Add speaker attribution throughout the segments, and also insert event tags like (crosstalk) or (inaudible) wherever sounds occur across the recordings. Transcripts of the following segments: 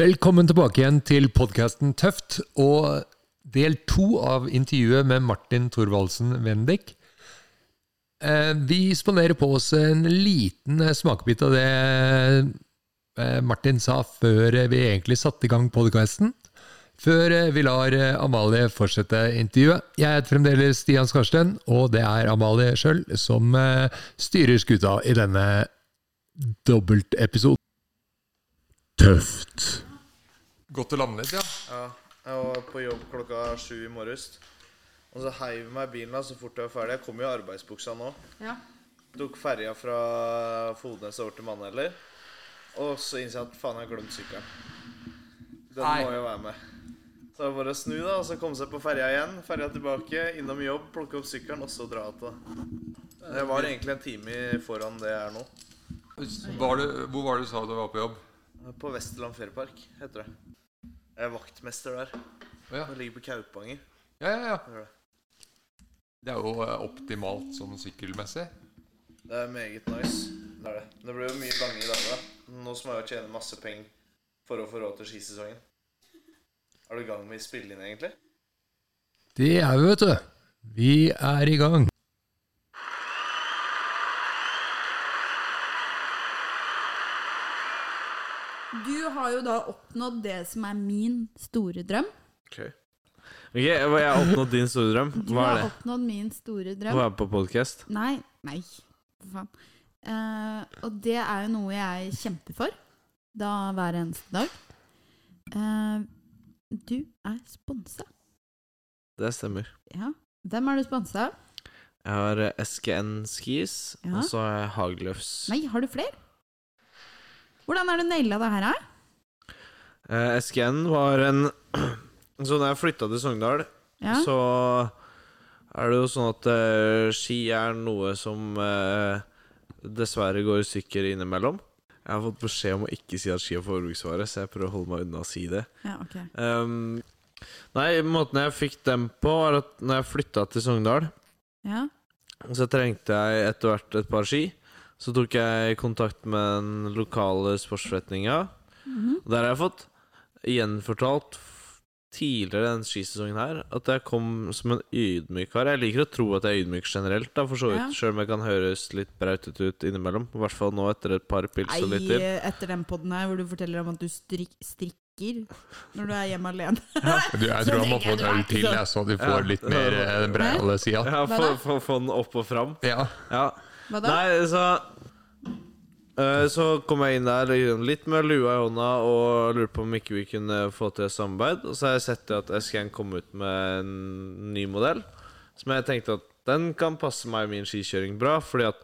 Speaker 1: Velkommen tilbake igjen til podkasten Tøft og del to av intervjuet med Martin Thorvaldsen Wendik. Eh, Vi spanderer på oss en liten eh, smakebit av det eh, Martin sa før eh, vi egentlig satte i gang podkasten. Før eh, vi lar eh, Amalie fortsette intervjuet. Jeg heter fremdeles Stian Skarsten, og det er Amalie sjøl som eh, styrer skuta i denne dobbeltepisoden. Tøft. Godt å lande litt, ja.
Speaker 2: Ja, jeg var på jobb klokka sju i morges. Og så heiv jeg meg i bilen da, så fort jeg var ferdig. Jeg kom jo i arbeidsbuksa nå.
Speaker 3: Ja.
Speaker 2: Tok ferja fra Fodnes over til Mannheller. Og så innså jeg at faen, jeg har glemt sykkelen. Den
Speaker 4: Nei.
Speaker 2: må jo være med. Så det var bare å snu, da, og så komme seg på ferja igjen. Ferja tilbake, innom jobb, plukke opp sykkelen, og så dra igjen. Jeg var egentlig en time foran det jeg er nå.
Speaker 4: Var du, hvor var det du sa du var på jobb?
Speaker 2: På Vesterland Feriepark, heter det. Jeg er vaktmester der.
Speaker 4: Ja.
Speaker 2: Jeg ligger på Kaupanger.
Speaker 4: Ja, ja, ja.
Speaker 2: Gjør det.
Speaker 4: Det er jo eh, optimalt sånn sykkelmessig.
Speaker 2: Det er meget nice. Det er det. Det blir jo mye lange dager. da. Nå som jeg jo tjener masse penger for å få råd til skisesongen. Er du i gang med å spille inn, egentlig?
Speaker 1: Det er vi, vet du. Vi er i gang.
Speaker 3: Du har jo da oppnådd det som er min store drøm.
Speaker 5: Ok, Jeg har oppnådd din store drøm.
Speaker 3: Du
Speaker 5: Hva er
Speaker 3: har
Speaker 5: det?
Speaker 3: oppnådd min store
Speaker 5: Å
Speaker 3: drøm.
Speaker 5: være på podkast?
Speaker 3: Nei. Nei, for faen. Eh, og det er jo noe jeg kjemper for da hver eneste dag. Eh, du er sponsa.
Speaker 5: Det stemmer.
Speaker 3: Ja. Hvem er du sponsa av?
Speaker 5: Jeg har eh, SKN Skis,
Speaker 3: Ja.
Speaker 5: og så har jeg Hagløfs.
Speaker 3: Nei, har du flere? Hvordan er du naila det her, her?
Speaker 5: Eh, SKN var en (clears throat) Så da jeg flytta til Sogndal,
Speaker 3: Ja.
Speaker 5: så er det jo sånn at eh, ski er noe som eh, dessverre går i stykker innimellom. Jeg har fått beskjed om å ikke si at ski er forbruksvare, så jeg prøver å holde meg unna å si det.
Speaker 3: ja, ok.
Speaker 5: Ehm, nei, måten jeg fikk dem på, var at når jeg flytta til Sogndal
Speaker 3: Ja.
Speaker 5: Så trengte jeg etter hvert et par ski. Så tok jeg kontakt med den lokale sportsforretninga.
Speaker 3: Mhm.
Speaker 5: Der har jeg fått gjenfortalt f- tidligere den skisesongen her at jeg kom som en ydmyk kar. Jeg liker å tro at jeg er ydmyk generelt, da, for så
Speaker 3: Ja.
Speaker 5: vidt. Sjøl om jeg kan høres litt brautet ut innimellom. I hvert fall nå etter et par pils og litt
Speaker 3: Nei,
Speaker 5: til.
Speaker 3: etter den podden her hvor du forteller om at du strik strikker når du er hjemme alene. (laughs)
Speaker 1: Du, jeg tror han må få en øl til, jeg, så de får
Speaker 5: Ja.
Speaker 1: litt
Speaker 4: (laughs)
Speaker 1: mer eh, breiale sida.
Speaker 3: Hva
Speaker 5: Ja, få-
Speaker 3: da?
Speaker 5: få- få den opp og fram.
Speaker 1: Ja.
Speaker 5: Ja.
Speaker 3: Hva da?
Speaker 5: Nei, så eh, Så kom jeg inn der liksom, litt med lua i hånda og lurte på om ikke vi kunne få til et samarbeid. Og så har jeg sett at SKN kom ut med en ny modell som jeg tenkte at den kan passe meg og min skikjøring bra, fordi at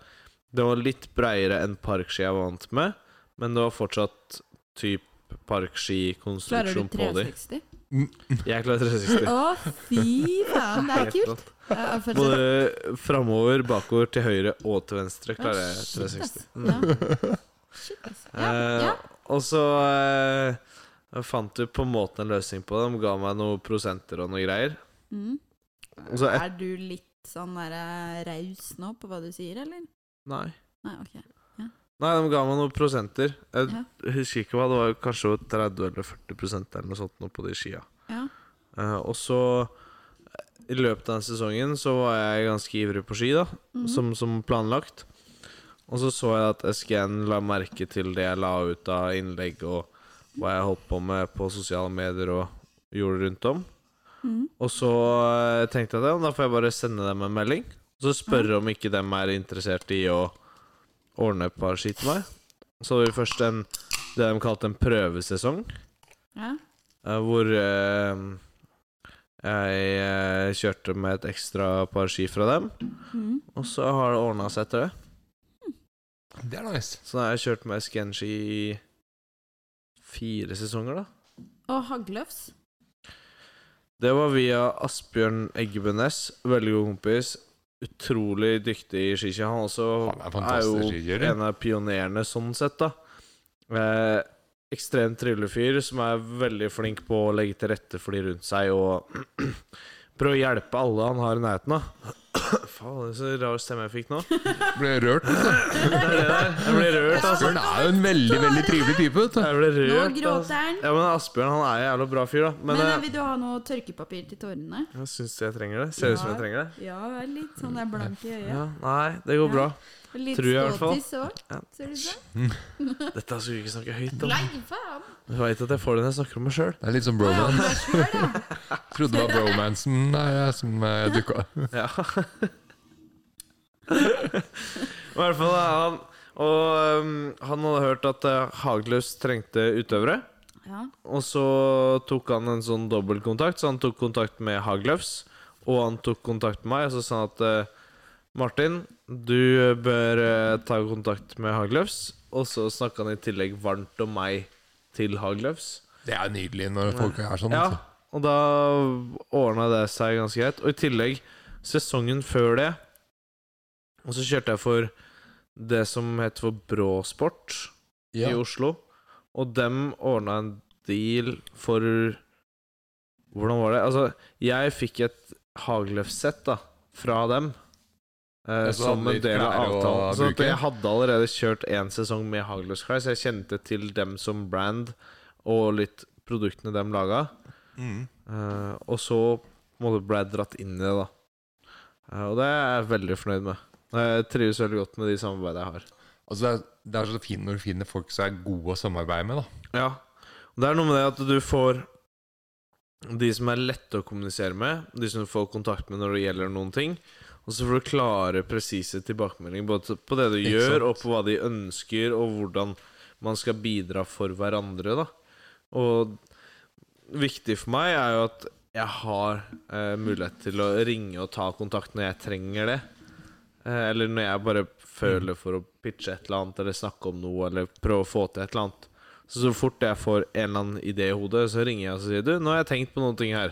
Speaker 5: den var litt breiere enn parkski jeg var vant med, men det var fortsatt type
Speaker 3: Klarer du
Speaker 5: parkskikonstruksjon på de.
Speaker 3: 360?
Speaker 5: Jeg klarer 360.
Speaker 3: Å, fy faen, det er
Speaker 5: (laughs) Helt
Speaker 3: kult.
Speaker 5: rått.
Speaker 3: Ja, for-
Speaker 5: Både framover, bakover, til høyre og til venstre klarer
Speaker 3: Ja,
Speaker 5: jeg
Speaker 3: shit,
Speaker 5: 360.
Speaker 3: ass. Ja. Shit, ass. Ja,
Speaker 5: Eh,
Speaker 3: ja.
Speaker 5: Og så eh, fant vi på en måte en løsning på det. De ga meg noen prosenter og noe greier.
Speaker 3: Mm.
Speaker 5: Og så et...
Speaker 3: Er du litt sånn der eh, raus nå på hva du sier, eller?
Speaker 5: Nei.
Speaker 3: Nei, ok.
Speaker 5: Nei, de ga meg noen prosenter. Jeg
Speaker 3: Ja.
Speaker 5: husker ikke hva, det var kanskje 30 eller 40 prosent eller noe sånt nå på de skia.
Speaker 3: Ja.
Speaker 5: Eh, og så eh, i løpet av den sesongen så var jeg ganske ivrig på ski, da,
Speaker 3: Mhm.
Speaker 5: som, som planlagt. Og så så jeg at SGN la merke til det jeg la ut av innlegg og hva jeg holdt på med på sosiale medier og gjorde rundt om.
Speaker 3: Mhm.
Speaker 5: Og så eh, tenkte jeg det, da får jeg bare sende dem en melding. Så spørre om ikke dem er interessert i å ordne et par ski til meg. Så hadde vi først en, det de kalte en prøvesesong,
Speaker 3: Ja.
Speaker 5: eh, hvor eh, jeg eh, kjørte med et ekstra par ski fra dem.
Speaker 3: Mm.
Speaker 5: Og så har det ordna seg etter det.
Speaker 1: Det er nice.
Speaker 5: Så da har jeg kjørt med SKN-ski i fire sesonger, da.
Speaker 3: Og hagløfs.
Speaker 5: Det var via Asbjørn Eggebenes, veldig god kompis. Utrolig dyktig i skiski. Han også
Speaker 1: Han er fantastisk skikjører.
Speaker 5: en av pionerene sånn sett, da. Eh, ekstremt trivelig fyr som er veldig flink på (clears throat) å legge til rette for de rundt seg og prøve å hjelpe alle han har i nærheten av. (clears throat) Faen, det er så rar stemme jeg fikk
Speaker 1: (laughs)
Speaker 5: nå.
Speaker 1: Ble rørt.
Speaker 5: (laughs) Det er det der. Jeg ble rørt, altså.
Speaker 1: Asbjørn er jo en veldig veldig trivelig type. vet du.
Speaker 5: Jeg ble
Speaker 3: Nå
Speaker 5: rørt.
Speaker 3: gråter
Speaker 5: Altså.
Speaker 3: han.
Speaker 5: Ja, men Asbjørn han er en jævla bra fyr, da. Men,
Speaker 3: Men eh,
Speaker 5: jeg,
Speaker 3: vil du ha noe tørkepapir til tårene?
Speaker 5: jeg syns jeg trenger det. Ser ut som jeg
Speaker 3: Ja.
Speaker 5: trenger det.
Speaker 3: Ja, litt sånn der blank i øyet.
Speaker 5: Ja, Nei, det går
Speaker 3: Ja.
Speaker 5: bra.
Speaker 3: Litt
Speaker 5: tror jeg i hvert fall.
Speaker 3: ståtiss òg,
Speaker 5: Ja.
Speaker 3: ser du sånn?
Speaker 5: Dette skulle vi ikke snakke høyt om.
Speaker 3: Nei, faen!
Speaker 5: Du veit at jeg får det når jeg snakker om meg
Speaker 1: (laughs)
Speaker 5: sjøl.
Speaker 1: Det er litt som
Speaker 3: Å ja,
Speaker 1: bromance.
Speaker 3: du er sjøl, ja.
Speaker 1: (laughs) Trodde det var bromansen nei, ja, som eh, dukka
Speaker 5: (laughs) Ja. I hvert fall er han Og um, han hadde hørt at uh, Hagløs trengte utøvere.
Speaker 3: ja.
Speaker 5: Og så tok han en sånn dobbeltkontakt, så han tok kontakt med Hagløfs. Og han tok kontakt med meg, og så sa han at eh, Martin, du bør eh, ta kontakt med Hagløfs. Og så snakka han i tillegg varmt om meg til Hagløfs.
Speaker 1: Det er nydelig når folk er sånn.
Speaker 5: Ja,
Speaker 1: altså.
Speaker 5: og da ordna det seg ganske greit. Og i tillegg, sesongen før det Og så kjørte jeg for det som het for Bråsport i
Speaker 1: Ja.
Speaker 5: Oslo. Og dem ordna en deal for Hvordan var det? Altså, jeg fikk et Hagløf-sett da, fra dem. Eh,
Speaker 4: Ja, så
Speaker 5: som
Speaker 4: hadde
Speaker 5: en
Speaker 4: de
Speaker 5: del av
Speaker 4: klær å
Speaker 5: avtalen. Så at
Speaker 4: bruke.
Speaker 5: jeg hadde allerede kjørt én sesong med Hagløfs klær, så jeg kjente til dem som brand og litt produktene dem laga.
Speaker 4: Mm.
Speaker 5: Eh, og så på en måte, ble jeg dratt inn i det, da. Eh, og det er jeg veldig fornøyd med. Jeg trives veldig godt med de samarbeidene jeg har.
Speaker 1: Altså, det, er, det er så fint når du finner folk som er gode å samarbeide med. da.
Speaker 5: Ja. Og Det er noe med det at du får de som er lette å kommunisere med, de som du får kontakt med når det gjelder noen ting, og så får du klare, presise tilbakemeldinger både på det du
Speaker 1: Ikke sant.
Speaker 5: gjør, og på hva de ønsker, og hvordan man skal bidra for hverandre, da. Og viktig for meg er jo at jeg har eh, mulighet til å ringe og ta kontakt når jeg trenger det. Eh, eller når jeg bare
Speaker 1: Mm.
Speaker 5: føler for å pitche et eller annet, eller snakke om noe, eller prøve å få til et eller annet. Så så fort jeg får en eller annen idé i hodet, så ringer jeg og så sier du, nå har jeg tenkt på noen ting her.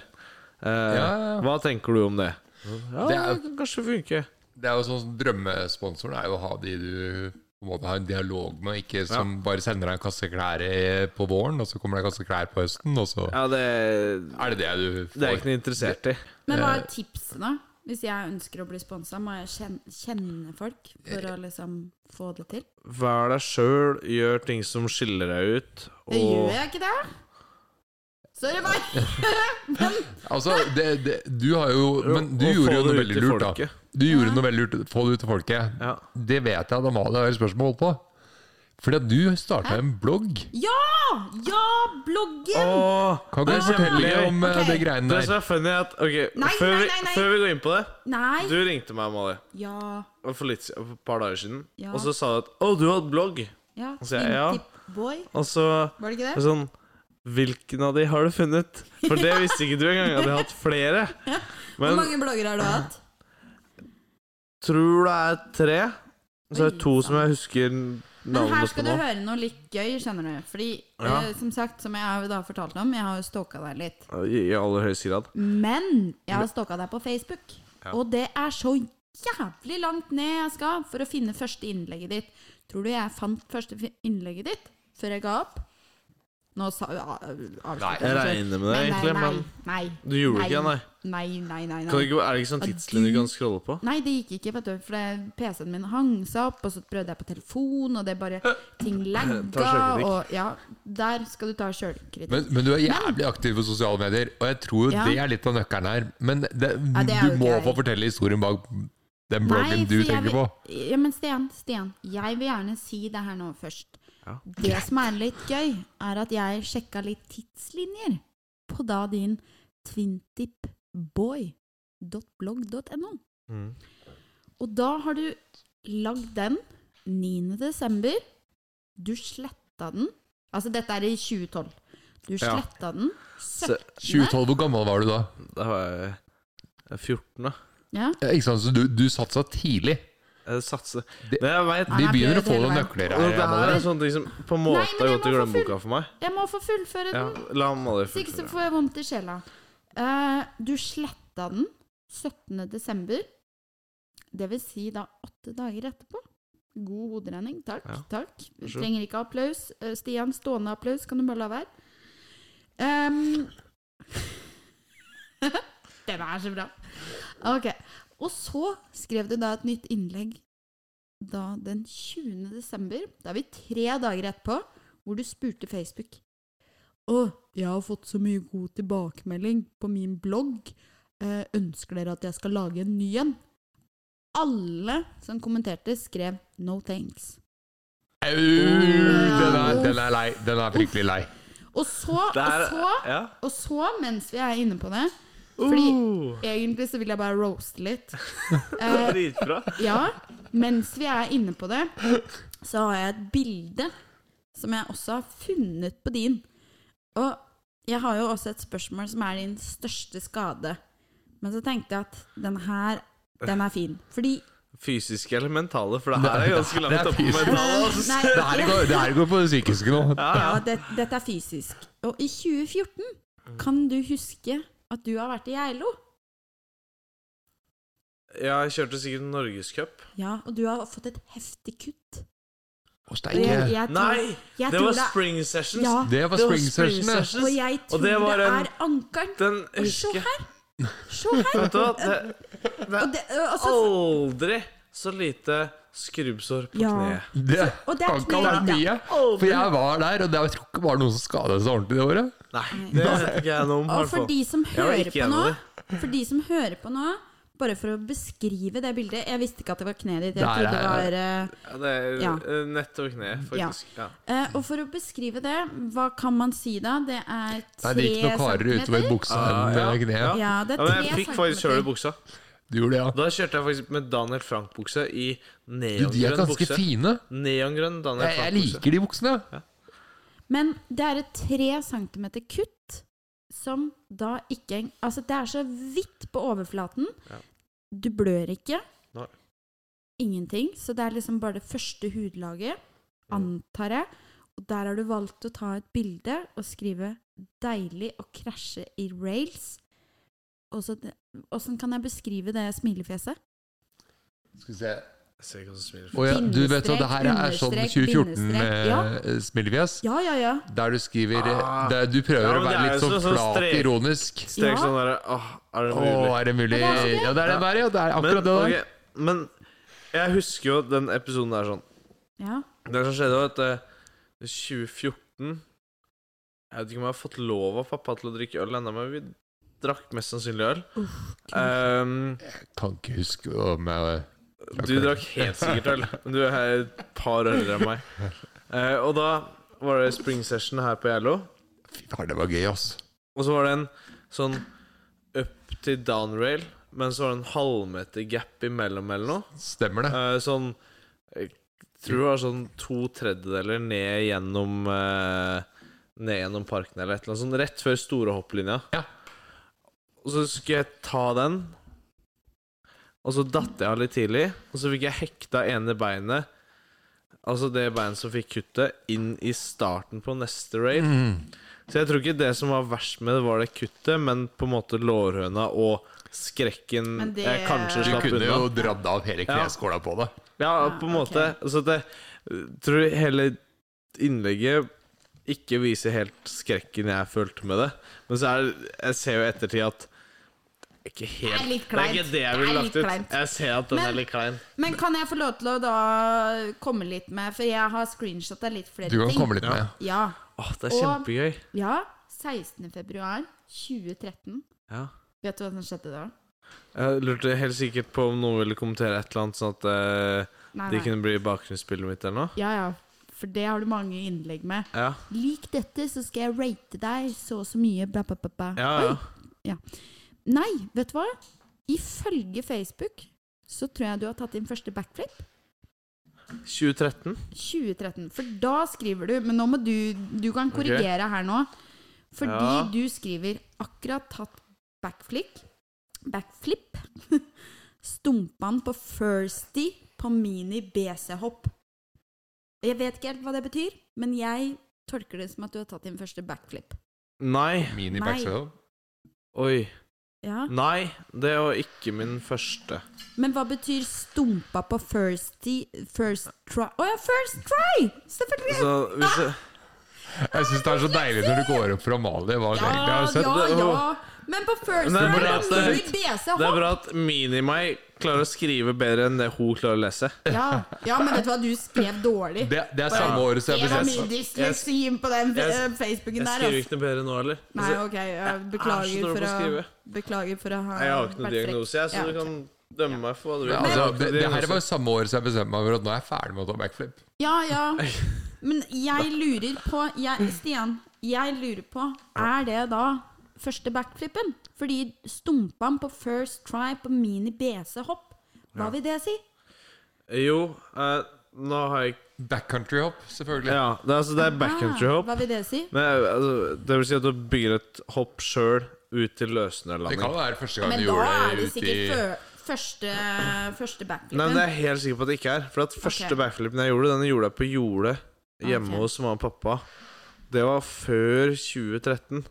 Speaker 5: Eh,
Speaker 1: Ja, ja, ja.
Speaker 5: Hva tenker du om det? Ja, det
Speaker 1: Det er-
Speaker 5: kan kanskje funke.
Speaker 1: Det er jo sånn Drømmesponsoren er jo å ha de du på en måte har en dialog med, ikke som bare sender deg en kasse klær i- på våren, og så kommer det en kasse klær på høsten, og så
Speaker 5: Ja, det,
Speaker 1: er det det du får.
Speaker 5: det er jeg ikke noe interessert i.
Speaker 3: Men hva
Speaker 5: Eh.
Speaker 3: er tipsene? Hvis jeg ønsker å bli sponsa, må jeg kjenne, kjenne folk for
Speaker 5: Eh.
Speaker 3: å liksom få det til?
Speaker 5: Vær deg sjøl, gjør ting som skiller deg ut.
Speaker 3: Det gjør jeg ikke det! Sorry, meg! Men
Speaker 1: Altså, det, det, du har jo Men du
Speaker 5: Og få
Speaker 1: gjorde jo noe
Speaker 5: det ut
Speaker 1: veldig
Speaker 5: til
Speaker 1: lurt, da.
Speaker 5: folket.
Speaker 1: Du gjorde noe veldig lurt. Få det ut til folket.
Speaker 5: Ja.
Speaker 1: Det vet jeg at Amalie har spørsmål på. Fordi at du starta en blogg.
Speaker 3: ja! Ja, bloggen!
Speaker 5: Åh,
Speaker 1: Kan ikke du
Speaker 5: det er
Speaker 1: fortelle
Speaker 5: kjempegøy.
Speaker 1: om eh,
Speaker 3: Ok.
Speaker 1: det greiene
Speaker 5: Det
Speaker 1: der?
Speaker 5: som er funny, er at Ok,
Speaker 3: Nei,
Speaker 5: før,
Speaker 3: nei,
Speaker 5: vi-
Speaker 3: nei, nei.
Speaker 5: før vi går inn på det
Speaker 3: Nei.
Speaker 5: Du ringte meg, Amalie,
Speaker 3: Ja.
Speaker 5: for litt, for et par dager siden,
Speaker 3: Ja.
Speaker 5: og så sa du at 'Å, du har hatt blogg'.
Speaker 3: ja.
Speaker 5: Så jeg- ja.
Speaker 3: Boy,
Speaker 5: Og så
Speaker 3: var det
Speaker 5: Det
Speaker 3: ikke
Speaker 5: er
Speaker 3: det?
Speaker 5: Sånn, hvilken av de har du funnet?
Speaker 3: (laughs)
Speaker 5: For det visste ikke du engang. At jeg har hatt flere.
Speaker 3: Hvor
Speaker 5: Men
Speaker 3: mange blogger har du hatt?
Speaker 5: tror det er tre. Og så er det to
Speaker 3: Oi,
Speaker 5: som jeg husker
Speaker 3: Men her
Speaker 5: navnet på
Speaker 3: skal du
Speaker 5: nå.
Speaker 3: høre noe litt gøy, skjønner du. Fordi,
Speaker 5: Ja.
Speaker 3: eh, som sagt, som jeg har jo da fortalt om, jeg har jo stalka deg litt.
Speaker 5: I i aller høyeste grad.
Speaker 3: Men jeg har stalka deg på Facebook.
Speaker 5: Ja.
Speaker 3: Og det er så jævlig langt ned jeg skal for å finne første innlegget ditt. Tror du jeg fant første fi- innlegget ditt før jeg ga opp? Nå sa ja, avslutter
Speaker 5: Nei, jeg
Speaker 3: Nei,
Speaker 5: regner med det,
Speaker 3: nei,
Speaker 5: egentlig,
Speaker 3: nei,
Speaker 5: men
Speaker 3: nei,
Speaker 5: du gjorde det ikke, nei.
Speaker 3: Nei, nei, nei.
Speaker 5: Kan det
Speaker 3: nei.
Speaker 5: ikke, er det ikke sånn
Speaker 3: Ja,
Speaker 5: tidslinje du
Speaker 3: du-
Speaker 5: kan scrolle på?
Speaker 3: Nei, det gikk ikke, vet du, for det- PC-en min hang seg opp, og så prøvde jeg på telefon, og det bare Ting lagga,
Speaker 5: sjølkritikk.
Speaker 3: og ja, der skal du ta sjølkritikk.
Speaker 1: Men, men du er jævlig aktiv på sosiale medier, og jeg tror
Speaker 3: Ja.
Speaker 1: det er litt av nøkkelen her. Men det,
Speaker 3: det er jo
Speaker 1: du må
Speaker 3: gøy.
Speaker 1: få fortelle historien bak den bloggen du
Speaker 3: for jeg
Speaker 1: tenker på.
Speaker 3: vil- Ja, men Stian, Stian, jeg vil gjerne si det her nå først.
Speaker 5: Ja.
Speaker 3: Det som er litt gøy, er at jeg sjekka litt tidslinjer på da din twintipboy.blogg.no.
Speaker 5: Mm.
Speaker 3: Og da har du lagd den 9. desember. Du sletta den. Altså, dette er i 2012. Du
Speaker 5: Ja.
Speaker 3: sletta den.
Speaker 5: Så,
Speaker 1: 2012, hvor gammel var du da?
Speaker 5: da var jeg jeg er 14, da.
Speaker 3: Ja.
Speaker 1: Ja, Ikke sant, så du, du satsa tidlig.
Speaker 5: Jeg satser.
Speaker 1: Det-
Speaker 5: Det jeg vet
Speaker 3: Nei,
Speaker 1: Vi
Speaker 3: jeg
Speaker 1: begynner å
Speaker 3: prøvde
Speaker 1: få
Speaker 3: hele
Speaker 1: noen
Speaker 3: veien.
Speaker 1: nøkler
Speaker 5: Og
Speaker 1: her.
Speaker 5: det her
Speaker 1: Amalie.
Speaker 5: er sånne ting som på en
Speaker 3: Nei,
Speaker 5: måte
Speaker 3: men
Speaker 5: har
Speaker 3: jeg
Speaker 5: gått i
Speaker 3: må få full-
Speaker 5: glemmeboka for meg.
Speaker 3: Jeg må få fullføre
Speaker 5: Ja,
Speaker 3: den.
Speaker 5: la Amalie
Speaker 3: Hvis ikke så
Speaker 5: fullføre.
Speaker 3: får jeg vondt i sjela. Eh, du sletta den 17. desember. Det vil si da åtte dager etterpå. God hoderegning. Takk,
Speaker 5: Ja.
Speaker 3: takk. Vi
Speaker 5: Vær så god.
Speaker 3: trenger ikke applaus. Eh, Stian, stående applaus kan du bare la være. (laughs) Ehm, den er så bra. Ok. Og så skrev du da et nytt innlegg da den 20. desember. Da er vi tre dager etterpå, hvor du spurte Facebook. Å, jeg har fått så mye god tilbakemelding på min blogg. Eh, ønsker dere at jeg skal lage en ny en? Alle som kommenterte, skrev 'no thanks'.
Speaker 1: Au! Den er, den er lei. Den er fryktelig lei.
Speaker 3: Og så,
Speaker 5: Det er-
Speaker 3: og så
Speaker 5: Ja.
Speaker 3: og så, mens vi er inne på det Fordi
Speaker 1: Oh,
Speaker 5: Uh,
Speaker 3: egentlig så vil jeg bare roaste
Speaker 5: (laughs)
Speaker 3: litt.
Speaker 5: det er
Speaker 3: Eh,
Speaker 5: dritbra.
Speaker 3: ja, mens vi er inne på det, så har jeg et bilde som jeg også har funnet på din. Og jeg har jo også et spørsmål som er din største skade. Men så tenkte jeg at den her, den er fin. Fordi
Speaker 5: Fysiske eller mentale, for det her er ganske langt
Speaker 1: det er
Speaker 5: oppe på
Speaker 1: fysisk.
Speaker 5: mentale. Altså.
Speaker 3: Nei,
Speaker 1: Det her går, det her går på det psykiske nå.
Speaker 5: Ja, ja. Mm.
Speaker 3: ja, det, dette er fysisk. Og i 2014 kan du huske at du har vært i Geilo.
Speaker 5: ja, jeg kjørte sikkert Norgescup.
Speaker 3: Ja, og du har fått et heftig kutt.
Speaker 1: Å,
Speaker 3: Og jeg,
Speaker 1: steike.
Speaker 3: jeg tror,
Speaker 5: Nei!
Speaker 3: jeg
Speaker 5: Det
Speaker 3: tror
Speaker 5: var Spring Sessions.
Speaker 3: Ja,
Speaker 1: Det var
Speaker 5: Det var
Speaker 1: spring session, det.
Speaker 3: og jeg tror
Speaker 5: det
Speaker 3: det,
Speaker 5: var en-
Speaker 3: er ankeren.
Speaker 5: Den
Speaker 3: Oi, se
Speaker 5: husker jeg.
Speaker 3: her! Se her!
Speaker 5: Vet du hva? Det
Speaker 3: Og det, ø, altså,
Speaker 5: aldri så lite skrubbsår på
Speaker 3: Ja.
Speaker 5: kneet.
Speaker 1: Det
Speaker 3: Og det er
Speaker 1: kan ikke ha vært
Speaker 3: kneet,
Speaker 1: mye. For jeg var der, og det var jeg tror ikke det var noen som skadet seg ordentlig det året.
Speaker 5: Nei, det vet ikke jeg noe om. i
Speaker 3: Mm. og
Speaker 5: hvert
Speaker 3: for
Speaker 5: fall.
Speaker 3: de som
Speaker 5: Jeg var
Speaker 3: hører
Speaker 5: ikke
Speaker 3: på nå,
Speaker 5: enig i
Speaker 3: for de som hører på nå bare for å beskrive det bildet Jeg visste ikke at det var kneet ditt. Jeg
Speaker 1: Der
Speaker 3: trodde det
Speaker 1: er-
Speaker 3: var eh,
Speaker 5: Ja, det er
Speaker 3: Ja.
Speaker 5: eh, nett over kneet, faktisk. Ja.
Speaker 3: eh, Og for å beskrive det, hva kan man si da? Det er
Speaker 1: Nei,
Speaker 3: tre
Speaker 1: det gikk noen karer utover
Speaker 3: centimeter.
Speaker 1: buksa
Speaker 5: Ah,
Speaker 1: enn
Speaker 5: ja.
Speaker 1: eh, kneet.
Speaker 3: Ja, det
Speaker 5: Ja,
Speaker 3: er tre
Speaker 5: men jeg fikk faktisk kjøl i
Speaker 3: centimeter.
Speaker 5: buksa.
Speaker 1: Du gjorde det, ja.
Speaker 5: Da kjørte jeg faktisk med Daniel Frank-bukse i
Speaker 1: Du, de er
Speaker 5: neongrønn
Speaker 1: ganske
Speaker 5: bukse.
Speaker 1: fine.
Speaker 5: Neongrønn Daniel
Speaker 1: Jeg, jeg
Speaker 5: Frank-bukse.
Speaker 1: liker de buksene.
Speaker 3: Men det er et tre centimeter kutt som da ikke eng- Altså, det er så vidt på overflaten.
Speaker 5: Ja.
Speaker 3: Du blør ikke.
Speaker 5: Nei.
Speaker 3: Ingenting. Så det er liksom bare det første hudlaget, antar jeg. Og der har du valgt å ta et bilde og skrive 'deilig å krasje i rails'. Og så det- Åssen kan jeg beskrive det smilefjeset?
Speaker 1: Skal vi se.
Speaker 5: Jeg ser ikke hva som smiler.
Speaker 1: Å ja, du vet hva,
Speaker 3: Bindestrek,
Speaker 1: det her er sånn
Speaker 3: understrek,
Speaker 1: 2014-smilefjes.
Speaker 3: bindestrek, ja. Ja, ja, ja.
Speaker 1: eh, Der du skriver eh,
Speaker 5: Ah.
Speaker 1: der Du prøver
Speaker 5: Ja,
Speaker 1: å
Speaker 5: men det
Speaker 1: være
Speaker 5: er
Speaker 1: litt
Speaker 5: jo
Speaker 1: sånn
Speaker 5: sånn- sånn
Speaker 1: flat
Speaker 5: strek.
Speaker 1: ironisk.
Speaker 5: Strek
Speaker 3: Ja.
Speaker 5: sånn derre Åh, er det
Speaker 1: Å,
Speaker 5: mulig?
Speaker 1: er det mulig?
Speaker 3: Men det er så gøy.
Speaker 1: Ja, det er den der, ja. Det er
Speaker 5: Men,
Speaker 1: akkurat det der.
Speaker 5: ok, men jeg husker jo den episoden der sånn.
Speaker 3: ja.
Speaker 5: Det som skjedde, var at eh, 2014 Jeg vet ikke om jeg har fått lov av pappa til å drikke øl ennå, men vi drakk mest sannsynlig øl. Ehm,
Speaker 1: Kan ikke huske om jeg
Speaker 5: du drakk helt sikkert øl. men Du er et par øl enn meg. Eh, og da var det spring session her på Gjerlo.
Speaker 1: Fy faen, det var gøy, ass.
Speaker 5: Og så var det en sånn up til down-rail, men så var det en halvmeter gap imellom eller noe.
Speaker 1: Stemmer det.
Speaker 5: Eh, sånn Jeg tror det var sånn to tredjedeler ned gjennom eh, Ned gjennom parken eller et eller annet sånt. Rett før store hopplinja.
Speaker 1: Ja.
Speaker 5: Og så skulle jeg ta den, og så datt jeg av litt tidlig. Og så fikk jeg hekta ene beinet, altså det beinet som fikk kuttet, inn i starten på neste raid.
Speaker 1: Mm.
Speaker 5: Så jeg tror ikke det som var verst med det, var det kuttet, men på en måte lårhøna og skrekken
Speaker 3: Men det-
Speaker 5: jeg kanskje
Speaker 1: Du
Speaker 5: slapp
Speaker 1: kunne
Speaker 5: unna.
Speaker 1: jo dratt av hele kneskåla på det.
Speaker 5: Ja,
Speaker 3: Ja,
Speaker 5: på en
Speaker 3: Ah, ok.
Speaker 5: måte. Så det tror jeg hele innlegget ikke viser helt skrekken jeg følte med det. Men så er jeg ser jo i ettertid at ikke helt,
Speaker 3: Det er litt
Speaker 5: Det er
Speaker 3: kleint.
Speaker 5: ikke det jeg ville
Speaker 3: Det er
Speaker 5: lagt
Speaker 3: litt
Speaker 5: ut.
Speaker 3: kleint.
Speaker 5: Jeg ser at den
Speaker 3: Men-
Speaker 5: er litt klein.
Speaker 3: Men kan jeg få lov til å da komme litt med, for jeg har screenshotta litt flere
Speaker 1: Du
Speaker 3: ting.
Speaker 1: kan komme litt med.
Speaker 3: Ja.
Speaker 5: Åh, det er
Speaker 3: Og-
Speaker 5: kjempegøy.
Speaker 3: ja. 16. februar 2013.
Speaker 5: Ja.
Speaker 3: Vet du hva som skjedde da?
Speaker 5: Jeg lurte helt sikkert på om noen ville kommentere et eller annet, sånn at eh,
Speaker 3: Nei,
Speaker 5: de
Speaker 3: Ah, nei.
Speaker 5: kunne bli bakgrunnsspillet mitt eller noe.
Speaker 3: Ja, ja. For det har du mange innlegg med.
Speaker 5: Ja,
Speaker 3: Lik dette, så skal jeg rate deg så og så mye. Bla, bla, bla, bla.
Speaker 5: ja. ja.
Speaker 3: Nei, vet du hva? Ifølge Facebook så tror jeg du har tatt din første backflip.
Speaker 5: 2013?
Speaker 3: 2013. For da skriver du Men nå må du Du kan korrigere her nå. Fordi
Speaker 5: Ja.
Speaker 3: du skriver 'akkurat tatt backflip'. Backflip. (laughs) Stumpan på firsty på mini-BC-hopp. Jeg vet ikke helt hva det betyr, men jeg tolker det som at du har tatt din første backflip.
Speaker 5: Nei.
Speaker 1: Mini
Speaker 3: Nei.
Speaker 1: backswell.
Speaker 5: Oi.
Speaker 3: Ja.
Speaker 5: Nei, det var ikke min første.
Speaker 3: Men hva betyr 'stumpa på firsty First try Å ja, first try! Selvfølgelig!
Speaker 5: Så Altså, hvis jeg
Speaker 1: Jeg syns det er så deilig når du går opp fra Mali. Hva
Speaker 3: Ja,
Speaker 1: egentlig har sett.
Speaker 3: ja, ja. Men på First
Speaker 5: Men det er
Speaker 3: Round er
Speaker 5: bra at
Speaker 3: det
Speaker 5: det-
Speaker 3: mye BC
Speaker 5: Det er
Speaker 3: hopp.
Speaker 5: bra at Mini-meg klarer å skrive bedre enn det hun klarer å lese.
Speaker 3: Ja. ja, men vet du hva, du skrev dårlig.
Speaker 1: Det, det er samme året som
Speaker 3: Det
Speaker 1: jeg
Speaker 3: var
Speaker 1: ble
Speaker 3: mye dysleksi inn på den
Speaker 5: Jeg-
Speaker 3: eh, Facebooken
Speaker 5: Jeg
Speaker 3: der.
Speaker 5: skriver
Speaker 3: Altså.
Speaker 5: ikke noe bedre nå heller. Altså,
Speaker 3: Nei, ok, jeg
Speaker 5: Jeg er så
Speaker 3: beklager
Speaker 5: dårlig
Speaker 3: for
Speaker 5: på å
Speaker 3: å
Speaker 5: skrive.
Speaker 3: Beklager for å ha
Speaker 5: Jeg har ikke noen
Speaker 3: vært frekk.
Speaker 5: diagnose, jeg, så
Speaker 3: Ja,
Speaker 5: du
Speaker 3: ok.
Speaker 5: kan dømme meg for hva du vil.
Speaker 1: altså, det, det her var
Speaker 5: Diagnose.
Speaker 1: jo samme året som jeg bestemte meg for at nå er jeg ferdig med å ta backflip.
Speaker 3: Ja, ja.
Speaker 5: (laughs)
Speaker 3: Men jeg lurer på jeg, Stian, jeg lurer på Er det da første backflippen? Fordi stumpan på first try på mini-BC-hopp, hva vil det si?
Speaker 5: Jo, eh, nå har jeg
Speaker 1: Backcountry-hopp, selvfølgelig.
Speaker 5: Ja, det er, altså, det er
Speaker 1: Ah.
Speaker 5: backcountry-hopp.
Speaker 3: Ah, Hva vil det si?
Speaker 5: Men altså, det vil si at du bygger et hopp sjøl
Speaker 1: Det
Speaker 5: ut til
Speaker 1: kan
Speaker 5: løsnerlanding.
Speaker 1: jo være første gang
Speaker 3: Men
Speaker 1: du
Speaker 3: da
Speaker 1: gjorde
Speaker 3: er
Speaker 1: det
Speaker 3: det
Speaker 1: ute i
Speaker 3: sikkert fø- første, første
Speaker 5: Nei, men det
Speaker 3: backflippen.
Speaker 5: er jeg helt sikker på at det ikke er. For at første
Speaker 3: Ok.
Speaker 5: backflipen jeg gjorde, den gjorde jeg på jordet hjemme
Speaker 3: Ok.
Speaker 5: hos mamma og pappa. Det var før 2013.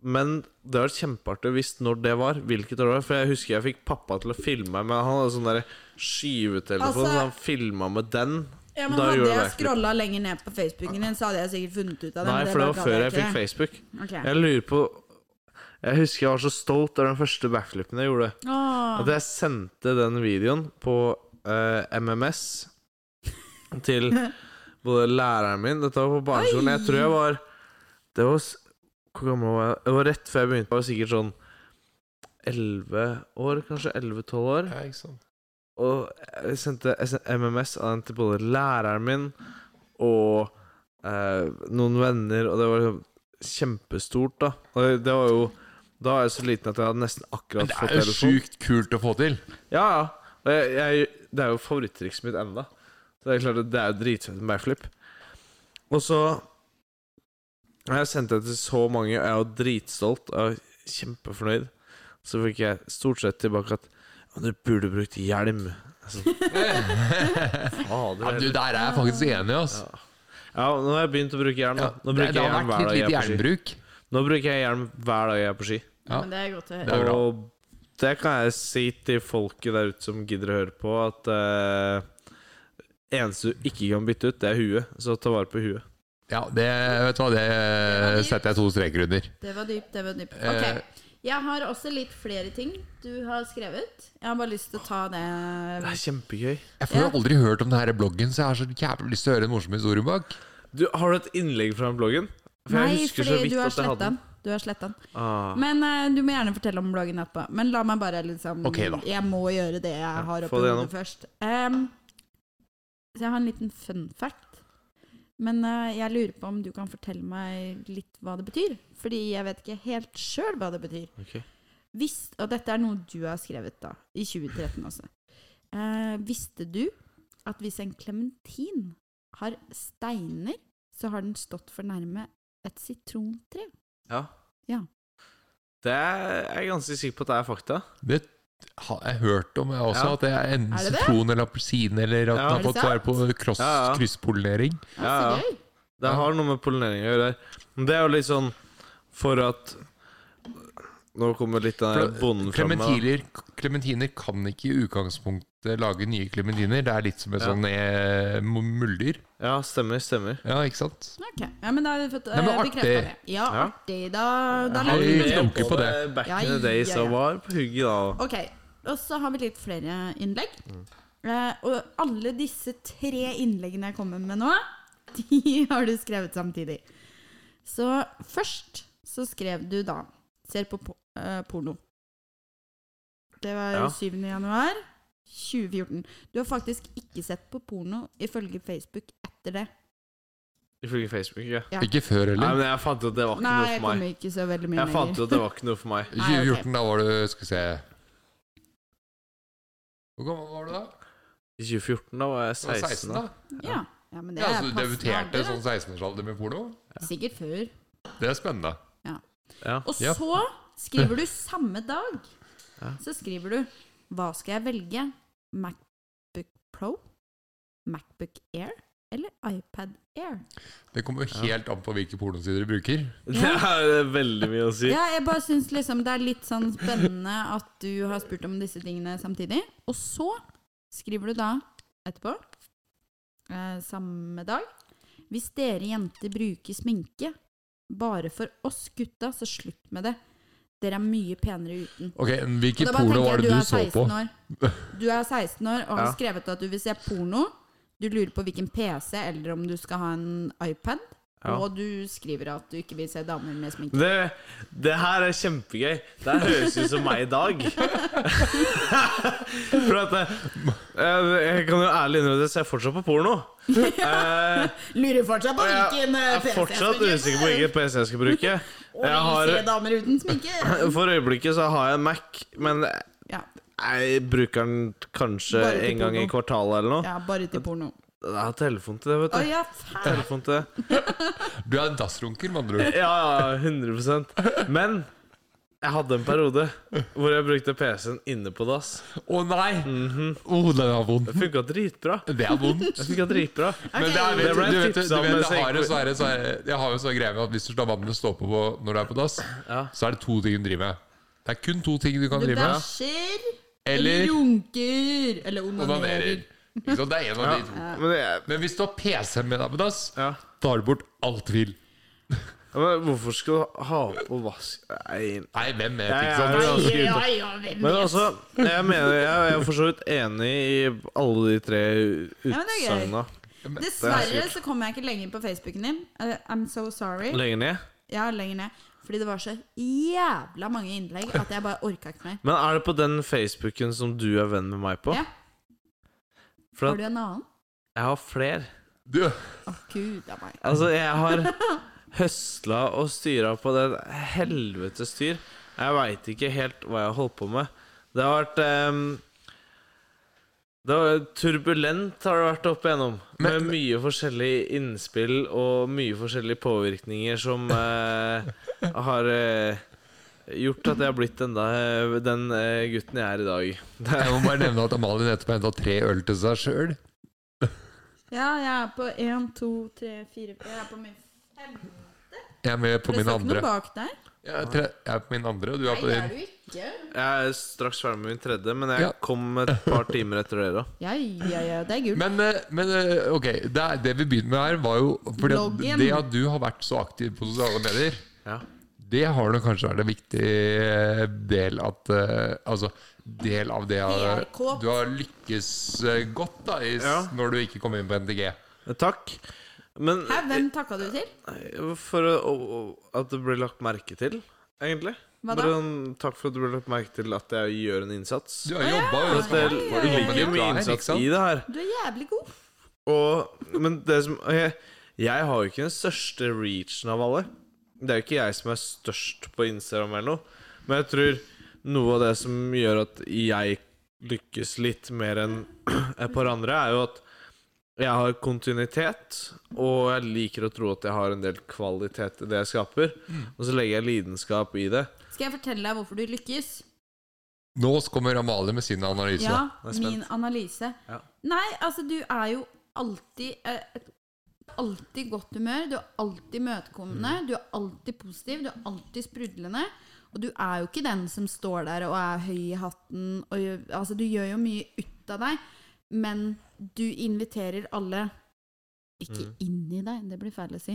Speaker 5: Men det var kjempeartig å visst når det var. Hvilket år det var. For jeg husker jeg fikk pappa til å filme meg, men han hadde sånn derre skyvetelefon,
Speaker 3: Altså-
Speaker 5: så han filma med den.
Speaker 3: Ja, men
Speaker 5: da gjorde
Speaker 3: hadde
Speaker 5: jeg
Speaker 3: jeg
Speaker 5: backflip.
Speaker 3: scrolla lenger ned på Facebooken din, så hadde jeg sikkert funnet ut av det.
Speaker 5: Nei,
Speaker 3: men
Speaker 5: for
Speaker 3: bare
Speaker 5: det
Speaker 3: gadd
Speaker 5: var før jeg fikk
Speaker 3: ikke.
Speaker 5: Facebook.
Speaker 3: Ok.
Speaker 5: Jeg lurer på Jeg husker jeg var så stolt av den første backflipen jeg gjorde.
Speaker 3: Åh.
Speaker 5: At jeg sendte den videoen på eh, MMS til både læreren min Dette var på barneskolen. Jeg tror jeg var Det var s- Hvor gammel var jeg? Det var rett før jeg begynte. Jeg var sikkert sånn 11 år, kanskje 11-12 år.
Speaker 1: Ja, ikke sant.
Speaker 5: Og jeg sendte jeg sendte MMS av den til både læreren min og eh, noen venner, og det var liksom kjempestort, da. Og det var jo Da var jeg så liten at jeg hadde nesten akkurat
Speaker 1: Men det
Speaker 5: fått
Speaker 1: er jo
Speaker 5: telefon.
Speaker 1: sjukt kult å få til.
Speaker 5: (laughs) Ja, ja. Og jeg, jeg, det er jo favorittrikset mitt enda Så det er klart at det er jo dritfett med backflip. Og så har jeg sendt det til så mange, og jeg er jo dritstolt og kjempefornøyd. Så fikk jeg stort sett tilbake at «Ja, du burde brukt hjelm. Altså,
Speaker 1: Ja,
Speaker 5: fader.
Speaker 1: du, der er jeg faktisk enig, altså.
Speaker 5: Ja, nå har jeg begynt å bruke hjelm.
Speaker 1: Ja,
Speaker 5: Da.
Speaker 1: det,
Speaker 5: Nå bruker
Speaker 1: det
Speaker 5: jeg
Speaker 1: har
Speaker 5: hjelm
Speaker 1: vært
Speaker 5: hver
Speaker 1: litt
Speaker 5: dag jeg
Speaker 1: lite
Speaker 5: er på ski.
Speaker 1: jernbruk.
Speaker 5: Nå bruker jeg hjelm hver dag jeg er på ski.
Speaker 1: Ja.
Speaker 3: Men det er godt å
Speaker 1: Det
Speaker 3: høre.
Speaker 1: er bra.
Speaker 5: Og det kan jeg si til folket der ute som gidder å høre på, at eh, eneste du ikke kan bytte ut, det er huet. Så ta vare på huet.
Speaker 1: Ja, det, vet du hva, det setter jeg to streker under.
Speaker 3: Det var dypt, det var dypt.
Speaker 1: Eh.
Speaker 3: Ok, Jeg har også litt flere ting du har skrevet. Jeg har bare lyst til å ta det
Speaker 5: Det er kjempegøy.
Speaker 1: Jeg får jo
Speaker 3: Ja.
Speaker 1: aldri hørt om denne bloggen, så jeg har så jævlig lyst til å høre en morsom historie bak.
Speaker 5: Du, har du et innlegg fra den bloggen? For jeg
Speaker 3: Nei,
Speaker 5: husker så
Speaker 3: fordi
Speaker 5: vidt
Speaker 3: du har
Speaker 5: at jeg
Speaker 3: sletta
Speaker 5: hadde
Speaker 3: den.
Speaker 5: den.
Speaker 3: Du har slettet den.
Speaker 5: Ah,
Speaker 3: Men eh, du må gjerne fortelle om bloggen etterpå. Men la meg bare liksom
Speaker 1: Ok, da.
Speaker 3: Jeg må gjøre det jeg har
Speaker 5: få
Speaker 3: oppi
Speaker 5: det
Speaker 3: hodet først. Em, så jeg har en liten fun fact. Men eh, jeg lurer på om du kan fortelle meg litt hva det betyr. Fordi jeg vet ikke helt sjøl hva det betyr.
Speaker 5: ok.
Speaker 3: Visst, og dette er noe du har skrevet da, i 2013 også. Eh, visste du at hvis en klementin har steiner, så har den stått for nærme et sitrontre?
Speaker 5: Ja.
Speaker 3: Ja.
Speaker 5: Det er jeg er ganske sikker på at det er fakta.
Speaker 1: Det har jeg hørt om, jeg også.
Speaker 5: Ja.
Speaker 1: At det er en
Speaker 3: Er det det?
Speaker 1: sitron eller appelsin, eller at
Speaker 5: Ja.
Speaker 1: den
Speaker 5: Er
Speaker 1: har
Speaker 3: det
Speaker 1: fått svar på cross,
Speaker 5: Ja, ja.
Speaker 1: krysspollinering.
Speaker 3: Ja,
Speaker 5: Ja,
Speaker 3: så
Speaker 5: ja.
Speaker 3: gøy!
Speaker 5: Det
Speaker 1: Ja.
Speaker 5: har noe med pollinering å gjøre. Men det er jo litt sånn for at Nå kommer litt av den
Speaker 1: For-
Speaker 5: Eh, bonden fram. da.
Speaker 1: Klementiner, klementiner kan ikke i utgangspunktet lage nye klementiner. Det er litt som en
Speaker 5: Ja.
Speaker 1: sånn eh, mu- muldyr.
Speaker 5: Ja, stemmer, stemmer.
Speaker 1: Ja, ikke sant?
Speaker 3: Ok, ja, men da har vi fått
Speaker 1: Nei,
Speaker 3: uh,
Speaker 1: men artig.
Speaker 3: bekrefta det. Ja,
Speaker 5: Ja.
Speaker 3: artig. Da, da
Speaker 1: har
Speaker 3: lager vi
Speaker 1: vi
Speaker 3: det.
Speaker 1: klunker på det.
Speaker 5: Back
Speaker 3: Ja,
Speaker 5: in the days
Speaker 3: ja, ja.
Speaker 5: og var på hugget da.
Speaker 3: Ok, og så har vi litt flere innlegg. Eh, og alle disse tre innleggene jeg kommer med nå, (laughs) de har du skrevet samtidig. Så først så skrev du da 'Ser på po eh, porno'. Det var
Speaker 5: Ja.
Speaker 3: 7. januar 2014. Du har faktisk ikke sett på porno ifølge Facebook etter det.
Speaker 5: Ifølge Facebook, ja.
Speaker 3: Ja.
Speaker 1: Ikke før
Speaker 5: Nei,
Speaker 1: heller.
Speaker 5: men jeg fant ut at det var ikke
Speaker 3: Nei, jeg
Speaker 5: noe for
Speaker 3: kommer
Speaker 5: meg.
Speaker 3: ikke så veldig mye
Speaker 5: Jeg fant
Speaker 3: lenger.
Speaker 5: ut at det var ikke noe for meg.
Speaker 1: I
Speaker 3: Nei, ok.
Speaker 1: 2014, da var du Skal vi se Hvor gammel var du da?
Speaker 5: I 2014 da var jeg
Speaker 1: Du var
Speaker 5: 16.
Speaker 1: 16,
Speaker 5: da.
Speaker 1: da?
Speaker 3: Ja. Ja, men det
Speaker 1: Ja,
Speaker 3: er
Speaker 1: så du
Speaker 3: passende
Speaker 1: debuterte
Speaker 3: alder,
Speaker 1: sånn 16-årsalder med porno?
Speaker 3: da. Sikkert før.
Speaker 1: Det er spennende.
Speaker 3: Og
Speaker 1: Ja.
Speaker 3: så skriver du samme dag.
Speaker 5: Ja.
Speaker 3: Så skriver du Hva skal jeg velge? Macbook Pro? Macbook Air? Eller iPad Air?
Speaker 1: Det kommer jo helt an på hvilke pornosider du bruker.
Speaker 5: Det er veldig mye å si.
Speaker 3: Ja, jeg bare syns liksom det er litt sånn spennende at du har spurt om disse tingene samtidig. Og så skriver du da etterpå, eh, samme dag Hvis dere jenter bruker sminke bare for oss gutta, så slutt med det. Dere er mye penere uten.
Speaker 1: Ok,
Speaker 3: Og
Speaker 1: Hvilket
Speaker 3: da bare
Speaker 1: porno
Speaker 3: tenker jeg,
Speaker 1: var det du,
Speaker 3: er
Speaker 1: så på?
Speaker 3: 16 År. Du er 16 år og har
Speaker 5: Ja.
Speaker 3: skrevet at du vil se porno. Du lurer på hvilken PC, eller om du skal ha en iPad.
Speaker 5: Ja.
Speaker 3: Og du skriver at du ikke vil se damer med sminke.
Speaker 5: Det, det her er kjempegøy. Det her høres ut som meg
Speaker 3: (laughs)
Speaker 5: i dag. For at eh, Jeg kan jo ærlig innrømme at jeg ser fortsatt på porno. Eh,
Speaker 3: Lurer fortsatt på
Speaker 5: og jeg
Speaker 3: hvilken eh,
Speaker 5: er
Speaker 3: PC
Speaker 5: fortsatt usikker på hvilken PC jeg skal bruke.
Speaker 3: Og vil
Speaker 5: Jeg
Speaker 3: se
Speaker 5: har,
Speaker 3: damer uten
Speaker 1: (laughs)
Speaker 3: sminke.
Speaker 5: for øyeblikket så har jeg en Mac, men
Speaker 3: Ja,
Speaker 5: jeg bruker den kanskje
Speaker 3: Bare til
Speaker 5: en gang i
Speaker 3: porno.
Speaker 5: kvartalet eller noe.
Speaker 3: ja bare til porno.
Speaker 5: Jeg har telefon til det,
Speaker 3: Å
Speaker 5: vet du.
Speaker 3: ja, faen.
Speaker 5: Telefon til det.
Speaker 1: Du er en dassrunker, med
Speaker 5: (laughs)
Speaker 1: andre ord.
Speaker 5: Ja, ja, 100 Men jeg hadde en periode hvor jeg brukte PC-en inne på dass.
Speaker 1: Å nei! Å, Mm-hmm. Oh, den er vond.
Speaker 5: Det funka dritbra.
Speaker 1: Det er vondt.
Speaker 5: (laughs) Det funka dritbra.
Speaker 1: Men det er,
Speaker 3: Ok.
Speaker 1: vet,
Speaker 5: Det
Speaker 1: du,
Speaker 5: ble
Speaker 1: du vet, du
Speaker 5: tipset om
Speaker 1: vet,
Speaker 5: en
Speaker 1: det har sånn jo
Speaker 5: sekk-
Speaker 1: sånne, sånne, jeg har jo sånn greie med at hvis du lar vannet stå på på- når du er på dass,
Speaker 5: Ja.
Speaker 1: så er det to ting du driver med. Det er kun to ting du kan
Speaker 3: Du
Speaker 1: drive med.
Speaker 3: bæsjer, eller
Speaker 1: Eller
Speaker 3: runker, eller onanerer.
Speaker 1: onanerer. Ikke sant? Det er en av de to.
Speaker 5: Men, jeg,
Speaker 1: Men hvis du har PC med deg på dass,
Speaker 5: ja.
Speaker 1: tar du bort all tvil.
Speaker 5: men hvorfor skal du ha på vask... Nei,
Speaker 1: Nei, hvem vet,
Speaker 5: Jeg
Speaker 1: ikke
Speaker 5: er
Speaker 1: sant?
Speaker 5: jo ganske
Speaker 3: Ja,
Speaker 5: ute.
Speaker 3: ja, hvem
Speaker 5: Men
Speaker 3: vet?
Speaker 5: altså, jeg mener Jeg er for så vidt enig i alle de tre
Speaker 3: men det er gøy.
Speaker 5: utsagna. Det
Speaker 3: Dessverre
Speaker 5: er
Speaker 3: så kom jeg ikke lenger på Facebooken din. Eh, I'm so sorry.
Speaker 5: Lenger ned.
Speaker 3: Ja, lenger ned. Fordi det var så jævla mange innlegg at jeg bare orka ikke mer.
Speaker 5: Men er det på den Facebooken som du er venn med meg på?
Speaker 3: Ja.
Speaker 5: For
Speaker 3: Har
Speaker 5: at
Speaker 3: du en annen?
Speaker 5: jeg har flere.
Speaker 1: Du,
Speaker 3: Å, gud a meg.
Speaker 5: Altså, jeg har høsla og styra på den helvetes styr. Jeg veit ikke helt hva jeg har holdt på med. Det har vært ehm, det har, Turbulent har det vært opp igjennom. Med
Speaker 1: Men-
Speaker 5: mye forskjellige innspill og mye forskjellige påvirkninger som eh, har eh, gjort at jeg har blitt den, da- den eh, gutten jeg er i dag. Det
Speaker 1: jeg
Speaker 5: er
Speaker 1: må bare nevne at Amalie nettopp henta tre øl til seg sjøl.
Speaker 3: Ja, jeg er på én, to, tre, fire Jeg er på min femte.
Speaker 1: Jeg er med på
Speaker 3: Det
Speaker 1: min
Speaker 3: står ikke noe
Speaker 1: andre.
Speaker 3: bak der.
Speaker 1: Jeg er, tre, jeg er på min andre, og du er
Speaker 3: Nei,
Speaker 1: på
Speaker 3: det er
Speaker 1: din.
Speaker 3: du ikke.
Speaker 5: Jeg er straks ferdig med min tredje, men jeg
Speaker 1: Ja.
Speaker 5: kom et par timer etter dere.
Speaker 3: Ja, ja, ja, det er gult.
Speaker 1: Men, eh, men eh, ok, det, er- det vi begynner med her, var jo fordi
Speaker 3: Bloggen.
Speaker 1: at Det at du har vært så aktiv på sosiale medier,
Speaker 5: Ja.
Speaker 1: det har nok kanskje vært en viktig eh, del at eh, Altså del av det at
Speaker 3: PRK.
Speaker 1: du har lykkes eh, godt da i, s-
Speaker 5: Ja.
Speaker 1: når du ikke kom inn på NTG.
Speaker 5: Takk. Men eh,
Speaker 3: Hæ, hvem takka du til?
Speaker 5: For å, å, å- at det blir lagt merke til, egentlig.
Speaker 3: Hva da?
Speaker 5: Bare sånn, takk for at du ble lagt merke til at jeg gjør en innsats.
Speaker 1: Du har jobba jo
Speaker 5: For at
Speaker 1: smart for
Speaker 5: det
Speaker 1: å komme
Speaker 5: ligger
Speaker 1: dit du
Speaker 5: jo mye
Speaker 1: er, ikke
Speaker 5: innsats
Speaker 1: sant?
Speaker 5: i det her.
Speaker 3: Du er jævlig god.
Speaker 5: Og, men det som jeg, jeg har jo ikke den største reachen av alle. Det er jo ikke jeg som er størst på Instagram eller noe. Men jeg tror noe av det som gjør at jeg lykkes litt mer enn (clears throat) et par andre, er jo at jeg har kontinuitet, og jeg liker å tro at jeg har en del kvalitet i det jeg skaper.
Speaker 3: Mm.
Speaker 5: Og så legger jeg lidenskap i det.
Speaker 3: Skal jeg fortelle deg hvorfor du lykkes?
Speaker 1: Nå kommer Amalie med sin analyse.
Speaker 3: Ja,
Speaker 5: Jeg er spent.
Speaker 3: min analyse.
Speaker 5: Ja.
Speaker 3: Nei, altså, du er jo alltid eh, Alltid i godt humør. Du er alltid imøtekommende.
Speaker 5: Mm.
Speaker 3: Du er alltid positiv. Du er alltid sprudlende. Og du er jo ikke den som står der og er høy i hatten. Og, gjør- altså, du gjør jo mye ut av deg, men du inviterer alle Ikke
Speaker 5: Mm.
Speaker 3: inn i deg, det blir feil å si.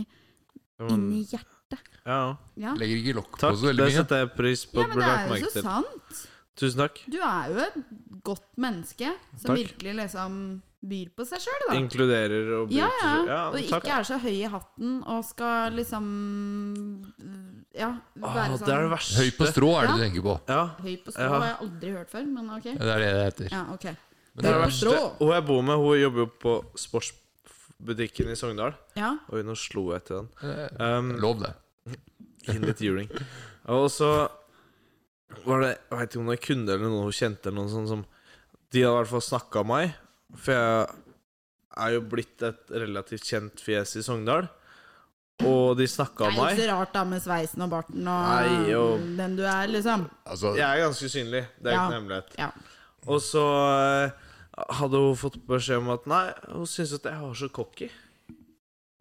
Speaker 3: Inn i hjertet.
Speaker 5: Ja,
Speaker 3: Ja,
Speaker 1: Legger ikke lokk på
Speaker 5: takk.
Speaker 1: så veldig
Speaker 5: Det
Speaker 1: mye.
Speaker 5: setter jeg pris på.
Speaker 3: ja
Speaker 5: å
Speaker 3: men
Speaker 5: bli
Speaker 3: det
Speaker 5: lagt
Speaker 3: er jo
Speaker 5: merke
Speaker 3: så
Speaker 5: til.
Speaker 3: sant.
Speaker 5: Tusen takk.
Speaker 3: Du er jo et godt menneske som
Speaker 5: Takk.
Speaker 3: virkelig liksom byr på seg sjøl, da.
Speaker 5: Inkluderer og
Speaker 3: Ja, ja.
Speaker 5: bruker
Speaker 3: Og
Speaker 5: takk.
Speaker 3: ikke er så høy i hatten og skal liksom Ja, være
Speaker 5: Åh,
Speaker 3: sånn
Speaker 5: det er det verste.
Speaker 1: Høy på strå er det du tenker på.
Speaker 5: Ja.
Speaker 3: høy på strå
Speaker 5: Ja.
Speaker 3: har jeg aldri hørt før, men ok.
Speaker 1: Ja, Det er det det heter.
Speaker 3: Ja, ok.
Speaker 5: Det er det
Speaker 3: Høy på
Speaker 5: verste.
Speaker 3: strå.
Speaker 5: Hun jeg bor med, hun jobber jo på sportsbutikken i Sogndal.
Speaker 3: Ja.
Speaker 5: Oi, nå slo jeg til den.
Speaker 1: Eh,
Speaker 5: Um,
Speaker 1: Lov det.
Speaker 5: gi den litt juling. Og så var det Jeg vet ikke om det var en kunde eller noen hun kjente eller noen sånn som De hadde i hvert fall snakka om meg, for jeg er jo blitt et relativt kjent fjes i Sogndal. Og de
Speaker 3: Det
Speaker 5: snakka
Speaker 3: er
Speaker 5: om
Speaker 3: jo
Speaker 5: meg.
Speaker 3: ikke så rart, da, med sveisen og barten og
Speaker 5: Nei, jo.
Speaker 3: den du er, liksom.
Speaker 1: Altså,
Speaker 5: Jeg er ganske synlig. Det er
Speaker 3: Ja.
Speaker 5: ikke noe hemmelighet.
Speaker 3: Ja.
Speaker 5: Og så eh, hadde hun fått beskjed om at nei, hun syntes at jeg var så cocky.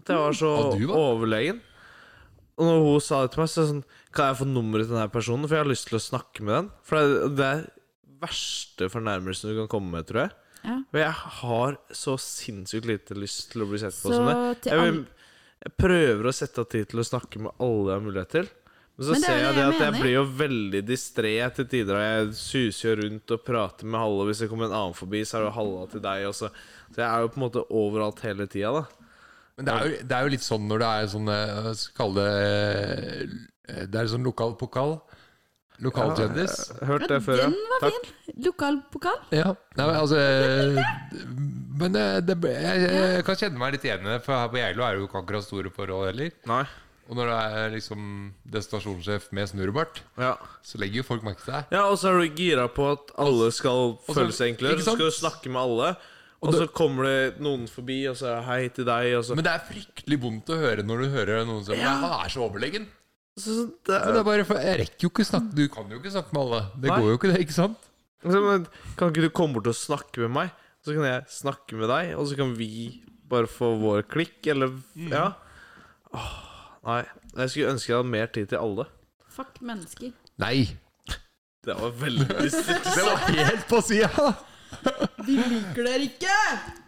Speaker 5: At jeg var så
Speaker 1: Ja, du var-
Speaker 5: overlegen. Og når hun sa det til meg, så er det sånn Kan jeg få nummeret til den her personen? For jeg har lyst til å snakke med den. For det er det er verste fornærmelsen du kan komme med, tror jeg.
Speaker 3: Ja.
Speaker 5: Og jeg har så sinnssykt lite lyst til å bli sett
Speaker 3: Så
Speaker 5: på som det.
Speaker 3: til
Speaker 5: Jeg,
Speaker 3: alle
Speaker 5: vil, jeg prøver å sette av tid til å snakke med alle jeg har mulighet til. Men så
Speaker 3: Men det er
Speaker 5: ser
Speaker 3: jo
Speaker 5: jeg
Speaker 3: det jeg
Speaker 5: det at jeg
Speaker 3: mener.
Speaker 5: blir jo veldig distré til tider, og jeg suser jo rundt og prater med Halla. Hvis det kommer en annen forbi, så er det jo Halla til deg også. Så jeg er jo på en måte overalt hele tida, da.
Speaker 1: Men det er, jo, det er jo litt sånn når det er sånn eh, Skal kalle det eh, Det er sånn lokal pokal. Lokalkjendis.
Speaker 5: Hørt det før,
Speaker 3: Den var
Speaker 5: Takk.
Speaker 3: fin. Lokalpokal.
Speaker 1: Ja. Nei, men altså eh, Men eh, det, ble- jeg, jeg kan kjenne meg litt igjen i det, for her på Geilo er det jo ikke akkurat store forhold heller.
Speaker 5: Nei.
Speaker 1: Og når det er liksom destinasjonssjef med snurrebart,
Speaker 5: Ja.
Speaker 1: så legger jo folk merke til deg.
Speaker 5: Ja, og så er du gira på at alle skal
Speaker 1: så-
Speaker 5: føle seg enklere.
Speaker 1: ikke
Speaker 5: Så
Speaker 1: sant?
Speaker 5: skal du snakke med alle, og så kommer det noen forbi, og så er det hei til deg, og så
Speaker 1: Men det er fryktelig vondt å høre når du hører noen som ja. Han er så overlegen.
Speaker 5: Så det
Speaker 1: Men det
Speaker 5: er,
Speaker 1: er bare, for jeg rekker jo ikke snakke Du kan jo ikke snakke med alle. Det
Speaker 5: Nei.
Speaker 1: går jo ikke, det. ikke sant?
Speaker 5: så, men, Kan ikke du komme bort og snakke med meg? Så kan jeg snakke med deg, og så kan vi bare få vår klikk, eller
Speaker 3: Mm.
Speaker 5: Ja. Åh, nei. Jeg skulle ønske jeg hadde mer tid til alle.
Speaker 3: Fuck mennesker.
Speaker 1: Nei.
Speaker 5: Det var
Speaker 3: (laughs)
Speaker 5: veldig distrik.
Speaker 1: Det var helt på sida!
Speaker 3: De liker dere ikke!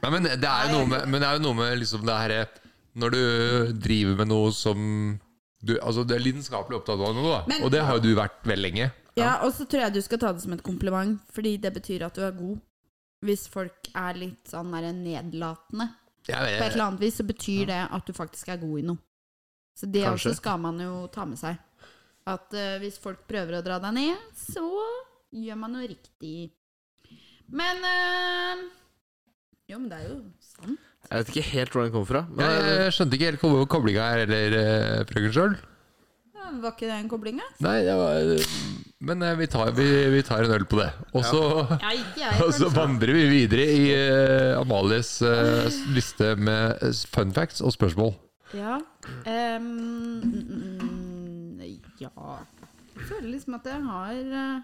Speaker 1: Nei, men det er jo noe med, men det er jo noe med liksom det herre Når du driver med noe som du, Altså, du er lidenskapelig opptatt av noe, da.
Speaker 3: Men-
Speaker 1: og det har jo du vært veldig lenge.
Speaker 3: Ja, og så tror jeg du skal ta det som et kompliment, fordi det betyr at du er god. Hvis folk er litt sånn der nedlatende
Speaker 1: Jeg,
Speaker 3: på et
Speaker 1: jeg,
Speaker 3: eller annet vis, så betyr det at du faktisk er god i noe. Så det
Speaker 5: Kanskje.
Speaker 3: også skal man jo ta med seg. At eh, hvis folk prøver å dra deg ned, så gjør man noe riktig. Men eh, Jo, men det er jo sant.
Speaker 5: Jeg vet ikke helt hvor den kom fra. Men
Speaker 1: jeg, jeg skjønte ikke helt hvor koblinga er, eller eh, frøken sjøl.
Speaker 3: Ja, var ikke det en kobling, da?
Speaker 1: Nei, det var Men eh, vi tar, vi, vi tar en øl på det. Og så (laughs)
Speaker 3: Ja, ikke
Speaker 1: Og så
Speaker 3: jeg. kanskje.
Speaker 1: vandrer vi videre i eh, Amalies eh, s- liste med eh, fun facts og spørsmål.
Speaker 3: Ja. ehm, mm, mm, ja Jeg føler liksom at jeg har eh,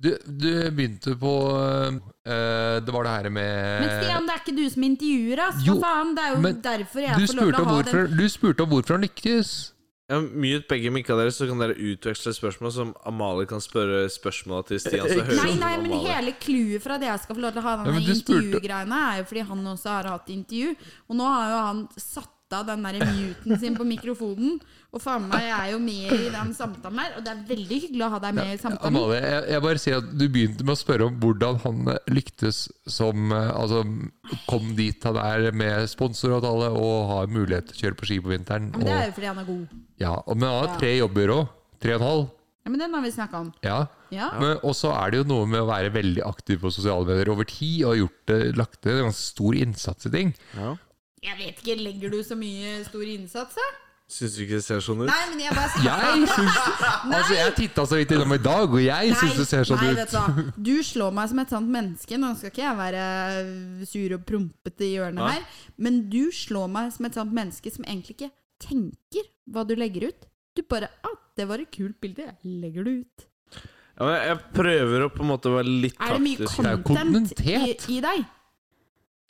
Speaker 1: Du, du begynte på eh, Det var det her
Speaker 3: Men
Speaker 1: med
Speaker 3: Stian, det er ikke du som intervjuer, ass!
Speaker 1: Eh, jo,
Speaker 3: For faen, det er jo
Speaker 1: men
Speaker 3: derfor
Speaker 1: du
Speaker 3: jeg får
Speaker 1: spurte,
Speaker 3: lov til å
Speaker 1: om
Speaker 3: ha den
Speaker 1: hvorfor, du spurte om hvorfor han lykkes.
Speaker 5: ja, mute begge mikka deres, så kan dere utveksle spørsmål som Amalie kan spørre spørsmåla til Stian. Så hører
Speaker 3: Nei,
Speaker 5: hun
Speaker 3: nei, men
Speaker 5: Amalie.
Speaker 3: hele clouet for at jeg skal få lov til å ha
Speaker 1: Ja,
Speaker 3: denne
Speaker 1: men du spurte-
Speaker 3: intervjugreiene, er jo fordi han også har hatt intervju. Og nå har jo han satt av den der muten sin på mikrofonen. Og faen meg, jeg er jo med i den samtalen her, og det er veldig hyggelig å ha deg med i samtalen.
Speaker 1: Amalie, jeg, jeg bare sier at du begynte med å spørre om hvordan han eh, lyktes som eh, Altså kom dit han er med sponsoravtale og har mulighet til å kjøre på ski på vinteren.
Speaker 3: Ja, men det er
Speaker 1: Og,
Speaker 3: jo fordi han er god.
Speaker 1: ja, og- men han har tre jobber òg. Tre og en halv.
Speaker 3: Ja, men den har vi snakka om.
Speaker 1: Ja.
Speaker 3: Ja.
Speaker 1: Men, og så er det jo noe med å være veldig aktiv på sosiale medier over tid, og gjort det, lagt ned en ganske stor innsats i ting.
Speaker 3: Jeg vet ikke, legger du så mye stor innsats, da?
Speaker 5: Syns du ikke det ser sånn ut?
Speaker 3: Nei, men jeg bare
Speaker 1: Jeg
Speaker 3: (laughs)
Speaker 1: syns Altså, jeg titta så vidt innom i dag, og jeg syns det ser sånn
Speaker 3: nei,
Speaker 1: ut.
Speaker 3: vet du hva. Du slår meg som et sant menneske. Nå skal ikke jeg være sur og prompete i hjørnet
Speaker 5: Nei.
Speaker 3: her, men du slår meg som et sant menneske som egentlig ikke tenker hva du legger ut. Du bare ah, 'Det var et kult bilde. Jeg legger det ut'.
Speaker 5: Ja, men jeg prøver å på en måte være litt
Speaker 3: Er det mye
Speaker 5: taktisk.
Speaker 1: er jo
Speaker 3: content i,
Speaker 1: kondentet.
Speaker 3: i deg?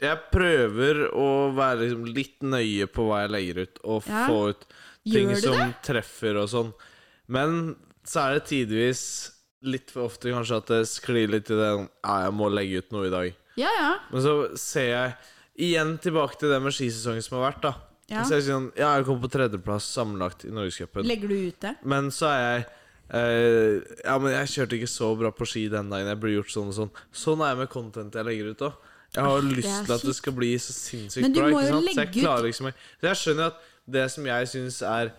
Speaker 5: Jeg prøver å være liksom litt nøye på hva jeg legger ut, og
Speaker 3: Ja.
Speaker 5: få ut ting
Speaker 3: Gjør du
Speaker 5: som
Speaker 3: det?
Speaker 5: treffer og sånn. Men så er det tidvis, litt for ofte kanskje, at det sklir litt i den Ja, jeg må legge ut noe i dag.
Speaker 3: Ja, ja.
Speaker 5: Men så ser jeg igjen tilbake til det med skisesongen som har vært, da.
Speaker 3: Ja.
Speaker 5: Så jeg sier sånn Ja, jeg kom på tredjeplass sammenlagt i Norgescupen.
Speaker 3: Legger du ut det?
Speaker 5: Men så er jeg eh, Ja, men jeg kjørte ikke så bra på ski den dagen. Jeg burde gjort sånn og sånn. Sånn er jeg med content jeg legger ut òg. Jeg har lyst
Speaker 3: er
Speaker 5: til at det
Speaker 3: kjipt.
Speaker 5: skal bli så sinnssykt
Speaker 3: Men du
Speaker 5: bra.
Speaker 3: må
Speaker 5: ikke
Speaker 3: jo
Speaker 5: sant? Så jeg
Speaker 3: legge ut-
Speaker 5: klarer liksom ikke- Så jeg skjønner at det som jeg syns er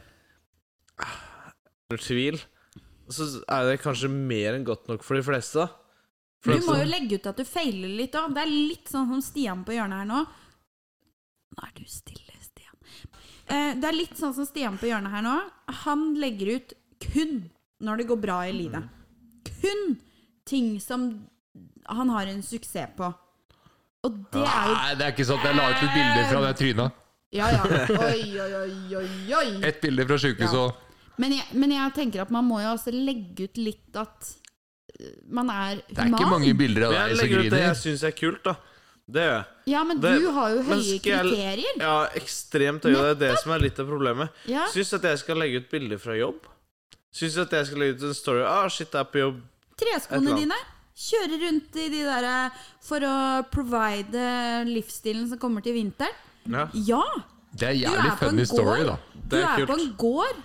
Speaker 5: ah, under tvil, så er det kanskje mer enn godt nok for de fleste, da. For
Speaker 3: Du
Speaker 5: at
Speaker 3: må
Speaker 5: sånn-
Speaker 3: jo legge ut at du feiler litt òg. Det er litt sånn som Stian på hjørnet her nå. Nå er du stille, Stian. Eh, det er litt sånn som Stian på hjørnet her nå. Han legger ut kun når det går bra i livet. Kun ting som han har en suksess på. Og det er jo
Speaker 1: Nei, det er ikke sant. Jeg la ut et bilde fra det tryna.
Speaker 3: Ja, ja. Oi, oi, oi, oi, oi.
Speaker 1: Et bilde fra sjukehuset
Speaker 3: Ja.
Speaker 1: og
Speaker 3: Men jeg, men jeg tenker at man må jo også legge ut litt at eh, man er human.
Speaker 1: Det er ikke mange bilder av
Speaker 5: Men jeg
Speaker 1: deg som
Speaker 5: legger ut det jeg
Speaker 1: griner.
Speaker 5: syns er kult, da. Det gjør jeg.
Speaker 3: Ja, men
Speaker 5: Det-
Speaker 3: du har jo
Speaker 5: men
Speaker 3: høye
Speaker 5: skal jeg-
Speaker 3: kriterier.
Speaker 5: Ja, ekstremt høy. og Det er det som er litt av problemet.
Speaker 3: Ja.
Speaker 5: Syns at jeg skal legge ut bilder fra jobb. Syns at jeg skal legge ut en story. Ah, shit, jeg er på jobb. Et
Speaker 3: Treskoene
Speaker 5: eller
Speaker 3: dine. Kjøre rundt i de der eh, for å provide livsstilen som kommer til vinteren.
Speaker 5: Ja.
Speaker 3: Ja!
Speaker 1: Det er
Speaker 3: Du
Speaker 1: jævlig
Speaker 3: er på en
Speaker 1: funny story,
Speaker 3: gård.
Speaker 1: da.
Speaker 3: Du
Speaker 5: Det er
Speaker 3: er på
Speaker 5: kult.
Speaker 3: en gård.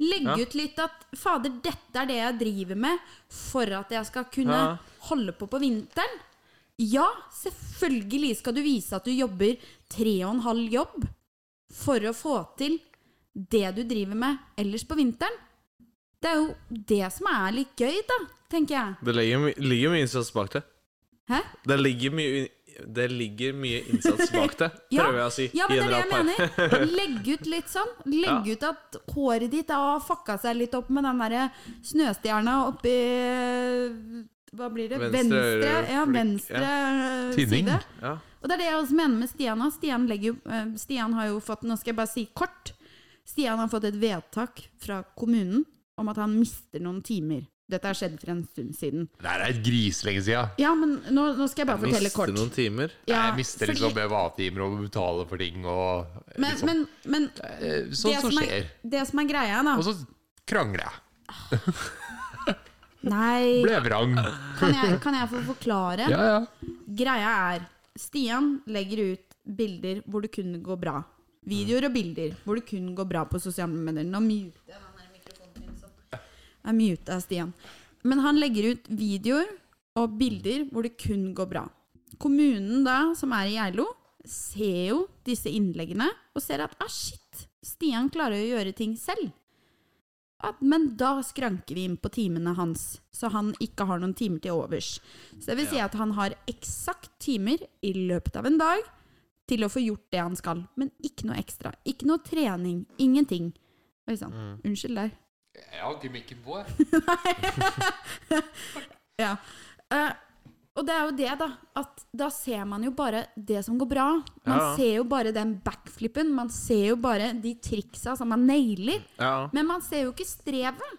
Speaker 3: Legge
Speaker 5: Ja.
Speaker 3: ut litt at 'fader, dette er det jeg driver med for at jeg skal kunne
Speaker 5: Ja.
Speaker 3: holde på på vinteren'. Ja, selvfølgelig skal du vise at du jobber tre og en halv jobb for å få til det du driver med ellers på vinteren. Det er jo det som er litt gøy, da, tenker jeg.
Speaker 5: Det ligger, my- ligger mye innsats bak det.
Speaker 3: Hæ?
Speaker 5: Det ligger mye, det ligger mye innsats bak det,
Speaker 3: (laughs) Ja.
Speaker 5: prøver jeg å si.
Speaker 3: Ja, men
Speaker 5: i
Speaker 3: det er
Speaker 5: en
Speaker 3: det
Speaker 5: rap
Speaker 3: jeg
Speaker 5: her.
Speaker 3: mener. Legg ut litt sånn. Legg ut at håret ditt har fucka seg litt opp med den derre snøstjerna oppi Hva blir det?
Speaker 5: Venstre
Speaker 3: Venstre,
Speaker 5: øre,
Speaker 3: ja,
Speaker 5: flik-
Speaker 3: venstre eh,
Speaker 1: Tinning.
Speaker 3: side.
Speaker 5: Ja.
Speaker 3: Og det er det jeg også mener med Stian. også. Stian, legger, jo- eh, Stian har jo fått Nå skal jeg bare si kort. Stian har fått et vedtak fra kommunen om at han mister noen timer. Dette har skjedd for en stund siden.
Speaker 1: Det er et griselenge sia.
Speaker 3: Ja, men nå, nå skal jeg bare fortelle
Speaker 5: Miste
Speaker 3: kort.
Speaker 5: noen timer.
Speaker 3: Ja,
Speaker 1: jeg mister
Speaker 3: fordi-
Speaker 1: liksom BVA-timer og betale for ting og
Speaker 3: Men,
Speaker 1: liksom.
Speaker 3: men, men
Speaker 1: Eh,
Speaker 3: det,
Speaker 1: Sånt som
Speaker 3: som
Speaker 1: skjer.
Speaker 3: er, det som er greia, da
Speaker 1: Og så krangler jeg.
Speaker 3: Nei,
Speaker 1: Ble vrang.
Speaker 3: kan jeg, kan jeg få forklare?
Speaker 1: Ja, ja.
Speaker 3: Greia er Stian legger ut bilder hvor det kun går bra. Videoer og bilder hvor det kun går bra på sosiale medier. Nå muter jeg den der mikrofonen min sånn. Jeg muter Stian. Men han legger ut videoer og bilder hvor det kun går bra. Kommunen da, som er i Geilo, ser jo disse innleggene og ser at ah, shit, Stian klarer å gjøre ting selv. At, men da skranker vi inn på timene hans, så han ikke har noen timer til overs. Så det vil si at han har eksakt timer i løpet av en dag til å få gjort det han skal, men ikke noe ekstra. Ikke noe trening. Ingenting. Oi sann. Unnskyld der.
Speaker 1: Jeg har ikke mikken på.
Speaker 3: Ja. Eh, og det er jo det, da. At da ser man jo bare det som går bra. Man
Speaker 5: Ja.
Speaker 3: ser jo bare den backflippen. Man ser jo bare de triksa som man nailer.
Speaker 5: Ja.
Speaker 3: Men man ser jo ikke strevet.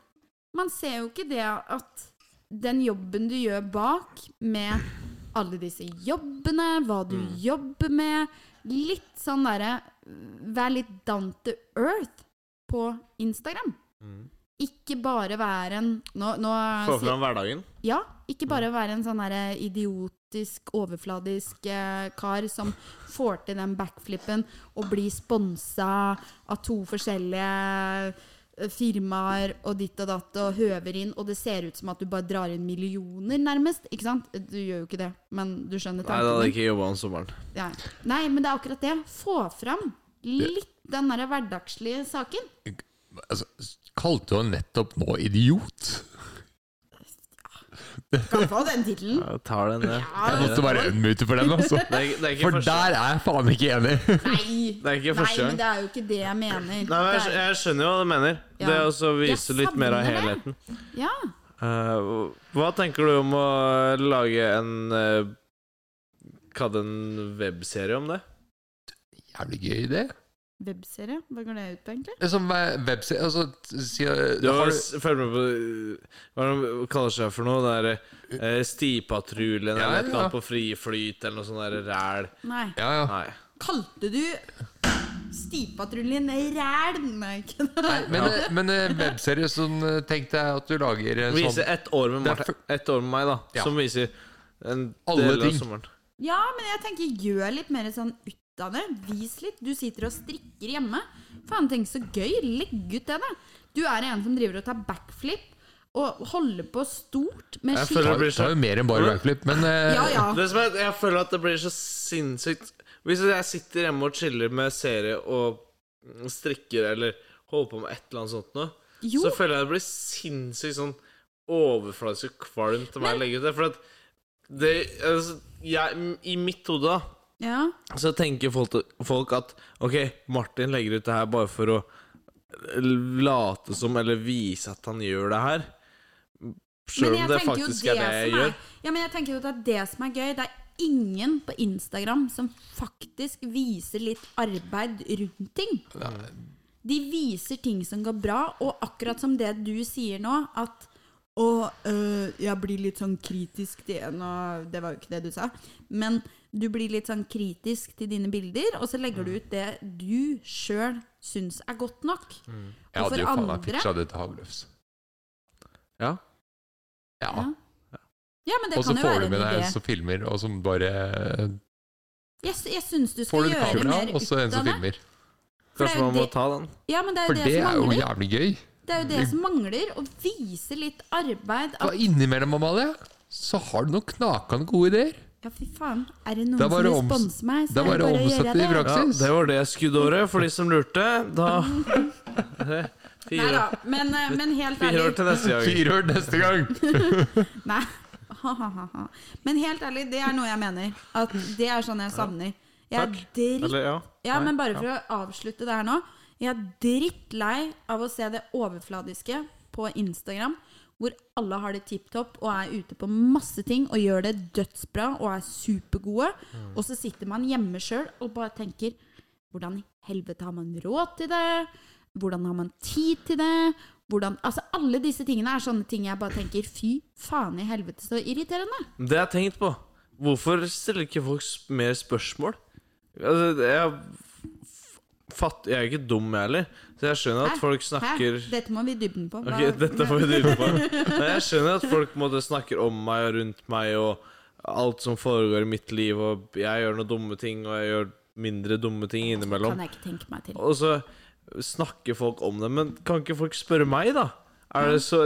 Speaker 3: Man ser jo ikke det at den jobben du gjør bak, med alle disse jobbene, hva du
Speaker 5: Mm.
Speaker 3: jobber med Litt sånn derre øh, Vær litt down to earth på Instagram. Ikke bare være en Nå, nå
Speaker 5: Mm. Få
Speaker 3: sier-
Speaker 5: fram hverdagen.
Speaker 3: ja, ikke bare være en sånn derre idiotisk, overfladisk eh, kar som får til den backflippen og blir sponsa av to forskjellige eh, firmaer og ditt og datt og høver inn, og det ser ut som at du bare drar inn millioner, nærmest. Ikke sant? Du gjør jo ikke det, men du skjønner
Speaker 5: Nei, da hadde jeg
Speaker 3: tanken. min.
Speaker 5: ikke jobba om sommeren.
Speaker 3: Ja. Nei, men det er akkurat det. Få fram litt den derre hverdagslige saken.
Speaker 1: Altså, kalte du han nettopp nå idiot?
Speaker 3: Kan få den tittelen.
Speaker 5: Jeg tar den, eh. ja.
Speaker 1: Jeg måtte bare unmute for den,
Speaker 3: (laughs)
Speaker 1: altså.
Speaker 5: Det er, det er ikke
Speaker 1: For
Speaker 5: første,
Speaker 1: der er jeg faen ikke enig.
Speaker 3: Nei!
Speaker 5: det er ikke
Speaker 3: Nei, men
Speaker 5: første gang.
Speaker 3: det er jo ikke det jeg mener.
Speaker 5: Nei, men jeg,
Speaker 3: Det
Speaker 5: skj-
Speaker 3: er-
Speaker 5: jeg skjønner jo hva du mener.
Speaker 3: Ja.
Speaker 5: Det er også å
Speaker 3: Jeg
Speaker 5: vise litt mer av
Speaker 3: savner det.
Speaker 5: helheten.
Speaker 3: Ja.
Speaker 5: Eh, hva tenker du om å lage en uh, Kall det en webserie om det?
Speaker 1: Jævlig gøy, det.
Speaker 3: Webserie? Hva går det ut på, egentlig?
Speaker 1: Som eh, webside Altså, t- sier
Speaker 5: Du har
Speaker 1: har du-
Speaker 5: følg med på uh, Hva er det de kaller seg for noe? Det er eh, Stipatruljen
Speaker 1: Ja,
Speaker 5: eller et eller
Speaker 1: ja. Ah,
Speaker 5: annet på friflyt eller noe sånt der ræl.
Speaker 3: Nei.
Speaker 1: Ja, ja.
Speaker 5: Nei.
Speaker 3: Kalte du stipatruljen ræl? Nei, ikke det.
Speaker 1: Nei, men, eh, men eh, webserie sånn eh, Tenk deg at du lager eh,
Speaker 5: Vise
Speaker 1: sånn
Speaker 5: ett år med
Speaker 1: Det er
Speaker 5: Martin. Ett år med meg, da.
Speaker 1: Ja.
Speaker 5: Som viser en
Speaker 1: Alle
Speaker 5: del
Speaker 1: ting.
Speaker 5: av sommeren.
Speaker 3: Ja, men jeg tenker gjør litt mer sånn ut av det. Vis litt. Du sitter og strikker hjemme. Faen, tenk så gøy. Legg ut det, da. Du er en som driver og tar backflip og holder på stort med
Speaker 5: Jeg
Speaker 3: ski.
Speaker 5: føler-
Speaker 1: Det
Speaker 5: blir så-
Speaker 1: er jo mer enn bare backflip, men eh,
Speaker 3: Ja, ja.
Speaker 5: Det som er, jeg føler at det blir så sinnssykt Hvis jeg sitter hjemme og chiller med serie og strikker eller holder på med et eller annet sånt noe,
Speaker 3: Jo.
Speaker 5: så føler jeg det blir sinnssykt sånn overfladisk og kvalmt av meg å legge ut det. For at det altså, jeg, I mitt hode, da,
Speaker 3: ja.
Speaker 5: så tenker folk, folk at OK, Martin legger ut det her bare for å late som, eller vise at han gjør det her.
Speaker 3: Men
Speaker 5: Sjøl om
Speaker 3: jeg
Speaker 5: det
Speaker 3: tenker jo
Speaker 5: faktisk er det jeg
Speaker 3: som
Speaker 5: gjør.
Speaker 3: Ja, men jeg tenker jo at det er det som er gøy. Det er ingen på Instagram som faktisk viser litt arbeid rundt ting. De viser ting som går bra, og akkurat som det du sier nå, at og øh, jeg blir litt sånn kritisk til Nå, det var jo ikke det du sa. Men du blir litt sånn kritisk til dine bilder, og så legger du ut det du sjøl syns er godt nok.
Speaker 1: Jeg
Speaker 3: Og
Speaker 1: hadde
Speaker 3: for
Speaker 1: jo faen meg
Speaker 3: andre-
Speaker 1: pitcha det til Hagløfs.
Speaker 5: Ja.
Speaker 1: Ja.
Speaker 3: Ja. Ja, men det
Speaker 1: Og så
Speaker 3: kan jo
Speaker 1: får
Speaker 3: være
Speaker 1: du
Speaker 3: en
Speaker 1: med deg
Speaker 3: idé.
Speaker 1: en sånn- som filmer, og som bare eh,
Speaker 3: Jeg, s- jeg syns du
Speaker 1: Får
Speaker 3: skal
Speaker 1: du et
Speaker 3: gjøre
Speaker 1: kamera,
Speaker 3: mer
Speaker 1: og så en
Speaker 3: ut
Speaker 1: som
Speaker 3: av det.
Speaker 1: filmer.
Speaker 3: For det er
Speaker 5: Kanskje
Speaker 3: jo
Speaker 5: man må
Speaker 3: det-
Speaker 5: ta den.
Speaker 3: Ja, men det er
Speaker 1: For
Speaker 3: jo det,
Speaker 1: det
Speaker 3: som
Speaker 1: er jo Mm.
Speaker 3: mangler.
Speaker 1: jævlig gøy.
Speaker 3: Det er jo det som mangler. Å vise litt arbeid.
Speaker 1: For
Speaker 3: At,
Speaker 1: innimellom, Amalie, så har du noen knakende gode ideer.
Speaker 3: ja, fy faen. Er det noen
Speaker 1: Det er
Speaker 3: som
Speaker 1: bare
Speaker 3: vil
Speaker 1: å oms-
Speaker 3: sponse meg,
Speaker 1: det er bare å omsette det i
Speaker 5: Ja,
Speaker 1: praksis.
Speaker 5: det var det skuddåret, for de som
Speaker 3: (laughs)
Speaker 5: lurte. Da
Speaker 3: Nei da,
Speaker 5: Fire,
Speaker 3: men, eh,
Speaker 5: (laughs)
Speaker 3: men helt
Speaker 5: fire år
Speaker 3: ærlig
Speaker 5: til neste gang.
Speaker 1: Fyrhjul neste gang!
Speaker 3: (laughs) Nei. Ha, ha, ha, ha. Men helt ærlig, det er noe jeg mener. At det er sånn jeg savner. Jeg er
Speaker 5: Takk.
Speaker 3: dritt
Speaker 5: Eller, ja.
Speaker 3: Ja,
Speaker 5: Nei,
Speaker 3: men bare for å avslutte det her nå. Jeg er drittlei av å se det overfladiske på Instagram, hvor alle har det tipp topp og er ute på masse ting og gjør det dødsbra og er supergode.
Speaker 5: Mm.
Speaker 3: Og så sitter man hjemme sjøl og bare tenker Hvordan i helvete har man råd til det? Hvordan har man tid til det? Hvordan, altså Alle disse tingene er sånne ting jeg bare tenker fy faen i helvete så irriterende.
Speaker 5: Det jeg har tenkt på Hvorfor stiller ikke folk s- mer spørsmål? Altså, jeg f- fatt, Jeg er ikke dum, jeg heller. Så jeg skjønner at
Speaker 3: Hæ?
Speaker 5: folk
Speaker 3: Hæ?
Speaker 5: snakker
Speaker 3: Dette må vi i dybden på.
Speaker 5: Ok, (laughs) dette får vi drive på. Nei, Jeg skjønner at folk på en måte snakker om meg og rundt meg og alt som foregår i mitt liv, og jeg gjør noen dumme ting, og jeg gjør mindre dumme ting innimellom.
Speaker 3: kan jeg ikke tenke meg til.
Speaker 5: Og så snakker folk om det, men kan ikke folk spørre meg, da? Er det så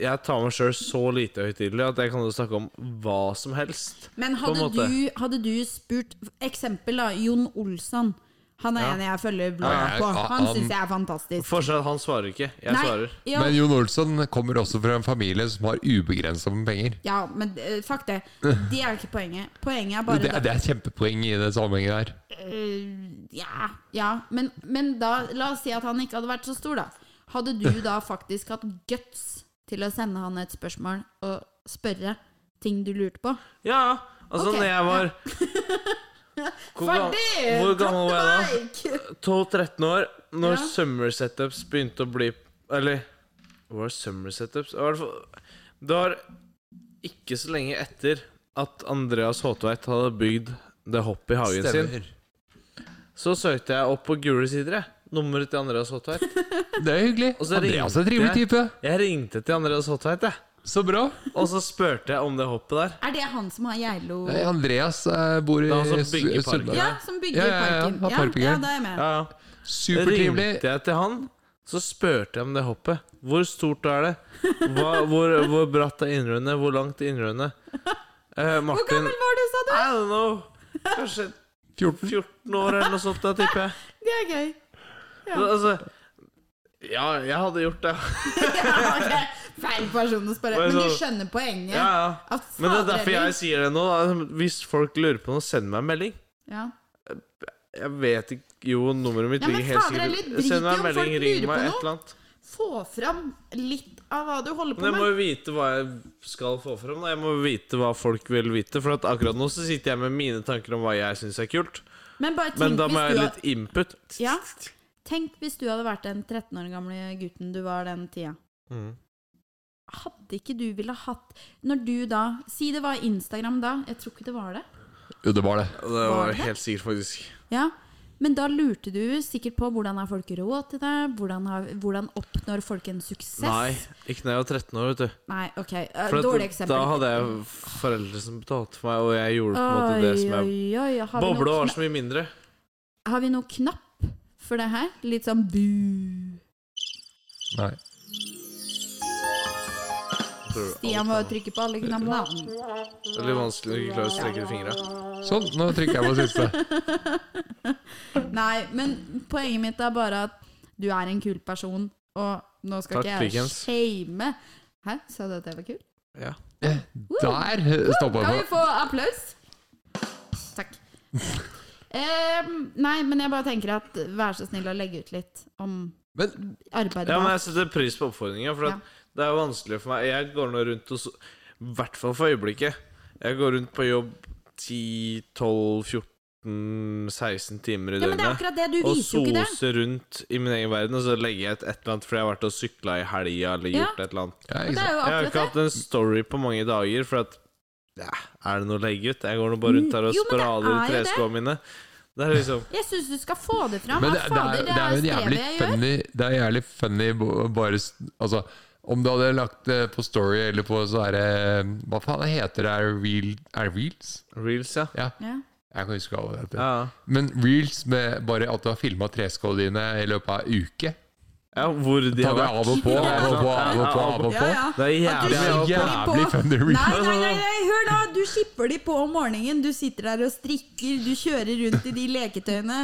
Speaker 5: Jeg tar meg sjøl så lite høytidelig at jeg kan jo snakke om hva som helst.
Speaker 3: Men
Speaker 5: på en
Speaker 3: hadde du,
Speaker 5: måte.
Speaker 3: hadde du spurt Eksempel da, Jon Olsson. Han er en jeg følger
Speaker 1: Ja,
Speaker 3: bloggen
Speaker 1: ja,
Speaker 3: på.
Speaker 1: ja,
Speaker 3: Han
Speaker 1: han-
Speaker 3: syns jeg er fantastisk.
Speaker 5: Forskjell, han svarer ikke. Jeg svarer.
Speaker 3: (laughs) ja,
Speaker 1: Men Jon Olsson kommer også fra en familie som har ubegrensa med penger.
Speaker 3: ja, men eh, fuck
Speaker 1: (laughs)
Speaker 3: det. Det er ikke poenget. Poenget er
Speaker 1: Det,
Speaker 3: bare
Speaker 1: er- det er et kjempoeng i den sammenhengen her.
Speaker 3: Eh, ja, ja. Men, men da, la oss si at han ikke hadde vært så stor, da. Hadde du da faktisk hatt guts til å sende han et spørsmål og spørre ting du lurte på?
Speaker 5: Ja, altså
Speaker 3: Ok,
Speaker 5: når jeg
Speaker 3: (laughs)
Speaker 5: var Hvor gam-
Speaker 3: Ferdig!
Speaker 5: Hvor gammel var jeg da?
Speaker 3: jeg da?
Speaker 5: 12-13 år, når
Speaker 3: Ja.
Speaker 5: summer setups begynte å bli Eller var det summer setups? I hvert fall Det var ikke så lenge etter at Andreas Håtveit hadde bygd det hoppet i hagen sin. Så søkte jeg opp på gule sider, jeg. Nummeret til Andreas Håtveit.
Speaker 1: Det er hyggelig.
Speaker 5: Og så er det
Speaker 1: Andreas er en trivelig
Speaker 5: ingen-
Speaker 1: type.
Speaker 5: Jeg ringte til Andreas Håtveit, jeg.
Speaker 1: Så bra.
Speaker 5: Og så spurte jeg om det hoppet der.
Speaker 3: Er det han som har Geilo
Speaker 1: Nei, Andreas eh, bor i
Speaker 5: Det er han som bygger
Speaker 1: Su-
Speaker 5: parken.
Speaker 1: Sunnmøre.
Speaker 3: Ja, som bygger
Speaker 1: Ja, ja, ja,
Speaker 3: parken.
Speaker 1: har
Speaker 3: Ja,
Speaker 1: parken.
Speaker 3: ja, da er jeg med.
Speaker 5: Ja, ja.
Speaker 1: Supertrivelig.
Speaker 5: Ringte jeg til han, så spurte jeg om det hoppet. Hvor stort er det? Hva, hvor, hvor bratt er innrønnet? Hvor langt er innrønnet? Eh,
Speaker 3: Hvor
Speaker 5: Martin
Speaker 3: gammel var du, sa du?
Speaker 5: I don't know. Kanskje
Speaker 1: 14.
Speaker 5: 14 år eller noe sånt, da, tipper jeg.
Speaker 3: Det er gøy. (laughs) Ja.
Speaker 5: Så, altså, ja, jeg hadde gjort det.
Speaker 3: Ja, ok. Feil person å spørre.
Speaker 5: Men
Speaker 3: Men du
Speaker 5: så-
Speaker 3: skjønner poenget.
Speaker 5: Ja, ja.
Speaker 3: At
Speaker 5: Men det er
Speaker 3: fader
Speaker 5: derfor
Speaker 3: heller-
Speaker 5: jeg sier det nå. Da. Altså, Hvis folk lurer på noe, send meg en melding.
Speaker 3: ja.
Speaker 5: Jeg vet ikke Jo, nummeret mitt
Speaker 3: Ja, men
Speaker 5: ligger helt
Speaker 3: fader
Speaker 5: sikkert
Speaker 3: heller, drit
Speaker 5: Send meg
Speaker 3: i
Speaker 5: en
Speaker 3: om folk
Speaker 5: melding,
Speaker 3: lurer
Speaker 5: ring
Speaker 3: på
Speaker 5: meg, et
Speaker 3: noe.
Speaker 5: eller annet.
Speaker 3: Få fram litt av hva du holder på
Speaker 5: Men jeg må
Speaker 3: med.
Speaker 5: jo vite hva jeg skal få fram. Da. Jeg må vite hva folk vil vite. For at akkurat nå så sitter jeg med mine tanker om hva jeg syns er kult.
Speaker 3: Men bare tenk
Speaker 5: Men da
Speaker 3: hvis,
Speaker 5: må
Speaker 3: du
Speaker 5: jeg ha
Speaker 3: hadde,
Speaker 5: litt input.
Speaker 3: Ja. tenk hvis du hadde vært den 13 år gamle gutten du var den tida.
Speaker 5: Mm.
Speaker 3: Hadde ikke du ville hatt Når du da Si det var Instagram da. Jeg tror ikke det var det.
Speaker 1: Jo, det var det.
Speaker 5: Og Det var
Speaker 3: det?
Speaker 5: helt sikkert, faktisk.
Speaker 3: Ja, men da lurte du sikkert på hvordan har folk råd til det? Hvordan, har, hvordan oppnår folk en suksess?
Speaker 5: Nei, ikke når jeg var 13 år, vet du.
Speaker 3: Nei, ok. eh,
Speaker 5: For
Speaker 3: Dårlig
Speaker 5: at,
Speaker 3: eksempel.
Speaker 5: da hadde jeg foreldre som betalte for meg, og jeg gjorde på en måte det som jeg
Speaker 3: Oi, oi, oi. Har vi,
Speaker 5: Bobla
Speaker 3: noe
Speaker 5: var
Speaker 3: knapp,
Speaker 5: så mye mindre.
Speaker 3: har vi noe knapp for det her? Litt sånn bu
Speaker 1: Nei.
Speaker 5: Jeg tror
Speaker 3: Stian
Speaker 5: alt
Speaker 3: må
Speaker 5: er-
Speaker 3: trykke på alle knappene.
Speaker 5: Det er litt vanskelig å ikke klare å strekke ut fingra.
Speaker 1: Sånn, nå trykker jeg på siste.
Speaker 3: Nei, men poenget mitt er bare at du er en kul person, og nå skal
Speaker 5: Takk,
Speaker 3: ikke jeg
Speaker 5: Pickens.
Speaker 3: shame Hæ, sa du at jeg var kul?
Speaker 5: Ja.
Speaker 1: Eh, Der stoppa
Speaker 3: Kan vi
Speaker 1: det.
Speaker 3: få applaus?
Speaker 5: (laughs)
Speaker 3: Takk. Em, nei, men jeg bare tenker at vær så snill å legge ut litt om
Speaker 1: Men
Speaker 3: arbeidet.
Speaker 5: Ja, men
Speaker 3: bak.
Speaker 5: jeg setter pris på oppfordringa, for
Speaker 3: Ja.
Speaker 5: at det er vanskelig for meg. Jeg går nå rundt og så I hvert fall for øyeblikket. Jeg går rundt på jobb 10-12-14-16 timer i
Speaker 3: ja, men det er
Speaker 5: døgnet.
Speaker 3: akkurat det. Du
Speaker 5: Og
Speaker 3: viser jo ikke det.
Speaker 5: soser rundt i min egen verden, og så legger jeg et, et eller annet fordi jeg har vært og sykla i helga eller
Speaker 3: Ja.
Speaker 5: gjort et eller annet.
Speaker 1: ja,
Speaker 3: Det
Speaker 1: ikke sant.
Speaker 3: er jo
Speaker 5: Jeg har
Speaker 3: akkurat
Speaker 5: ikke
Speaker 3: det.
Speaker 5: hatt en story på mange dager, for at ja, Er det noe å legge ut? Jeg går nå bare rundt her og
Speaker 3: Jo, men det
Speaker 5: sprader i
Speaker 3: er jo det.
Speaker 5: treskoene mine. Det er liksom
Speaker 3: Jeg syns du skal få det fram.
Speaker 1: Men
Speaker 3: Hva
Speaker 1: det, det,
Speaker 3: fader,
Speaker 1: er, det er jo en jævlig
Speaker 3: strevet jeg gjør.
Speaker 1: funny Det er jævlig funny bo- bare s- Altså, om du hadde lagt det på Story eller på så er det Hva faen heter det? Er det reel, er det Reels?
Speaker 5: reels, ja.
Speaker 1: Ja,
Speaker 3: Ja.
Speaker 1: jeg kan huske hva det heter.
Speaker 5: ja.
Speaker 1: Men reels med bare at du har filma treskålene dine i løpet av en uke.
Speaker 5: Ja, hvor de
Speaker 1: Ta
Speaker 5: har
Speaker 1: det av
Speaker 5: vært.
Speaker 1: og på, av og på, av og på. Av og
Speaker 3: Ja,
Speaker 1: på.
Speaker 3: ja. At
Speaker 5: Det er
Speaker 3: du
Speaker 5: jævlig
Speaker 1: Det er
Speaker 3: skipper de på.
Speaker 1: jævlig Thunder Reaper.
Speaker 3: Nei, nei, nei, nei, hør da! Du skipper de på om morgenen. Du sitter der og strikker, du kjører rundt i de leketøyene.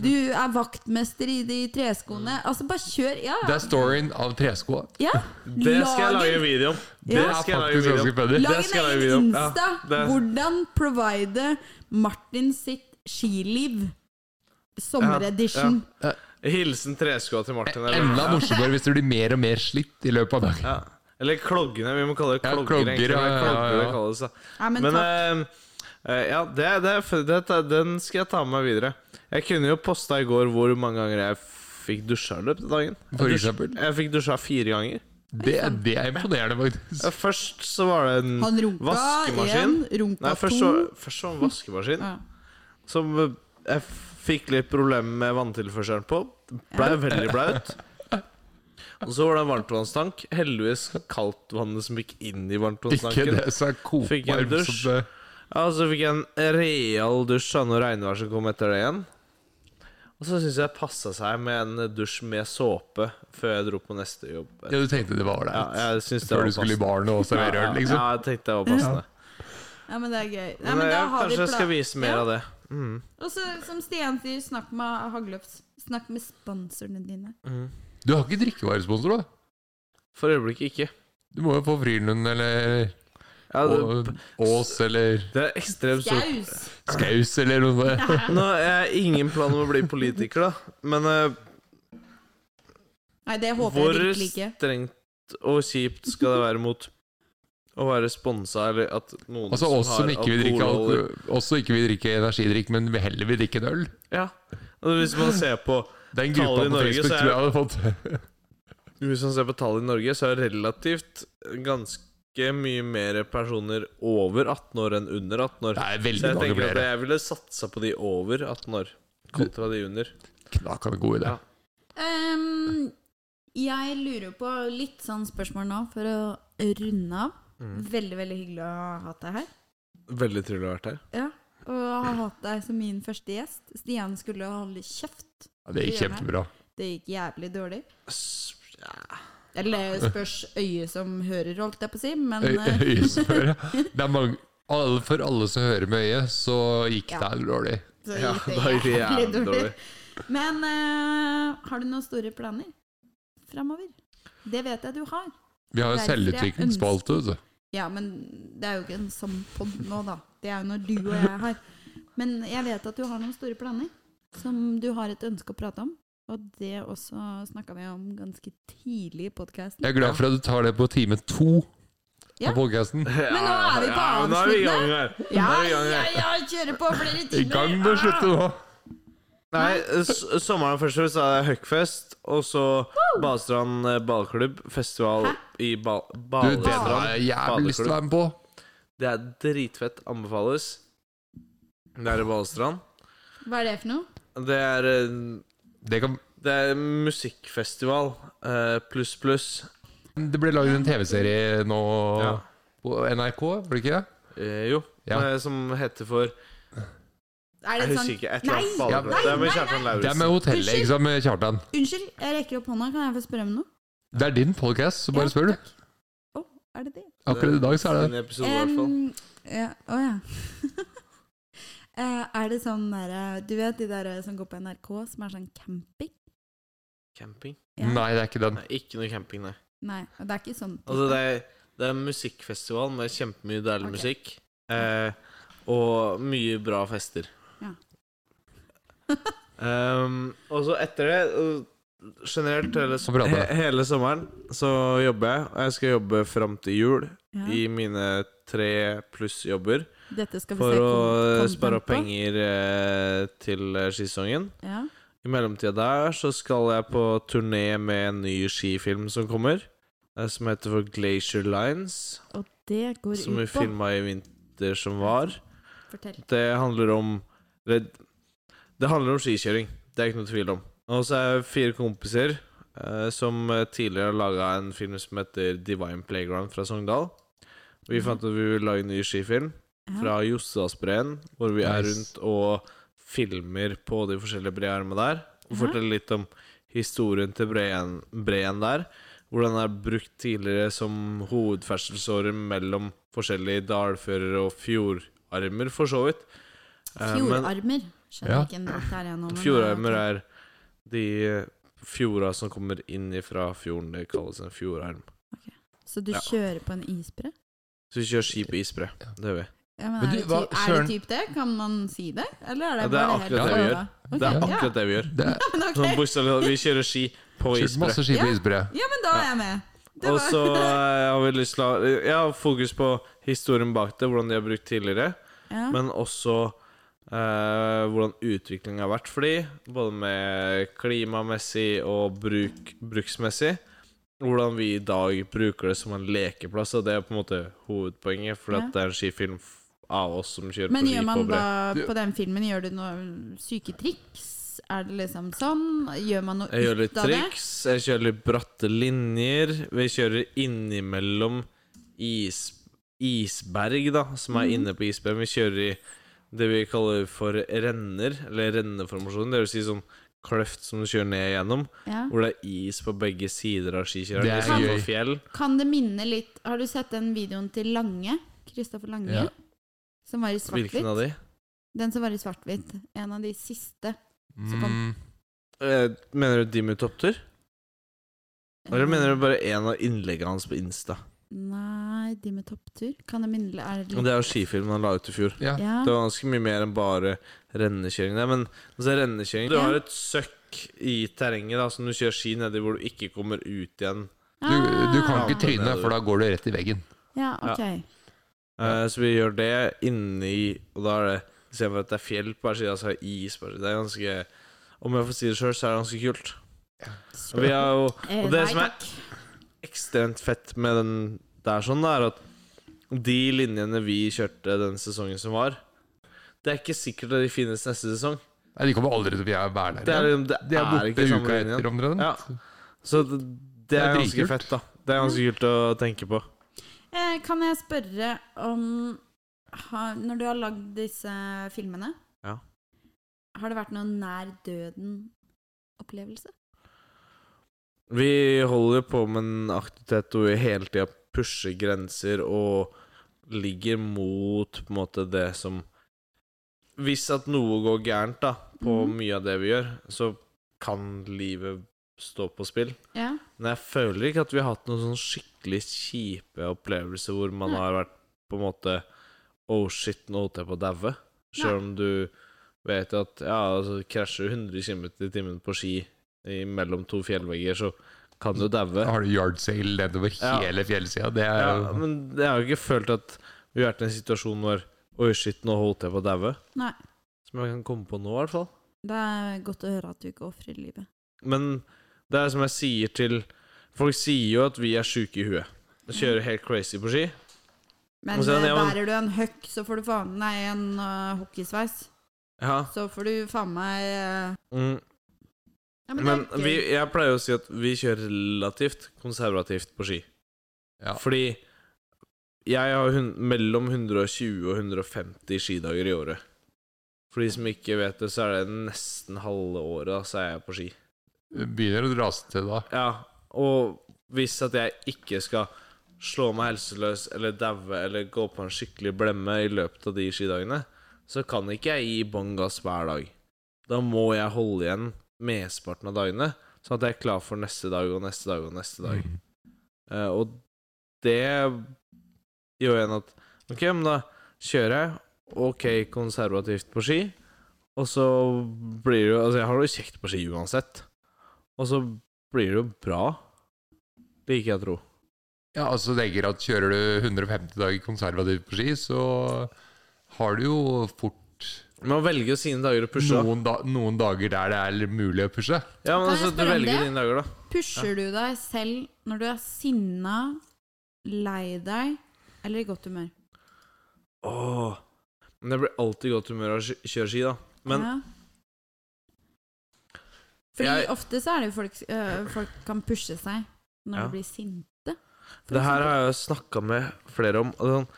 Speaker 3: Du er vaktmester i de treskoene. Altså, bare kjør. Ja,
Speaker 1: Det er storyen av treskoa.
Speaker 3: ja.
Speaker 5: Det skal
Speaker 3: Lag
Speaker 5: jeg lage
Speaker 3: en-
Speaker 5: video om.
Speaker 3: Ja.
Speaker 5: Det
Speaker 1: Det er
Speaker 5: skal jeg lage
Speaker 1: faktisk
Speaker 5: video
Speaker 1: ganske
Speaker 5: om.
Speaker 1: funny.
Speaker 5: Det
Speaker 3: Lag
Speaker 5: skal
Speaker 3: en
Speaker 5: jeg lage video om.
Speaker 3: egen
Speaker 5: Ja,
Speaker 3: Insta.
Speaker 5: det-
Speaker 3: Hvordan provide Martin sitt skiliv. Sommeredition.
Speaker 5: Hilsen treskoa til Martin.
Speaker 1: Enda morsommere hvis du blir mer og mer slitt i løpet av dagen.
Speaker 5: Ja. Eller kloggene. Vi må kalle det
Speaker 1: Ja,
Speaker 5: klogger.
Speaker 1: klogger,
Speaker 5: egentlig. Det er
Speaker 1: ja, ja,
Speaker 5: klogger det
Speaker 1: ja.
Speaker 5: kalles, da.
Speaker 3: Nei, men,
Speaker 5: Men
Speaker 3: takk.
Speaker 5: eh, eh, ja, det, det, det, den skal jeg ta med meg videre. Jeg kunne jo posta i går hvor mange ganger jeg fikk dusja i løpet av dagen.
Speaker 1: For
Speaker 5: Jeg dusj-
Speaker 1: eksempel?
Speaker 5: Jeg fikk dusja fire ganger.
Speaker 1: Det, det er imponerende, faktisk.
Speaker 5: Ja, Først så var det en
Speaker 3: Han runka
Speaker 5: vaskemaskin.
Speaker 3: én, runka
Speaker 5: Nei, først så,
Speaker 3: to.
Speaker 5: først så var det en vaskemaskin
Speaker 3: Ja.
Speaker 5: som eh, jeg fikk litt problemer med vanntilførselen på. Blei veldig blaut. Og så var det en varmtvannstank. Heldigvis kaldtvannet som gikk inn i
Speaker 1: Ikke
Speaker 5: varmtvannstanken.
Speaker 1: det som er
Speaker 5: Fikk en
Speaker 1: kokvarmt
Speaker 5: dusj.
Speaker 1: som eh, det
Speaker 5: Ja, og så fikk jeg en real dusj av noe regnvær som kom etter det igjen. Og så syns jeg det passa seg med en dusj med såpe før jeg dro på neste jobb.
Speaker 1: Ja, du tenkte det var
Speaker 5: Ja,
Speaker 1: ålreit.
Speaker 5: jeg synes det
Speaker 1: Før
Speaker 5: var
Speaker 1: du skulle i
Speaker 5: passende.
Speaker 1: baren og servere øl, liksom.
Speaker 5: Ja, jeg tenkte det var passende.
Speaker 3: ja, men det er gøy. Nei,
Speaker 5: Men,
Speaker 3: men da
Speaker 5: ja,
Speaker 3: har vi
Speaker 5: kanskje jeg skal
Speaker 3: plan-
Speaker 5: vise mer
Speaker 3: Ja.
Speaker 5: av det. Mm.
Speaker 3: Og så, som Stian sier, snakk med Hagløfs. Snakk med sponsorene dine.
Speaker 1: Du har ikke drikkevaresponsor, da?
Speaker 5: Mm. For øyeblikket ikke.
Speaker 1: Du må jo få Frylund eller
Speaker 5: Ja,
Speaker 1: Å-
Speaker 5: det,
Speaker 1: Ås eller
Speaker 5: det er ekstremt stort.
Speaker 3: Skaus!
Speaker 1: Skaus eller noe sånt.
Speaker 3: (laughs)
Speaker 5: Nå jeg har ingen plan om å bli politiker, da. Men eh,
Speaker 3: Nei, det håper
Speaker 5: hvor
Speaker 3: jeg virkelig ikke.
Speaker 5: strengt og kjipt skal det være mot å være sponsa, eller at noen
Speaker 1: Altså oss som ikke vil drikke
Speaker 5: alkoholholdig-
Speaker 1: alko- oss som ikke vil drikke energidrikk, men vi heller vil drikke en øl.
Speaker 5: Ja. Og hvis man ser på
Speaker 1: Den
Speaker 5: Tall
Speaker 1: gruppa
Speaker 5: i
Speaker 1: på
Speaker 5: Norge,
Speaker 1: Facebook
Speaker 5: så er-
Speaker 1: tror jeg hadde fått (laughs)
Speaker 5: Hvis man ser på tallet i Norge, så er relativt ganske mye mer personer over 18 år enn under 18 år.
Speaker 1: Det er
Speaker 5: Så
Speaker 1: veldig
Speaker 5: jeg
Speaker 1: mange
Speaker 5: tenker at
Speaker 1: flere.
Speaker 5: jeg ville satsa på de over 18 år kontra de under.
Speaker 1: Knakende god idé.
Speaker 5: Ja.
Speaker 3: Ehm, jeg lurer på litt sånn spørsmål nå for å runde av.
Speaker 5: Mm.
Speaker 3: Veldig, veldig hyggelig å ha hatt deg her.
Speaker 5: Veldig trivelig å ha vært her.
Speaker 3: Ja. Og
Speaker 5: (clears throat)
Speaker 3: ha hatt deg som min første gjest. Stian skulle holde kjeft.
Speaker 1: Ja, det gikk kjempebra.
Speaker 3: Det gikk jævlig dårlig.
Speaker 5: S- ja.
Speaker 3: Eller spørs øyet som hører, holdt jeg på å si. Men
Speaker 1: Øy-
Speaker 3: eh, (laughs)
Speaker 1: Øyesføre. Det er mange alle, For alle som hører med øyet, så gikk
Speaker 3: Ja.
Speaker 1: det her dårlig.
Speaker 3: så
Speaker 5: Ja,
Speaker 3: gikk det
Speaker 5: da gikk det
Speaker 3: jævlig
Speaker 5: jævlig
Speaker 3: dårlig.
Speaker 5: dårlig.
Speaker 3: Men eh, har du noen store planer framover? Det vet jeg du har.
Speaker 1: Vi har jo
Speaker 3: Derfor jeg
Speaker 1: selvutviklingsspalte. vet du.
Speaker 3: Ja, men det er jo ikke en sånn pod nå, da. Det er jo når du og jeg har. Men jeg vet at du har noen store planer som du har et ønske å prate om. Og det også snakka vi om ganske tidlig i podkasten.
Speaker 1: Jeg er glad for at du tar det på time to
Speaker 3: Ja.
Speaker 1: av podkasten.
Speaker 3: Men nå er vi på
Speaker 5: Ja, nå er vi i gang
Speaker 3: avsluttende.
Speaker 5: her.
Speaker 3: Ja,
Speaker 5: Nå er vi i
Speaker 3: ja,
Speaker 5: gang her.
Speaker 3: ja, kjører på flere (laughs) timer.
Speaker 1: I gang med å slutte nå!
Speaker 5: Nei, s sommeren først og fremst er det Huckfest, og så Badestrand eh, ballklubb. Festival i ba
Speaker 1: Du, det har
Speaker 5: Balestrand
Speaker 1: jeg jævlig lyst til å
Speaker 5: badeklubb.
Speaker 1: være med på.
Speaker 5: Det er dritfett. Anbefales. Det er i Balestrand.
Speaker 3: Ah, Hva er det for noe?
Speaker 5: Det er eh,
Speaker 1: Det, kan,
Speaker 5: Det er musikkfestival eh, pluss pluss.
Speaker 1: det ble laget en TV-serie nå
Speaker 5: Ja.
Speaker 1: på NRK, var det ikke det?
Speaker 5: Eh, jo.
Speaker 1: Ja.
Speaker 5: Eh, som heter for
Speaker 3: Er
Speaker 5: Jeg
Speaker 3: det
Speaker 5: husker
Speaker 3: sånn
Speaker 5: ikke. Et eller
Speaker 3: Nei!
Speaker 5: annet
Speaker 1: Ja,
Speaker 5: ballklubb.
Speaker 1: nei,
Speaker 5: Det er med
Speaker 3: nei,
Speaker 5: Kjartan
Speaker 1: Det er
Speaker 5: Lauritzen.
Speaker 1: med hotellet, ikke sant, med Kjartan.
Speaker 3: Unnskyld, jeg rekker opp hånda. Kan jeg få spørre om noe?
Speaker 1: Det er din podcast, så bare
Speaker 3: Ja,
Speaker 1: spør du.
Speaker 3: takk. Å, er det det?
Speaker 1: Akkurat i dag så er det
Speaker 5: En episode, i hvert fall.
Speaker 3: Em, ja, å ja. (laughs) Eh, er det sånn derre Du vet de der eh, som går på NRK, som er sånn camping?
Speaker 5: Camping?
Speaker 3: Ja.
Speaker 1: Nei, det er ikke den.
Speaker 5: Nei, ikke noe camping, nei.
Speaker 3: Nei, og det er ikke sånn.
Speaker 5: Altså, det er, det er musikkfestival med kjempemye deilig
Speaker 3: Ok.
Speaker 5: musikk. eh, og mye bra fester.
Speaker 3: Ja.
Speaker 5: Ehm, og så etter det og Generelt hele,
Speaker 1: Så bra, da.
Speaker 5: he, hele sommeren så jobber jeg, og jeg skal jobbe fram til jul.
Speaker 3: (laughs) ja.
Speaker 5: i mine tre pluss jobber
Speaker 3: Dette skal vi
Speaker 5: for
Speaker 3: se
Speaker 5: å eh,
Speaker 3: kon- content
Speaker 5: spare opp
Speaker 3: på.
Speaker 5: penger eh, til eh, skisesongen.
Speaker 3: Ja.
Speaker 5: I mellomtida der så skal jeg på turné med en ny skifilm som kommer, eh, som heter for Glacier Lines,
Speaker 3: Og det går
Speaker 5: som vi
Speaker 3: ut på
Speaker 5: filma i vinter som var.
Speaker 3: Fortell.
Speaker 5: Det handler om eller, Det handler om skikjøring, det er ikke noe tvil om. Og så er jeg fire kompiser eh, som eh, tidligere har laga en film som heter Divine Playground fra Sogndal. Vi fant ut at vi ville lage en ny skifilm
Speaker 3: Mhm. Ja.
Speaker 5: fra Jostedalsbreen, hvor vi er
Speaker 1: Nice.
Speaker 5: rundt og filmer på de forskjellige brearmene der.
Speaker 3: Ja.
Speaker 5: Og forteller litt om historien til Breen, Breen der. Hvor den er brukt tidligere som hovedferdselsåre mellom forskjellige dalfører og fjordarmer, for så vidt. Eh, men-
Speaker 3: Fjordarmer. Skjønner
Speaker 1: Ja.
Speaker 3: ikke en dritt her ennå.
Speaker 5: Fjordarmer er de eh, fjorda som kommer inn ifra fjorden. Det kalles en fjordarm.
Speaker 3: Så du
Speaker 5: Ja.
Speaker 3: kjører på en isbre?
Speaker 5: Så vi kjører ski på isbre. Det gjør vi.
Speaker 3: Ja, men
Speaker 1: Men
Speaker 3: er,
Speaker 1: du,
Speaker 3: det
Speaker 1: hva-
Speaker 3: typ, er det
Speaker 1: Søren-
Speaker 3: typ det? Kan man si det? Eller er
Speaker 5: Ja,
Speaker 3: det
Speaker 5: det er
Speaker 3: bare
Speaker 5: akkurat
Speaker 3: helt
Speaker 5: det vi
Speaker 3: bra? Ok,
Speaker 5: Det er akkurat det
Speaker 1: (laughs)
Speaker 5: vi gjør.
Speaker 1: Det er
Speaker 3: Ja,
Speaker 5: Sånn
Speaker 3: men, (laughs) ok.
Speaker 5: bokstavelig talt, vi kjører ski på
Speaker 1: kjørt
Speaker 5: isbre.
Speaker 1: masse ski på
Speaker 3: Ja.
Speaker 1: isbre.
Speaker 3: ja, men da er jeg med. Det
Speaker 5: Og
Speaker 3: var-
Speaker 5: så eh, har vi lyst til å ha Jeg har fokus på historien bak det, hvordan de har brukt tidligere,
Speaker 3: ja.
Speaker 5: men også eh, hvordan utviklingen har vært for de, både med klimamessig og bruk, bruksmessig. Hvordan vi i dag bruker det som en lekeplass, og det er på en måte hovedpoenget, for
Speaker 3: Ja.
Speaker 5: at det er en skifilm f- av oss som kjører
Speaker 3: Men
Speaker 5: på
Speaker 3: gjør
Speaker 5: ski
Speaker 3: man
Speaker 5: på bre.
Speaker 3: da
Speaker 4: Du-
Speaker 3: på den filmen Gjør du noe syke triks? Er det liksom sånn? Gjør man noe
Speaker 5: Jeg gjør litt
Speaker 3: ut av det?
Speaker 5: triks, jeg kjører litt bratte linjer. Vi kjører innimellom is, isberg, da, som er inne på isberg. Vi kjører i det vi kaller for renner, eller renneformasjon. Det vil si sånn kløft som du kjører ned igjennom,
Speaker 3: Ja.
Speaker 5: hvor det er is på begge sider av skikjøreren.
Speaker 1: Det er
Speaker 5: istedenfor
Speaker 1: gøy.
Speaker 5: Fjell.
Speaker 3: Kan det minne litt Har du sett den videoen til Lange? Kristoffer Lange?
Speaker 1: Ja.
Speaker 3: Som var i
Speaker 5: Hvilken
Speaker 3: svart-hvitt?
Speaker 5: av de?
Speaker 3: Den som var i svart-hvitt. En av de siste. Så
Speaker 1: Mm,
Speaker 5: Eh, Mener du de med topptur? Eller mener du bare en av innleggene hans på Insta?
Speaker 3: Nei, de med topptur. Kan det minne er det
Speaker 5: Det er jo skifilmen han la ut i fjor.
Speaker 1: ja.
Speaker 3: Ja.
Speaker 5: Det var ganske mye mer enn bare rennekjøring der. Men altså, rennekjøring Du
Speaker 3: Ja.
Speaker 5: har et søkk i terrenget da som du kjører ski nedi, hvor du ikke kommer ut igjen.
Speaker 1: Du, du kan ikke
Speaker 3: Ah.
Speaker 1: tryne, for da går du rett i veggen.
Speaker 3: Ja, ok.
Speaker 5: Eh, så vi gjør det inni Og da er det istedenfor at det er fjell på hver side, så er det is på hver side. Det er ganske Om jeg får si det sjøl, så er det ganske kult. Og Vi har jo
Speaker 3: Eh,
Speaker 5: og det
Speaker 3: nei,
Speaker 5: som er-
Speaker 3: takk.
Speaker 5: ekstremt fett med den der sånn, er at de linjene vi kjørte den sesongen som var Det er ikke sikkert at de finnes neste sesong.
Speaker 1: Nei, De kommer aldri til å være der.
Speaker 5: Det er,
Speaker 1: igjen.
Speaker 5: liksom- det
Speaker 1: De er
Speaker 5: er
Speaker 1: borte
Speaker 5: ikke samme
Speaker 1: uka
Speaker 5: linjen.
Speaker 1: etter, omtrent.
Speaker 5: Ja. Så det, det er, ganske
Speaker 1: dritkult.
Speaker 5: fett, da. Det er ganske kult å tenke på.
Speaker 3: Eh, kan jeg spørre om har, Når du har lagd disse filmene,
Speaker 5: Ja.
Speaker 3: har det vært noen nær døden-opplevelse?
Speaker 5: Vi holder på med en aktivitet hvor vi hele tida pusher grenser og ligger mot på en måte det som Hvis at noe går gærent da, på
Speaker 3: Mhm.
Speaker 5: mye av det vi gjør, så kan livet stå på spill.
Speaker 3: Ja.
Speaker 5: Men jeg føler ikke at vi har hatt noen sånn skikkelig kjipe opplevelser hvor man
Speaker 3: Nei.
Speaker 5: har vært på en måte Oh shit, nå holdt jeg på å daue.
Speaker 3: Nei.
Speaker 5: Selv om du vet at ja, altså, krasjer du 100 km i timen på ski i- mellom to fjellvegger, så kan du daue.
Speaker 1: Da har du yardsail nedover
Speaker 5: Ja.
Speaker 1: hele fjellsida. Det er
Speaker 5: Ja,
Speaker 1: jo
Speaker 5: men jeg har jo ikke følt at vi har vært i en situasjon hvor Oi shit, nå holdt jeg på å daue.
Speaker 3: Nei.
Speaker 5: Som jeg kan komme på nå, i hvert fall.
Speaker 3: Det er godt å høre at du ikke ofrer livet.
Speaker 5: Men det er som jeg sier til Folk sier jo at vi er sjuke i huet. Kjører helt crazy på ski.
Speaker 3: Men
Speaker 5: Og så er Altså, det-
Speaker 3: eh,
Speaker 5: ja, men-
Speaker 3: bærer du en høkk, så får du faen Nei, en eh, hockeysveis.
Speaker 5: Ja.
Speaker 3: Så får du faen meg eh,
Speaker 5: Mm.
Speaker 3: ja, men det
Speaker 5: Men
Speaker 3: er gøy.
Speaker 5: vi, jeg pleier å si at vi kjører relativt konservativt på ski.
Speaker 1: Ja.
Speaker 5: Fordi jeg har hun, mellom 120 og 150 skidager i året. For de som ikke vet det, så er det nesten halve året da, så er jeg på ski.
Speaker 1: Begynner å rase til da.
Speaker 5: Ja, Og hvis at jeg ikke skal slå meg helseløs eller daue eller gå på en skikkelig blemme i løpet av de skidagene, så kan ikke jeg gi bånn gass hver dag. Da må jeg holde igjen mesteparten av dagene, sånn at jeg er klar for neste dag og neste dag og neste dag.
Speaker 1: Mm.
Speaker 5: Eh, og det gjør igjen at Ok, men da kjører jeg, ok, konservativt på ski, og så blir det jo Altså, jeg har det jo kjekt på ski uansett, og så blir det jo bra. Det liker jeg å tro.
Speaker 1: Ja, altså tenker at Kjører du 150 dager konservativt på ski, så har du jo fort
Speaker 5: Man velger jo sine dager å pushe. da.
Speaker 1: noen, da noen dager der det er mulig å pushe.
Speaker 5: Ja, men
Speaker 3: Kan jeg
Speaker 5: altså, du
Speaker 3: spørre om
Speaker 5: velger
Speaker 3: det?
Speaker 5: dine dager, da.
Speaker 3: Pusher du deg selv når du er sinna, lei deg eller i godt humør?
Speaker 5: Åh. Men jeg blir alltid i godt humør av å sk- kjøre ski, da. Men
Speaker 3: ja. Fordi
Speaker 5: Jeg-
Speaker 3: ofte så er det jo folk øh, Folk kan pushe seg når
Speaker 5: Ja.
Speaker 3: de blir sinte. for eksempel.
Speaker 5: det her har jeg jo snakka med flere om. Og det er sånn,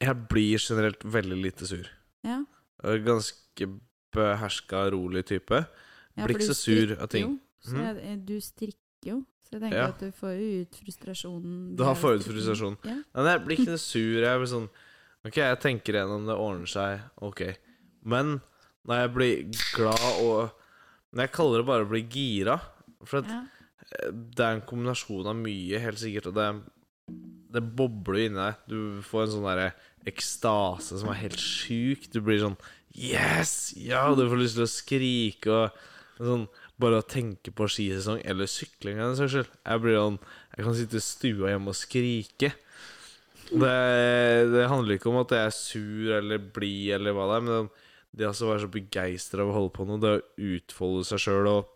Speaker 5: jeg blir generelt veldig lite sur.
Speaker 3: ja.
Speaker 5: Jeg er Ganske beherska, Eh, rolig type.
Speaker 3: Ja,
Speaker 5: Blir
Speaker 3: for
Speaker 5: ikke
Speaker 3: du
Speaker 5: så sur av
Speaker 3: stritter
Speaker 5: ting. Mhm.
Speaker 3: jo. Så jeg, eh, du strikker jo. Så jeg tenker
Speaker 5: Ja.
Speaker 3: at du får jo ut frustrasjonen.
Speaker 5: Du har
Speaker 3: ved
Speaker 5: forut
Speaker 3: strikking.
Speaker 5: frustrasjon.
Speaker 3: Ja.
Speaker 5: Nei, nei, jeg blir ikke noe sur. Jeg blir sånn Ok, jeg tenker igjennom det, ordner seg, ok. Men når jeg blir glad og Når jeg kaller det bare å bli gira For at
Speaker 3: Ja.
Speaker 5: eh, det er en kombinasjon av mye, helt sikkert, og det det bobler inni deg. Du får en sånn derre ekstase som er helt sjuk. Du blir sånn Yes! Ja! Du får lyst til å skrike og sånn Bare å tenke på skisesong eller sykling av den saks skyld. Jeg blir sånn Jeg kan sitte i stua hjemme og skrike. Det, det handler ikke om at jeg er sur eller blid eller hva det er, men sånn, det å så være så begeistra av å holde på med noe, det å utfolde seg sjøl og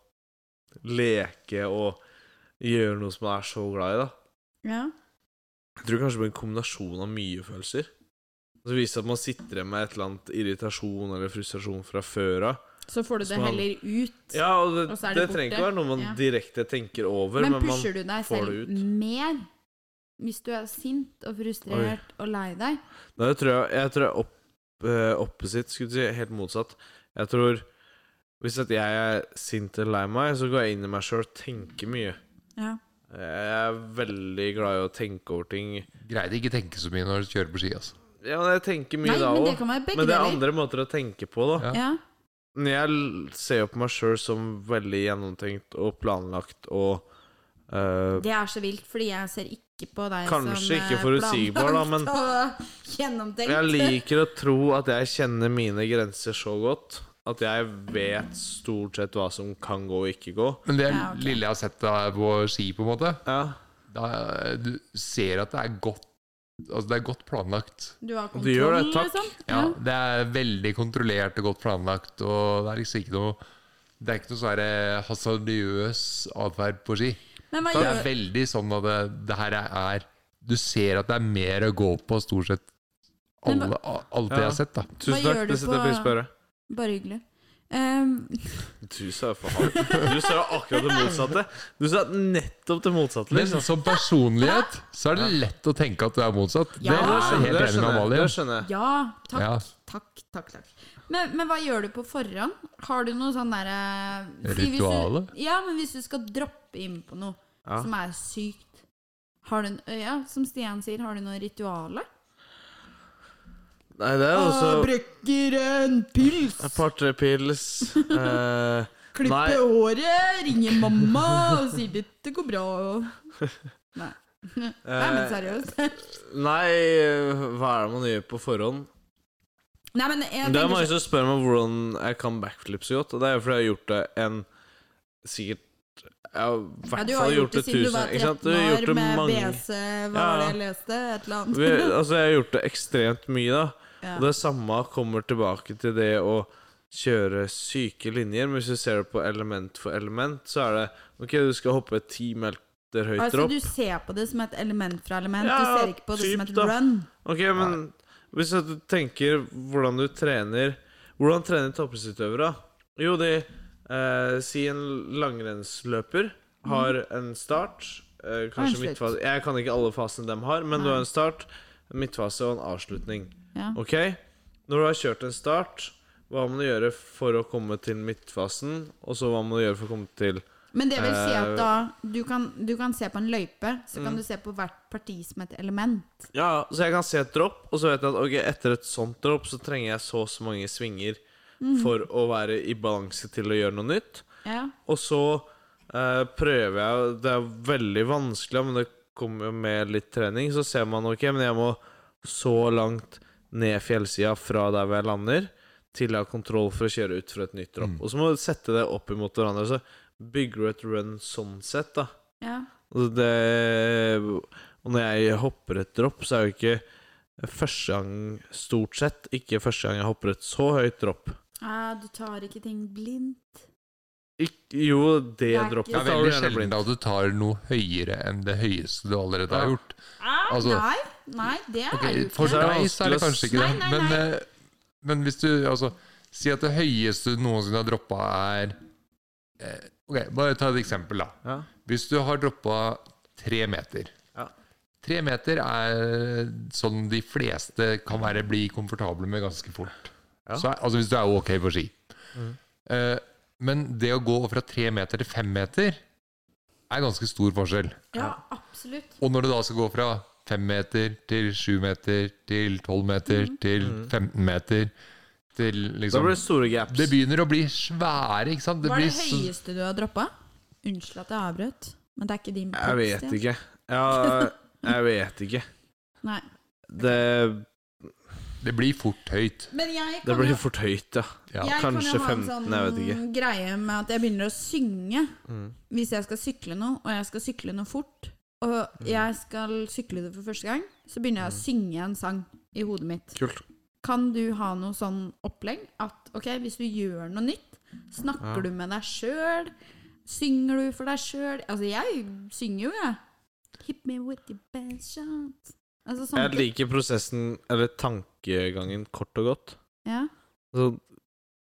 Speaker 5: leke og gjøre noe som man er så glad i, da.
Speaker 3: ja.
Speaker 5: Jeg tror kanskje det blir en kombinasjon av mye følelser. Og så viser det at man sitter igjen med et eller annet irritasjon eller frustrasjon fra før av.
Speaker 3: Så får du det
Speaker 5: Som han-
Speaker 3: heller ut.
Speaker 5: Ja, og det,
Speaker 3: Og så er
Speaker 5: det
Speaker 3: det
Speaker 5: trenger
Speaker 3: borte.
Speaker 5: ikke være noe man
Speaker 3: Ja.
Speaker 5: direkte tenker over,
Speaker 3: Men
Speaker 5: men, man
Speaker 3: pusher du deg
Speaker 5: får
Speaker 3: selv
Speaker 5: det ut.
Speaker 3: mer hvis du er sint og frustrert og lei deg?
Speaker 5: Nei, jeg tror jeg, jeg tror jeg opp, eh, opposite, skulle du si, helt motsatt. Jeg tror Hvis at jeg er sint eller lei meg, så går jeg inn i meg sjøl og tenker mye. Eh,
Speaker 3: Ja.
Speaker 5: Jeg er veldig glad i å tenke over ting.
Speaker 1: Greide ikke tenke så mye når du kjører på ski, altså.
Speaker 5: Ja, men jeg tenker mye
Speaker 3: Nei,
Speaker 5: da
Speaker 3: men det
Speaker 5: òg.
Speaker 3: kan være begge
Speaker 5: Men det er
Speaker 3: deler.
Speaker 5: andre måter å tenke på, da.
Speaker 1: Ja.
Speaker 3: Ja.
Speaker 5: Men Jeg l- ser jo på meg sjøl som veldig gjennomtenkt og planlagt og eh,
Speaker 3: Det er så vilt, fordi jeg ser ikke på deg
Speaker 5: Kanskje
Speaker 3: som eh,
Speaker 5: ikke forutsigbar, da, men-
Speaker 3: planlagt
Speaker 5: (laughs)
Speaker 3: og gjennomtenkt.
Speaker 5: Jeg liker å tro at jeg kjenner mine grenser så godt at jeg vet stort sett hva som kan gå og ikke gå.
Speaker 1: Men det
Speaker 3: Ja, ok.
Speaker 1: lille jeg har sett deg på ski, på en måte
Speaker 5: Ja.
Speaker 1: da, Du ser at det er godt Altså, det er godt planlagt.
Speaker 3: (laughs) Du har
Speaker 5: Du gjør
Speaker 3: kontroll,
Speaker 5: det, takk.
Speaker 3: liksom?
Speaker 1: Ja, Det er veldig kontrollert og godt planlagt, og det er liksom ikke noe Det er ikke noe sånn her, eh, hasardiøs atferd på ski.
Speaker 3: Men hva
Speaker 1: Det er
Speaker 3: gjør
Speaker 1: veldig sånn at det, det her er Du ser at det er mer å gå på stort sett
Speaker 3: Men
Speaker 1: alle, a- alt det jeg har sett, da.
Speaker 5: Tusen
Speaker 3: Hva
Speaker 5: takk,
Speaker 3: gjør du
Speaker 5: det setter jeg
Speaker 3: på-
Speaker 5: pris på å høre.
Speaker 3: Bare hyggelig. Ehm,
Speaker 5: Du sa jo for hardt. Du sa jo akkurat det motsatte. Du sa nettopp det motsatte.
Speaker 1: Men
Speaker 5: Liksom.
Speaker 1: som personlighet så er det lett å tenke at du er motsatt.
Speaker 3: Ja.
Speaker 1: Det er jeg helt enig
Speaker 5: det
Speaker 1: med
Speaker 5: skjønner jeg.
Speaker 1: Amalie.
Speaker 5: Det skjønner jeg.
Speaker 3: ja, takk,
Speaker 1: Ja.
Speaker 3: takk, takk. takk. Men, men hva gjør du på forhånd? Har du noe sånn derre si hvis du-
Speaker 1: Ritualet?
Speaker 3: Ja, men hvis du skal droppe inn på noe
Speaker 5: Ja.
Speaker 3: som er sykt har du, en- ja, Som Stian sier, har du noe ritualer?
Speaker 5: Nei, det er jo også
Speaker 3: brekker en pils!
Speaker 5: et par-tre pils.
Speaker 3: (laughs)
Speaker 5: Eh, Nei.
Speaker 3: håret, ringer mamma og sier 'dette går bra'. Nei. Nei, men
Speaker 5: Eh,
Speaker 3: seriøst. (laughs)
Speaker 5: Nei, hva er det man gjør på forhånd?
Speaker 3: Nei, men jeg
Speaker 5: Det er
Speaker 3: tenker
Speaker 5: mange som spør meg hvordan jeg kan backflip så godt. Og det er jo fordi jeg har gjort det en Sikkert Jeg har i
Speaker 3: Ja,
Speaker 5: hvert
Speaker 3: du har
Speaker 5: fall gjort det
Speaker 3: siden du var
Speaker 5: tusen Ikke sant? Du
Speaker 3: 13
Speaker 5: har
Speaker 3: år
Speaker 5: gjort det
Speaker 3: med
Speaker 5: mange
Speaker 3: BC, hva var det jeg
Speaker 5: Ja.
Speaker 3: leste? Et eller
Speaker 5: Vi,
Speaker 3: annet.
Speaker 5: Altså, jeg har gjort det ekstremt mye, da.
Speaker 3: Ja.
Speaker 5: Og det samme kommer tilbake til det å kjøre syke linjer. Men hvis du ser det på element for element, så er det OK, du skal hoppe ti meter høyt
Speaker 3: Altså,
Speaker 5: opp.
Speaker 3: du ser på det som et element fra element,
Speaker 5: Ja,
Speaker 3: du ser ikke på det som
Speaker 5: typ
Speaker 3: et
Speaker 5: da.
Speaker 3: run.
Speaker 5: Ok, men hvis at du tenker hvordan du trener Hvordan trener toppidrettsutøvere? da? Jo, de eh, Si en langrennsløper har en start eh,
Speaker 3: Mhm. en
Speaker 5: Kanskje
Speaker 3: slutt.
Speaker 5: midtfase Jeg kan ikke alle fasene de har, men du
Speaker 3: Nei.
Speaker 5: har en start, en midtfase og en avslutning.
Speaker 3: Ja.
Speaker 5: Ok? Når du har kjørt en start, hva må du gjøre for å komme til midtfasen? Og så hva må du gjøre for å komme til
Speaker 3: Men det vil si at
Speaker 5: Eh, Mm.
Speaker 3: da du kan, du kan se på en løype, så kan du se på hvert parti som et element.
Speaker 5: Ja, så jeg kan se et dropp, og så vet jeg at ok, etter et sånt dropp så trenger jeg så og så mange svinger for å være i balanse til å gjøre noe nytt.
Speaker 3: Ja.
Speaker 5: Og så eh, prøver jeg Det er veldig vanskelig, men det kommer jo med litt trening. Så ser man ok, men jeg må så langt ned fjellsida fra der hvor jeg lander, til jeg har kontroll for å kjøre ut fra et nytt
Speaker 1: Mm.
Speaker 5: dropp. Og så må du sette det opp imot hverandre. Så bygger du et run sånn sett, da.
Speaker 3: ja.
Speaker 5: Altså, Det, og når jeg hopper et dropp, så er det ikke første gang Stort sett ikke første gang jeg hopper et så høyt dropp.
Speaker 3: Ah, du tar ikke ting blindt.
Speaker 5: Ikk- jo, det
Speaker 3: Det er
Speaker 5: droppet
Speaker 1: Det er
Speaker 5: tar du
Speaker 1: veldig
Speaker 5: gjerne
Speaker 1: sjelden
Speaker 5: blind.
Speaker 1: at du tar noe høyere enn det høyeste du allerede har
Speaker 5: Ja.
Speaker 1: gjort.
Speaker 3: Ah,
Speaker 1: Altså-
Speaker 3: nei, nei, det er
Speaker 1: Ok,
Speaker 3: du
Speaker 1: for
Speaker 5: Så
Speaker 3: ikke.
Speaker 5: er det
Speaker 1: deg så er det kanskje
Speaker 5: vanskelig
Speaker 1: ikke
Speaker 3: å-
Speaker 1: det,
Speaker 3: Nei, nei,
Speaker 1: men,
Speaker 3: nei.
Speaker 1: eh, men hvis du altså, Si at det høyeste du noensinne har droppa, er eh, Ok, bare ta et eksempel, da.
Speaker 5: Ja.
Speaker 1: Hvis du har droppa tre meter
Speaker 5: Ja.
Speaker 1: Tre meter er sånn de fleste kan være bli komfortable med ganske fort.
Speaker 5: Ja. Mm.
Speaker 1: Så er, altså hvis du er ok på ski. Eh, Men det å gå fra tre meter til fem meter er ganske stor forskjell.
Speaker 3: Ja, absolutt.
Speaker 1: Og når du da skal gå fra fem meter til sju meter til tolv meter til 15 meter til
Speaker 5: Mm. Da
Speaker 1: liksom
Speaker 5: blir det store gaps.
Speaker 1: Det begynner å bli svære, ikke sant? Det
Speaker 3: Hva er
Speaker 1: blir
Speaker 3: det
Speaker 1: så-
Speaker 3: høyeste du har droppa? Unnskyld at jeg avbrøt, men det er ikke din
Speaker 5: Jeg vet
Speaker 3: Stian.
Speaker 5: ikke. Ja, jeg vet ikke.
Speaker 3: Nei.
Speaker 5: Det,
Speaker 1: det blir fort høyt.
Speaker 3: Men jeg kan
Speaker 5: det blir
Speaker 3: jo,
Speaker 5: fort høyt, ja.
Speaker 1: Ja,
Speaker 3: jeg
Speaker 5: kanskje
Speaker 3: kan jo ha
Speaker 5: 15,
Speaker 3: en sånn
Speaker 5: jeg vet ikke.
Speaker 3: greie med at jeg begynner å synge
Speaker 5: Mm.
Speaker 3: hvis jeg skal sykle noe, og jeg skal sykle noe fort,
Speaker 5: Mm.
Speaker 3: og jeg skal sykle det for første gang, så begynner jeg å synge en sang i hodet mitt.
Speaker 5: Kult.
Speaker 3: Kan du ha noe sånn opplegg at ok, hvis du gjør noe nytt, snakker
Speaker 5: Ja.
Speaker 3: du med deg sjøl? Synger du for deg sjøl? Altså, jeg synger jo, jeg. Hit me with the best shot. Altså sånn.
Speaker 5: Jeg liker prosessen, eller tankegangen, kort og godt.
Speaker 3: Ja.
Speaker 5: Så,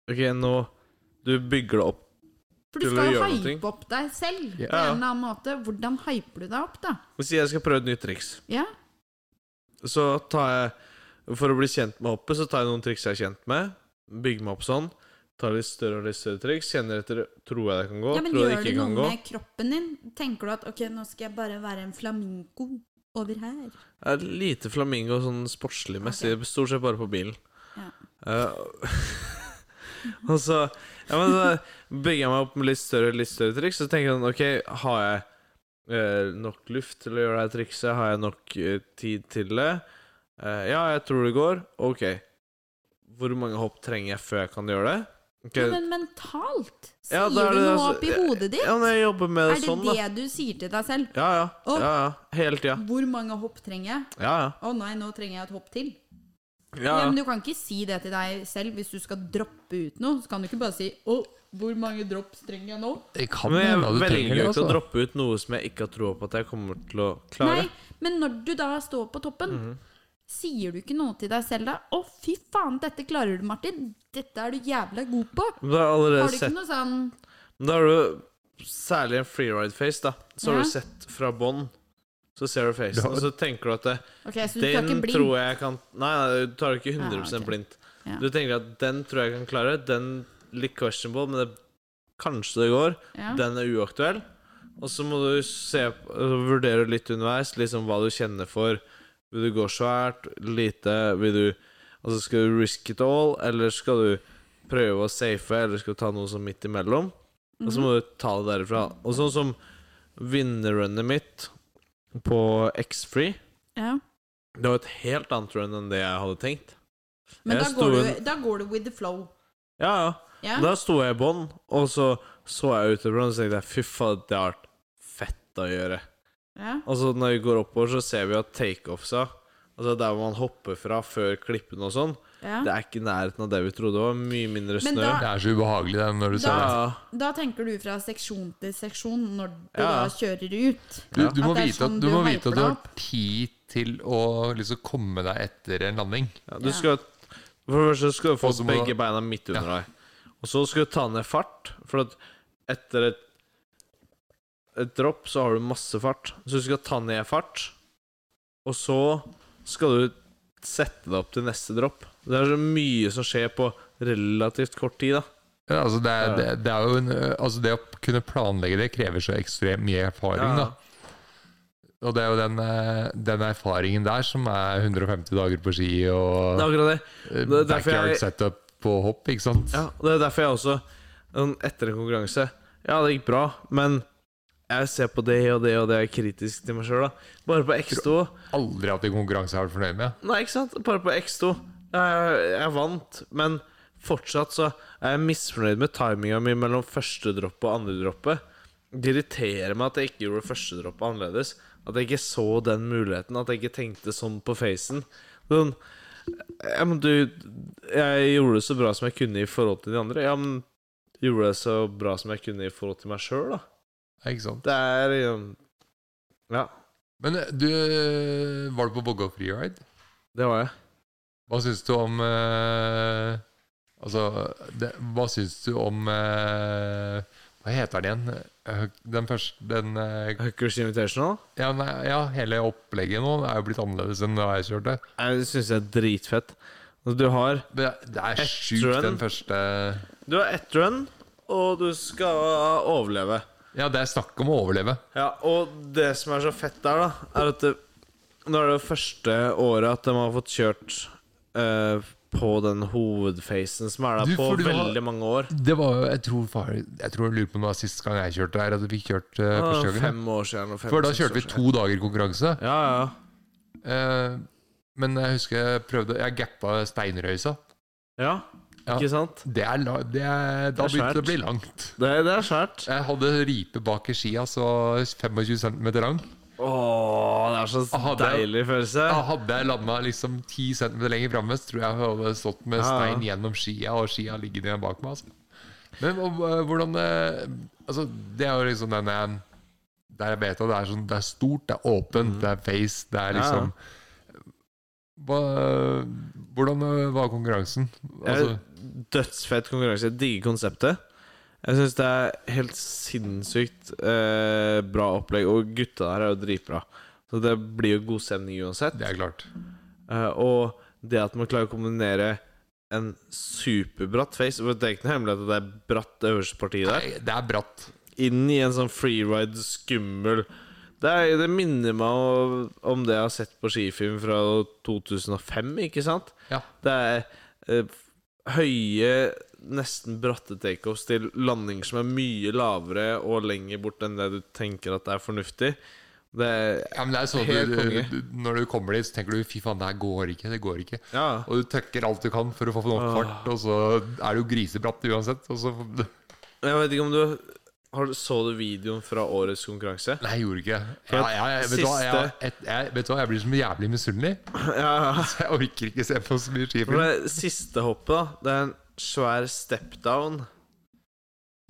Speaker 5: ok, nå Du bygger det opp.
Speaker 3: For du
Speaker 5: Til å
Speaker 3: skal jo
Speaker 5: gjøre noe.
Speaker 3: hype opp deg selv på
Speaker 5: Ja.
Speaker 3: en eller annen måte. Hvordan hyper du deg opp, da?
Speaker 5: Hvis jeg skal prøve et nytt triks,
Speaker 3: Ja.
Speaker 5: så tar jeg For å bli kjent med hoppet, så tar jeg noen triks jeg er kjent med. Bygger meg opp sånn. Tar litt større og litt større triks. Kjenner etter Tror jeg det kan gå?
Speaker 3: ja men
Speaker 5: tror jeg
Speaker 3: gjør
Speaker 5: det
Speaker 3: du
Speaker 5: ikke
Speaker 3: noe
Speaker 5: kan gå?
Speaker 3: med kroppen din? Tenker du at ok, nå skal jeg bare være en flamingo over her?
Speaker 5: Jeg er lite flamingo sånn sportslig messig. Stort sett bare på bilen.
Speaker 3: Ja.
Speaker 5: Eh, (laughs) og så ja, men så bygger jeg meg opp med litt større litt større triks. Så tenker jeg sånn OK, har jeg eh, nok luft til å gjøre det her trikset? Har jeg nok eh, tid til det? Eh, ja, jeg tror det går. OK. Hvor mange hopp trenger jeg før jeg kan gjøre det? Ok,
Speaker 3: Ja, men mentalt? Sier
Speaker 5: Ja, da er
Speaker 3: du
Speaker 5: det
Speaker 3: noe
Speaker 5: altså-
Speaker 3: opp i hodet ditt?
Speaker 5: ja, men jeg jobber med
Speaker 3: er
Speaker 5: det,
Speaker 3: det
Speaker 5: sånn, da.
Speaker 3: det du sier til deg selv?
Speaker 5: Ja, ja.
Speaker 3: Å.
Speaker 5: ja, ja. Hele tida.
Speaker 3: Hvor mange hopp trenger jeg?
Speaker 5: Ja, ja.
Speaker 3: Å nei, nå trenger jeg et hopp til.
Speaker 5: ja,
Speaker 3: Ja,
Speaker 5: ja.
Speaker 3: men du kan ikke si det til deg selv hvis du skal droppe ut noe. Så kan du ikke bare si å, hvor mange drops trenger jeg nå?
Speaker 1: Det kan
Speaker 5: Men
Speaker 1: hende
Speaker 5: jeg
Speaker 1: du trenger
Speaker 5: velger
Speaker 1: det.
Speaker 5: jo ikke
Speaker 1: Altså.
Speaker 5: å droppe ut noe som jeg ikke har troa på at jeg kommer til å klare.
Speaker 3: Nei, men når du da står på toppen,
Speaker 5: Mhm.
Speaker 3: sier du ikke noe til deg selv da? Å, fy faen, dette klarer du, Martin. Dette er du jævla god på.
Speaker 5: Men Da har, jeg
Speaker 3: Har
Speaker 5: allerede
Speaker 3: du ikke
Speaker 5: sett,
Speaker 3: noe sånn
Speaker 5: da har du særlig en freeride-face, da. Så
Speaker 3: Ja.
Speaker 5: har du sett fra bånn, så ser du facen,
Speaker 1: Ja.
Speaker 5: og så tenker du at det,
Speaker 3: Ok, så du skal
Speaker 5: den
Speaker 3: ikke bli
Speaker 5: tror jeg kan Nei, nei du tar det ikke 100
Speaker 3: Ja, ok.
Speaker 5: blindt.
Speaker 3: Ja.
Speaker 5: Du tenker at den tror jeg kan klare, den litt questionable, men det, kanskje det går.
Speaker 3: ja.
Speaker 5: Den er uaktuell. Og så må du se, altså, vurdere litt underveis liksom hva du kjenner for. Vil du gå svært? Lite? Vil du Altså, skal du risk it all, eller skal du prøve å safe, eller skal du ta noe som midt imellom? Og
Speaker 3: Mhm.
Speaker 5: så altså, må du ta det derifra. Og sånn som vinnerrunnet mitt på X-Free
Speaker 3: ja.
Speaker 5: Det var et helt annet run enn det jeg hadde tenkt.
Speaker 3: Men
Speaker 5: Jeg
Speaker 3: da
Speaker 5: sto
Speaker 3: går, du,
Speaker 5: en-
Speaker 3: da går du with the flow.
Speaker 5: Ja, ja.
Speaker 3: Ja.
Speaker 5: Da sto jeg i bånn, og så så jeg utover, og så tenkte jeg fy faen, det har vært fett å gjøre.
Speaker 3: ja.
Speaker 5: Altså når vi går oppover, så ser vi at takeoffsa Altså der hvor man hopper fra før klippene og sånn,
Speaker 3: ja.
Speaker 5: det er ikke i nærheten av det vi trodde. Det var mye mindre
Speaker 3: Men
Speaker 5: snø.
Speaker 3: da-
Speaker 1: Det er så ubehagelig det, når du
Speaker 5: ja,
Speaker 1: ser det.
Speaker 3: Da tenker du fra seksjon til seksjon når du
Speaker 5: Ja.
Speaker 3: da kjører ut.
Speaker 1: Du, du,
Speaker 3: At
Speaker 1: må
Speaker 3: det er
Speaker 1: vite at,
Speaker 3: sånn
Speaker 1: du
Speaker 3: du
Speaker 1: må vite at
Speaker 3: hyper
Speaker 1: du
Speaker 3: deg
Speaker 1: har
Speaker 3: opp.
Speaker 1: tid til å liksom komme deg etter en landing.
Speaker 5: ja, du skal For det første skal du få
Speaker 1: Og så må
Speaker 5: begge
Speaker 1: du-
Speaker 5: beina midt under deg. Og så skal du ta ned fart, for at etter et et dropp så har du masse fart. Så du skal ta ned fart, og så skal du sette deg opp til neste dropp. Det er så mye som skjer på relativt kort tid, da.
Speaker 1: Ja, altså det, er,
Speaker 5: Ja.
Speaker 1: det, det er jo en, ø, altså det å kunne planlegge det krever så ekstremt mye erfaring.
Speaker 5: Ja.
Speaker 1: da Og det er jo den, ø, den erfaringen der som er 150 dager på ski og
Speaker 5: Det er akkurat det.
Speaker 1: ø,
Speaker 5: det er
Speaker 1: Eh,
Speaker 5: derfor
Speaker 1: backyard
Speaker 5: jeg-
Speaker 1: setup på hopp, ikke sant?
Speaker 5: Ja, og det er derfor jeg også sånn, Etter en konkurranse Ja, det gikk bra, men jeg ser på det og det og det er kritisk til meg sjøl, da. Bare på X2
Speaker 1: Aldri hatt en konkurranse jeg har vært fornøyd med.
Speaker 5: Nei, ikke sant? Bare på X2. Jeg, jeg vant, men fortsatt så er jeg misfornøyd med timinga mi mellom første droppet og andre droppet. Det irriterer meg at jeg ikke gjorde første droppet annerledes. At jeg ikke så den muligheten, at jeg ikke tenkte sånn på facen. Sånn ja, men du, jeg gjorde det så bra som jeg kunne i forhold til de andre. Ja, men gjorde det så bra som jeg kunne i forhold til meg sjøl, da.
Speaker 1: Ikke sant?
Speaker 5: Det er um, Ja,
Speaker 1: Men ø, du ø, var du på Vågå freeride?
Speaker 5: det var jeg.
Speaker 1: Hva syns du om ø, Altså, det, hva syns du om ø, Hva heter den igjen? Ø, Den første Den ø,
Speaker 5: Huckers Invitational.
Speaker 1: Ja, nei, ja, hele opplegget nå er jo blitt annerledes enn da jeg kjørte.
Speaker 5: Jeg syns det er dritfett. Altså, Du har
Speaker 1: Det, det er
Speaker 5: Et
Speaker 1: sjukt
Speaker 5: run.
Speaker 1: den første
Speaker 5: Du har ett run, og du skal overleve.
Speaker 1: Ja, det er snakk om å overleve.
Speaker 5: Ja, og det som er så fett der, da, er at det, nå er det første året at de har fått kjørt eh, på den hovedfacen som er der
Speaker 1: Du,
Speaker 5: på
Speaker 1: for du har-
Speaker 5: veldig mange år.
Speaker 1: Det var jo, jeg tror, far, jeg tror jeg lurer på om det var siste gang jeg kjørte her, at vi fikk kjørt eh,
Speaker 5: Ja,
Speaker 1: første gangen.
Speaker 5: fem år siden. og Fem,
Speaker 1: For da
Speaker 5: seks år
Speaker 1: kjørte vi
Speaker 5: siden.
Speaker 1: to dager konkurranse.
Speaker 5: Ja, ja.
Speaker 1: Eh, men jeg husker jeg prøvde Jeg gappa Steinrøysa.
Speaker 5: ja.
Speaker 1: Ja.
Speaker 5: Ikke sant?
Speaker 1: Det er, la- det er, da
Speaker 5: Det
Speaker 1: begynte
Speaker 5: er
Speaker 1: det å
Speaker 5: svært.
Speaker 1: bli langt.
Speaker 5: Det, det er svært.
Speaker 1: Jeg hadde ripe bak i skia, så 25 cm lang.
Speaker 5: Åh, det er så
Speaker 1: Ah, det er-
Speaker 5: deilig følelse.
Speaker 1: Da hadde jeg landa liksom 10 cm lenger framme, så tror jeg jeg hadde stått med
Speaker 5: Ja, ja.
Speaker 1: stein gjennom skia, og skia liggende bak meg. Altså. Men og, eh, hvordan eh, Altså, det er jo liksom den jeg- Der jeg vet at det er sånn Det er stort, det er åpent, det er face, det er
Speaker 5: Mm. Ja, ja.
Speaker 1: liksom hva, Hvordan eh, var konkurransen? Altså,
Speaker 5: Jeg, dødsfett konkurranse. Jeg digger konseptet. Jeg syns det er helt sinnssykt eh, bra opplegg, og gutta der er jo dritbra. Så det blir jo god stemning uansett.
Speaker 1: det er klart.
Speaker 5: Eh, og det at man klarer å kombinere en superbratt face for Det er ikke noe hemmelighet at det er bratt det øverste partiet der.
Speaker 1: Nei, det er bratt.
Speaker 5: Inn i en sånn freeride, skummel det, er, det minner meg om, om det jeg har sett på skifilm fra 2005, ikke sant?
Speaker 1: Ja.
Speaker 5: Det er eh, høye, nesten bratte takeoffs til landing som er mye lavere og lenger bort enn det du tenker at er fornuftig. Det er
Speaker 1: Ja, men det er sånn at
Speaker 5: Helt
Speaker 1: du,
Speaker 5: konge.
Speaker 1: du, Når du kommer dit, så tenker du 'fy faen, det her går ikke'. Det går ikke.
Speaker 5: Ja.
Speaker 1: Og du tøkker alt du kan for å få nok fart, og så er det jo grisebratt uansett. Og så
Speaker 5: Jeg vet ikke om du har, Så du videoen fra årets konkurranse?
Speaker 1: Nei, jeg gjorde ikke ja, ja, jeg, vet, du hva, jeg,
Speaker 5: Siste-
Speaker 1: et, jeg, vet du hva, jeg blir så jævlig misunnelig.
Speaker 5: (laughs)
Speaker 1: (laughs)
Speaker 5: Ja,
Speaker 1: Så jeg orker ikke se på så mye
Speaker 5: For
Speaker 1: skifilm.
Speaker 5: det siste hoppet, da, det er en svær stepdown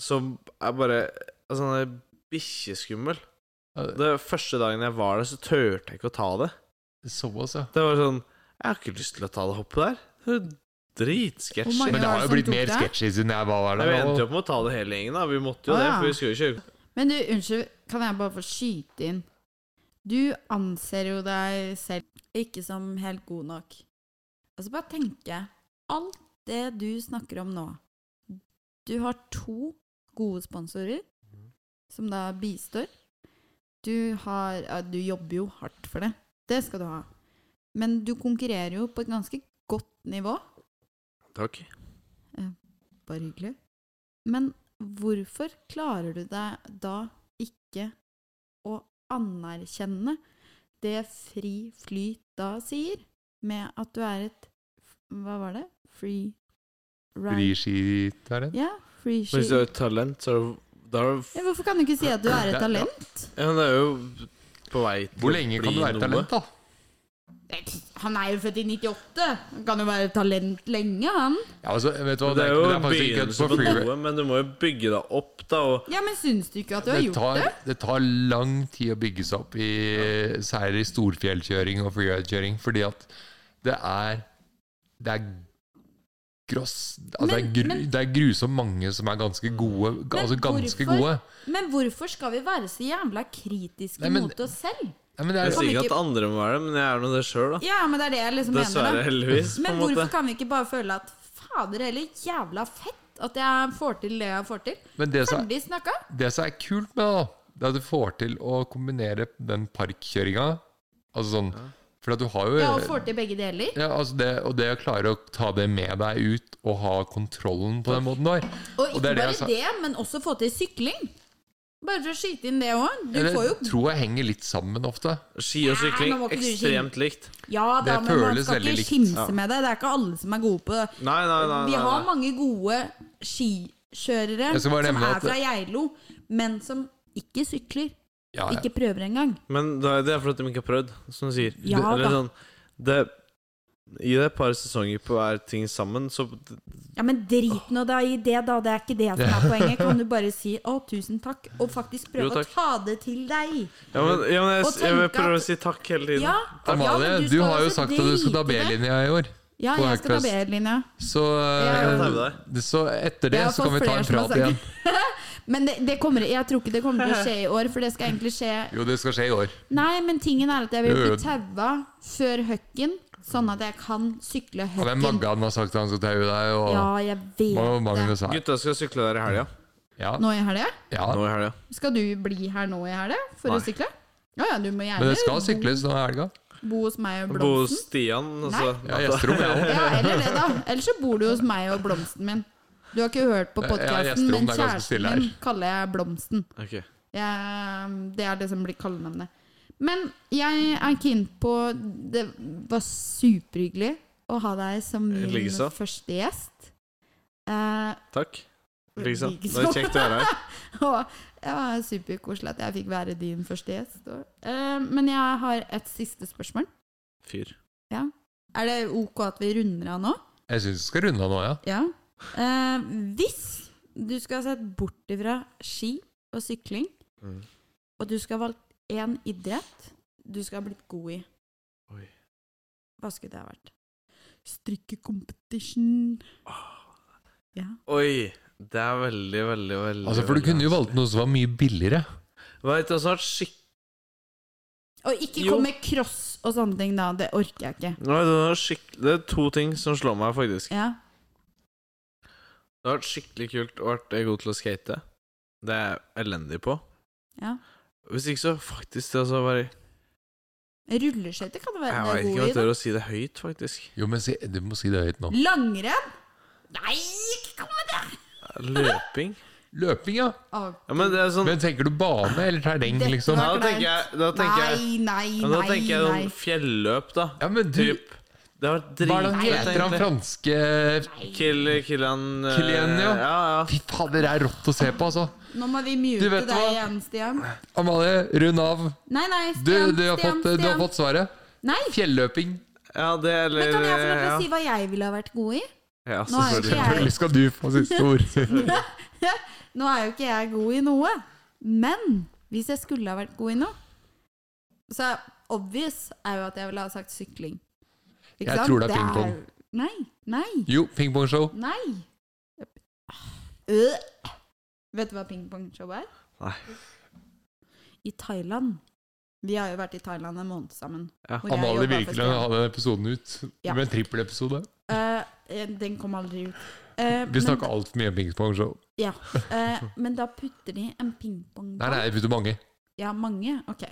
Speaker 5: som er bare Altså, han er bikkjeskummel. Det første dagen jeg var der, så turte jeg ikke å ta det.
Speaker 1: Såpass, ja.
Speaker 5: Det var sånn Jeg har ikke lyst til å ta det hoppet der. Det er jo
Speaker 3: Hvor
Speaker 5: dritsketsj.
Speaker 3: mange-
Speaker 1: Men det har
Speaker 3: var
Speaker 1: jo
Speaker 3: det
Speaker 1: blitt
Speaker 3: som
Speaker 1: mer
Speaker 3: tok det?
Speaker 1: sketsjy siden jeg var
Speaker 5: Vi
Speaker 1: der.
Speaker 5: endte jo
Speaker 1: nå.
Speaker 5: opp med å ta det hele gjengen, da. Vi måtte jo
Speaker 3: Ah,
Speaker 5: det,
Speaker 3: ja.
Speaker 5: for vi skulle jo ikke
Speaker 3: Men du, unnskyld, kan jeg bare få skyte inn? Du anser jo deg selv ikke som helt god nok. Altså, bare tenke. Alt det du snakker om nå Du har to gode sponsorer som da bistår. Du har ja, Du jobber jo hardt for det. Det skal du ha. Men du konkurrerer jo på et ganske godt nivå.
Speaker 5: Takk.
Speaker 3: Bare hyggelig. Men hvorfor klarer du deg da ikke å anerkjenne det Fri Flyt da sier, med at du er et Hva var det? Free ride?
Speaker 1: Friskit er det.
Speaker 3: Ja, free
Speaker 5: Men hvis du
Speaker 3: ski.
Speaker 5: har et talent, så er det, da er det
Speaker 3: Ja, hvorfor kan du ikke si at du er et
Speaker 5: Ja, ja.
Speaker 3: talent?
Speaker 5: Ja, men det er jo på vei til
Speaker 1: Hvor lenge kan du være talent, da?
Speaker 3: Han er jo født i 98! Han kan jo være talent lenge, han.
Speaker 1: Ja, altså, vet du hva,
Speaker 5: Det er jo
Speaker 1: men det
Speaker 5: en
Speaker 1: er faktisk ikke
Speaker 5: begynnelse
Speaker 1: kødd
Speaker 5: på
Speaker 1: på freeway.
Speaker 5: noe, men du må jo bygge deg opp, da. Og
Speaker 3: Ja, men syns du ikke at du har
Speaker 1: Det
Speaker 3: gjort
Speaker 1: tar,
Speaker 3: det?
Speaker 1: det tar lang tid å bygge seg opp, i, særlig i storfjellkjøring og freeride-kjøring, fordi at det er Det er gross altså
Speaker 3: Men-
Speaker 1: det, er gru,
Speaker 3: men-
Speaker 1: det er grusomt mange som er ganske gode. ga- Altså ganske
Speaker 3: hvorfor?
Speaker 1: gode.
Speaker 3: Men hvorfor skal vi være så jævla kritiske
Speaker 1: Nei, men-
Speaker 3: mot oss selv?
Speaker 1: Nei, men det
Speaker 5: jeg
Speaker 1: er,
Speaker 3: kan
Speaker 5: sier ikke
Speaker 3: ikke-
Speaker 5: at andre må være det, men jeg er nå det sjøl, da.
Speaker 3: Ja, men det er det jeg liksom
Speaker 5: Dessverre,
Speaker 3: mener. da.
Speaker 5: heldigvis, på
Speaker 3: Men
Speaker 5: en
Speaker 3: hvorfor
Speaker 5: måte.
Speaker 3: kan vi ikke bare føle at fader heller, jævla fett at jeg får til det jeg får til?
Speaker 1: men det, som,
Speaker 3: Ferdig snakka.
Speaker 1: er- det som er kult med det, da, det er at du får til å kombinere den parkkjøringa Altså sånn For at du har jo
Speaker 3: Ja, og får til begge deler.
Speaker 1: ja, altså det, og det å klare å ta det med deg ut og ha kontrollen på den måten du har.
Speaker 3: Og ikke
Speaker 1: og det er det jeg
Speaker 3: bare
Speaker 1: sa-
Speaker 3: det, men også få til sykling. Bare for å skyte inn det òg. Du
Speaker 1: Jeg
Speaker 3: får jo
Speaker 1: tror jeg henger litt sammen ofte.
Speaker 5: Ski og sykling,
Speaker 3: Nei, nå må ikke du
Speaker 5: ekstremt likt.
Speaker 3: Ja da,
Speaker 1: Det
Speaker 3: men man
Speaker 1: føles
Speaker 3: skal
Speaker 1: veldig
Speaker 3: ikke
Speaker 1: likt.
Speaker 3: kimse
Speaker 5: Ja.
Speaker 3: med det. Det er ikke alle som er gode på det.
Speaker 5: Nei, nei, nei.
Speaker 3: Vi
Speaker 5: nei,
Speaker 3: har
Speaker 5: nei.
Speaker 3: mange gode skikjørere
Speaker 1: Jeg skal
Speaker 3: som
Speaker 1: bare
Speaker 3: er
Speaker 1: nevne at-
Speaker 3: fra Geilo, men som ikke sykler.
Speaker 1: Ja, ja.
Speaker 3: Ikke prøver engang.
Speaker 5: Men det er- det er fordi de ikke har prøvd, som du sier.
Speaker 3: Ja,
Speaker 5: det, eller
Speaker 3: da.
Speaker 5: sånn, det, I det par sesonger på hver ting sammen, så
Speaker 3: Ja, men drit nå da i det, da. Det er ikke det som er poenget. Kan du bare si 'å, tusen takk', og faktisk prøve
Speaker 5: Jo,
Speaker 3: å
Speaker 5: takk.
Speaker 3: ta det til deg?
Speaker 5: Ja, men, ja, men jeg,
Speaker 3: Og
Speaker 5: jeg, jeg
Speaker 3: tenk
Speaker 5: prøver
Speaker 3: at-
Speaker 5: å si takk hele tiden.
Speaker 3: Ja,
Speaker 1: Amalie,
Speaker 3: men
Speaker 1: du,
Speaker 3: skal
Speaker 1: har jo
Speaker 3: også
Speaker 1: sagt at du skal ta
Speaker 3: drite i det.
Speaker 1: B-linja i år.
Speaker 3: Ja,
Speaker 1: på
Speaker 3: jeg skal ta
Speaker 1: Hackfest.
Speaker 3: B-linja.
Speaker 1: Så,
Speaker 3: Jeg
Speaker 5: kan taue
Speaker 1: eh, så etter det
Speaker 3: Jeg har
Speaker 1: så kan vi
Speaker 3: fått
Speaker 1: ta
Speaker 3: flere
Speaker 1: en
Speaker 3: som har
Speaker 1: prat igjen.
Speaker 3: Men det, det kommer, jeg tror ikke det kommer til å skje i år, for det skal egentlig skje
Speaker 1: Jo, det skal skje i år.
Speaker 3: Nei, men tingen er at jeg vil
Speaker 1: Jo, jo.
Speaker 3: bli taua før høkken, sånn at jeg kan sykle
Speaker 1: Han er
Speaker 3: høkken.
Speaker 1: Maggan har sagt at han skal taue deg, og
Speaker 3: Ja, jeg vet
Speaker 1: Mag-
Speaker 3: det.
Speaker 1: Magnus her.
Speaker 5: Gutta skal sykle der i helga.
Speaker 1: Ja,
Speaker 3: nå i helga?
Speaker 1: ja.
Speaker 5: Nå i helga.
Speaker 3: Skal du bli her nå i helga for å
Speaker 5: Nei.
Speaker 3: sykle? Å ja, du må gjerne
Speaker 1: Men det skal sykles denne helga.
Speaker 3: bo, bo hos meg og
Speaker 5: Bo hos
Speaker 3: blomsten.
Speaker 5: Stian, altså.
Speaker 1: Ja, gjesterom, jeg òg.
Speaker 3: Ja, eller det, da. Ellers så bor du hos meg og blomsten min. Du har ikke hørt på
Speaker 1: Ja,
Speaker 3: podkasten,
Speaker 1: gjesterom,
Speaker 3: men
Speaker 1: det er ganske
Speaker 3: kjæresten
Speaker 1: stille her.
Speaker 3: min kaller jeg Blomsten.
Speaker 5: Ok.
Speaker 3: Jeg, det er det som blir kallenavnet. Men jeg er keen på Det var superhyggelig å ha deg som min
Speaker 5: Likeså.
Speaker 3: første gjest. Eh,
Speaker 5: Takk. Liksom. Det
Speaker 3: likeså.
Speaker 5: er kjekt å være her.
Speaker 3: Og det var superkoselig at jeg fikk være din første gjest. Og, eh, men jeg har et siste spørsmål.
Speaker 5: Fyr.
Speaker 3: Er det ok at vi runder av nå?
Speaker 1: Jeg syns vi skal runde av nå, ja.
Speaker 3: Ja. Eh, hvis du skal ha sett bort ifra ski og sykling,
Speaker 5: Mm.
Speaker 3: og du skal ha valgt én idrett du skal ha blitt god i,
Speaker 5: Oi.
Speaker 3: hva skulle det ha vært? Strikkecompetition.
Speaker 5: Ah.
Speaker 3: Ja.
Speaker 5: Oi. Det er veldig, veldig, veldig
Speaker 1: Altså, For du kunne jo valgt noe som var mye billigere.
Speaker 5: Veit du hva som har vært skikk...
Speaker 3: Og ikke
Speaker 5: Jo.
Speaker 3: kom med cross og sånne ting, da. Det orker jeg ikke.
Speaker 5: Nei, det, var skikk... det er to ting som slår meg, faktisk.
Speaker 3: Ja.
Speaker 5: Det har vært skikkelig kult og vært eh, god til å skate. Det er jeg elendig på.
Speaker 3: Ja.
Speaker 5: Hvis ikke så faktisk det altså bare
Speaker 3: Rulleskøyter kan du være
Speaker 5: Jeg veit ikke om
Speaker 3: god i.
Speaker 5: jeg
Speaker 3: da.
Speaker 5: tør å si det høyt, faktisk.
Speaker 1: Jo, men si, Du må si det høyt nå.
Speaker 3: Langrenn? Nei, ikke kom med det!
Speaker 5: Løping?
Speaker 1: Løping, ja.
Speaker 5: Ja, men det er sånn
Speaker 1: Men tenker du bane eller terreng,
Speaker 3: Dette
Speaker 1: liksom?
Speaker 5: Ja, da tenker jeg Da tenker jeg,
Speaker 3: nei, nei,
Speaker 5: ja, da
Speaker 3: nei.
Speaker 5: tenker jeg
Speaker 3: nei.
Speaker 5: sånn fjelløp, da.
Speaker 1: Ja, men du
Speaker 5: Typ. Det har
Speaker 1: Hva er
Speaker 5: vært
Speaker 1: det han
Speaker 5: dritkult,
Speaker 1: heter, han
Speaker 5: egentlig.
Speaker 1: franske
Speaker 5: Kill, Killian eh,
Speaker 1: Killian, ja.
Speaker 5: ja, ja.
Speaker 1: Fy fader, det er rått å se på, altså.
Speaker 3: Nå må vi
Speaker 1: Du
Speaker 3: mute
Speaker 1: vet
Speaker 3: deg
Speaker 1: hva?
Speaker 3: igjen, Stian.
Speaker 1: Amalie, rund av.
Speaker 3: Nei, nei,
Speaker 1: Du,
Speaker 3: Stian.
Speaker 1: du, har,
Speaker 3: Stian,
Speaker 1: fått, du har
Speaker 3: Stian.
Speaker 1: fått svaret.
Speaker 3: Nei,
Speaker 1: Fjelløping.
Speaker 5: Ja, det eller
Speaker 3: men kan jeg få lov til
Speaker 5: ja.
Speaker 3: å si hva jeg ville ha vært god i? (laughs)
Speaker 5: Ja,
Speaker 3: Nå er jo ikke
Speaker 5: selvfølgelig.
Speaker 1: Selvfølgelig skal du få siste ord.
Speaker 3: Nå er jo ikke jeg god i noe, men hvis jeg skulle ha vært god i noe Så obvious er jo at jeg ville ha sagt sykling.
Speaker 1: Jeg tror det er pingpong.
Speaker 3: Nei, nei,
Speaker 1: (laughs) Jo, pingpongshow.
Speaker 3: nei. Øh. Vet du hva pingpongshow er?
Speaker 5: Nei.
Speaker 3: I Thailand. Vi har jo vært i Thailand en måned sammen.
Speaker 5: Ja.
Speaker 3: hvor jeg
Speaker 1: Amalie
Speaker 3: jobbet for
Speaker 1: Birkeland
Speaker 3: Stian.
Speaker 1: ha den episoden ut.
Speaker 3: Ja.
Speaker 1: Med en trippelepisode.
Speaker 3: Eh, den kom aldri ut. Eh,
Speaker 1: Vi
Speaker 3: men,
Speaker 1: snakka altfor mye om pingpongshow.
Speaker 3: eh, men da putter de en
Speaker 1: Nei,
Speaker 3: pingpongball
Speaker 1: nei, vet du mange.
Speaker 3: Ja, mange? Ok.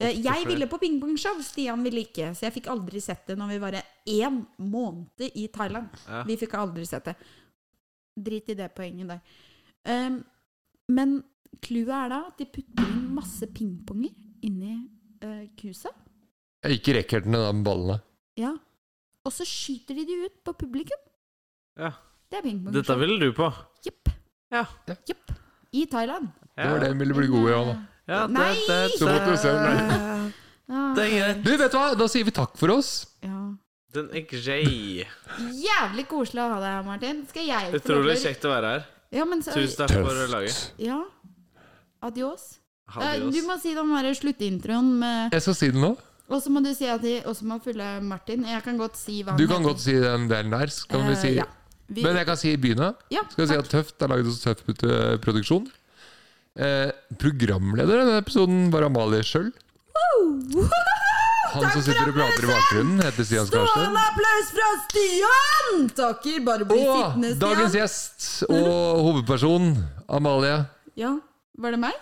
Speaker 3: Eh, jeg ville på pingpongshow, Stian ville ikke. Så jeg fikk aldri sett det når vi var én måned i Thailand.
Speaker 5: Ja.
Speaker 3: Vi fikk aldri sett det. Drit i det poenget der. Ehm, men clouet er da at de putter inn masse pingponger inni uh, kusa.
Speaker 1: Ikke racketene, da, med ballene.
Speaker 3: Ja. Og så skyter de de ut på publikum.
Speaker 5: Ja.
Speaker 3: Det er pingpongshow.
Speaker 5: Dette ville du på.
Speaker 3: Jepp.
Speaker 5: Ja.
Speaker 3: Jepp. I Thailand.
Speaker 5: Ja.
Speaker 1: Det var det hun ville bli god i. Anna.
Speaker 5: Ja, det,
Speaker 3: Nei!
Speaker 5: det, det,
Speaker 1: Så måtte du se den.
Speaker 3: Ah,
Speaker 5: det er greit.
Speaker 1: Du, vet du hva? Da sier vi takk for oss.
Speaker 3: ja.
Speaker 5: Den er grei.
Speaker 3: Jævlig koselig å ha deg her, Martin. Skal jeg få lov
Speaker 5: Utrolig
Speaker 3: til å-
Speaker 5: kjekt å være her.
Speaker 3: Ja, men så,
Speaker 5: Tusen takk for laget.
Speaker 3: Ja. Adios. Eh,
Speaker 5: Adios.
Speaker 3: du må si den derre sluttintroen med
Speaker 1: Jeg skal si det nå.
Speaker 3: Og så må du si at de også må følge Martin. Jeg kan godt si hva
Speaker 1: Du kan godt si den delen der. så Kan vi si.
Speaker 3: Eh, ja. Vi,
Speaker 1: Men jeg kan si begynne.
Speaker 3: ja,
Speaker 1: Skal jeg si
Speaker 3: takk.
Speaker 1: at Tøft er laget hos Tøft eh, Produksjon. Eh, programleder i denne episoden var Amalie sjøl.
Speaker 3: Wow!
Speaker 1: Han
Speaker 3: Takk
Speaker 1: som
Speaker 3: for
Speaker 1: sitter og prater i bakgrunnen, heter Stian Skarstein.
Speaker 3: Stående applaus fra Stian! Takker. Bare bli
Speaker 1: Og
Speaker 3: sittende, Stian.
Speaker 1: dagens gjest og hovedperson, Amalie.
Speaker 3: Ja, var det meg?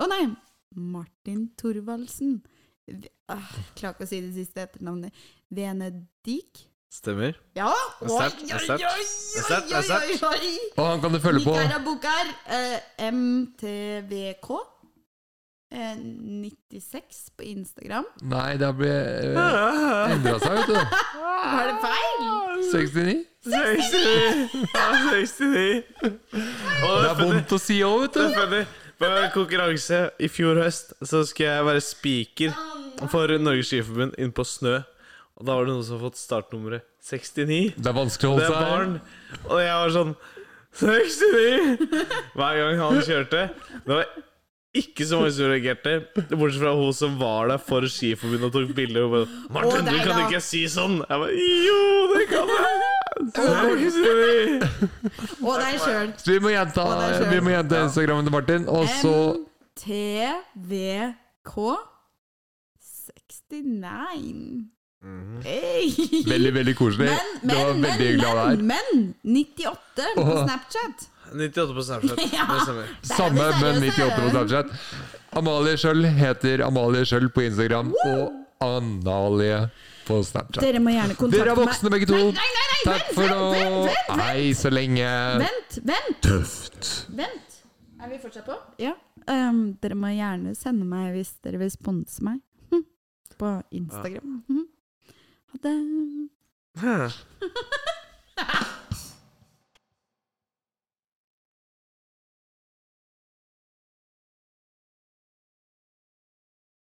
Speaker 3: Å nei, Martin Thorvaldsen. V- Ah, Klarer ikke å si det siste etternavnet. Venedik?
Speaker 5: Stemmer.
Speaker 3: Ja!
Speaker 5: er sterkt, det er sterkt. Det er sterkt, det er sterkt.
Speaker 3: oi!
Speaker 1: Og han kan du følge på
Speaker 3: Nikara Bukar, eh, MTVK. eh, 96 på Instagram.
Speaker 1: Nei, det har blitt eh, endra seg, vet du.
Speaker 3: Var det feil?
Speaker 1: 69.
Speaker 5: 69! Ja, 69. Og
Speaker 1: Det er vondt å si òg, vet
Speaker 5: Det
Speaker 1: du.
Speaker 5: er funny. På en konkurranse i fjor høst så skulle jeg være speaker for Norges Skiforbund inne på snø. Og da var det noen som har fått startnummeret 69.
Speaker 1: Det er vanskelig å holde
Speaker 5: Det er
Speaker 1: seg her.
Speaker 5: barn. Og jeg var sånn 69! Hver gang han kjørte. Det var ikke så mange som reagerte, bortsett fra hun som var der for Skiforbundet og tok bilde. Hun bare 'Martin,
Speaker 3: Å,
Speaker 5: du
Speaker 3: nei
Speaker 5: kan
Speaker 3: da.
Speaker 5: ikke si sånn!' Jeg bare 'Jo, det kan
Speaker 3: (laughs)
Speaker 5: jeg!' 69! (laughs)
Speaker 3: Og deg sjøl.
Speaker 1: Så vi må gjenta,
Speaker 3: Å, det er skjønt.
Speaker 1: vi må gjenta Instagrammen til Martin, og så
Speaker 3: MTVK 69.
Speaker 5: Mhm.
Speaker 3: Hey.
Speaker 1: Veldig, veldig koselig.
Speaker 3: Men, men,
Speaker 1: det var
Speaker 3: men,
Speaker 1: veldig hyggelig å ha deg her.
Speaker 3: men, men 98 på
Speaker 1: Åh.
Speaker 3: Snapchat.
Speaker 5: 98 på Snapchat.
Speaker 3: (laughs)
Speaker 5: Det stemmer.
Speaker 1: Samme,
Speaker 3: det
Speaker 1: men
Speaker 3: seriøse.
Speaker 1: 98 på Snapchat. Amalie Skjøll heter Amalie Skjøll på Instagram og Analie på Snapchat.
Speaker 3: Dere må gjerne kontakte
Speaker 1: Dere er voksne begge to.
Speaker 3: meg. Nei, nei, nei,
Speaker 1: Takk
Speaker 3: vent,
Speaker 1: for
Speaker 3: vent, vent,
Speaker 1: nå.
Speaker 3: vent,
Speaker 1: Hei, så lenge.
Speaker 3: Vent, vent! Tøft. Vent. Er vi fortsatt på? Ja. Ehm, dere må gjerne sende meg hvis dere vil sponse meg. Hm. På Instagram. Hm. Ha det.
Speaker 5: Hæ.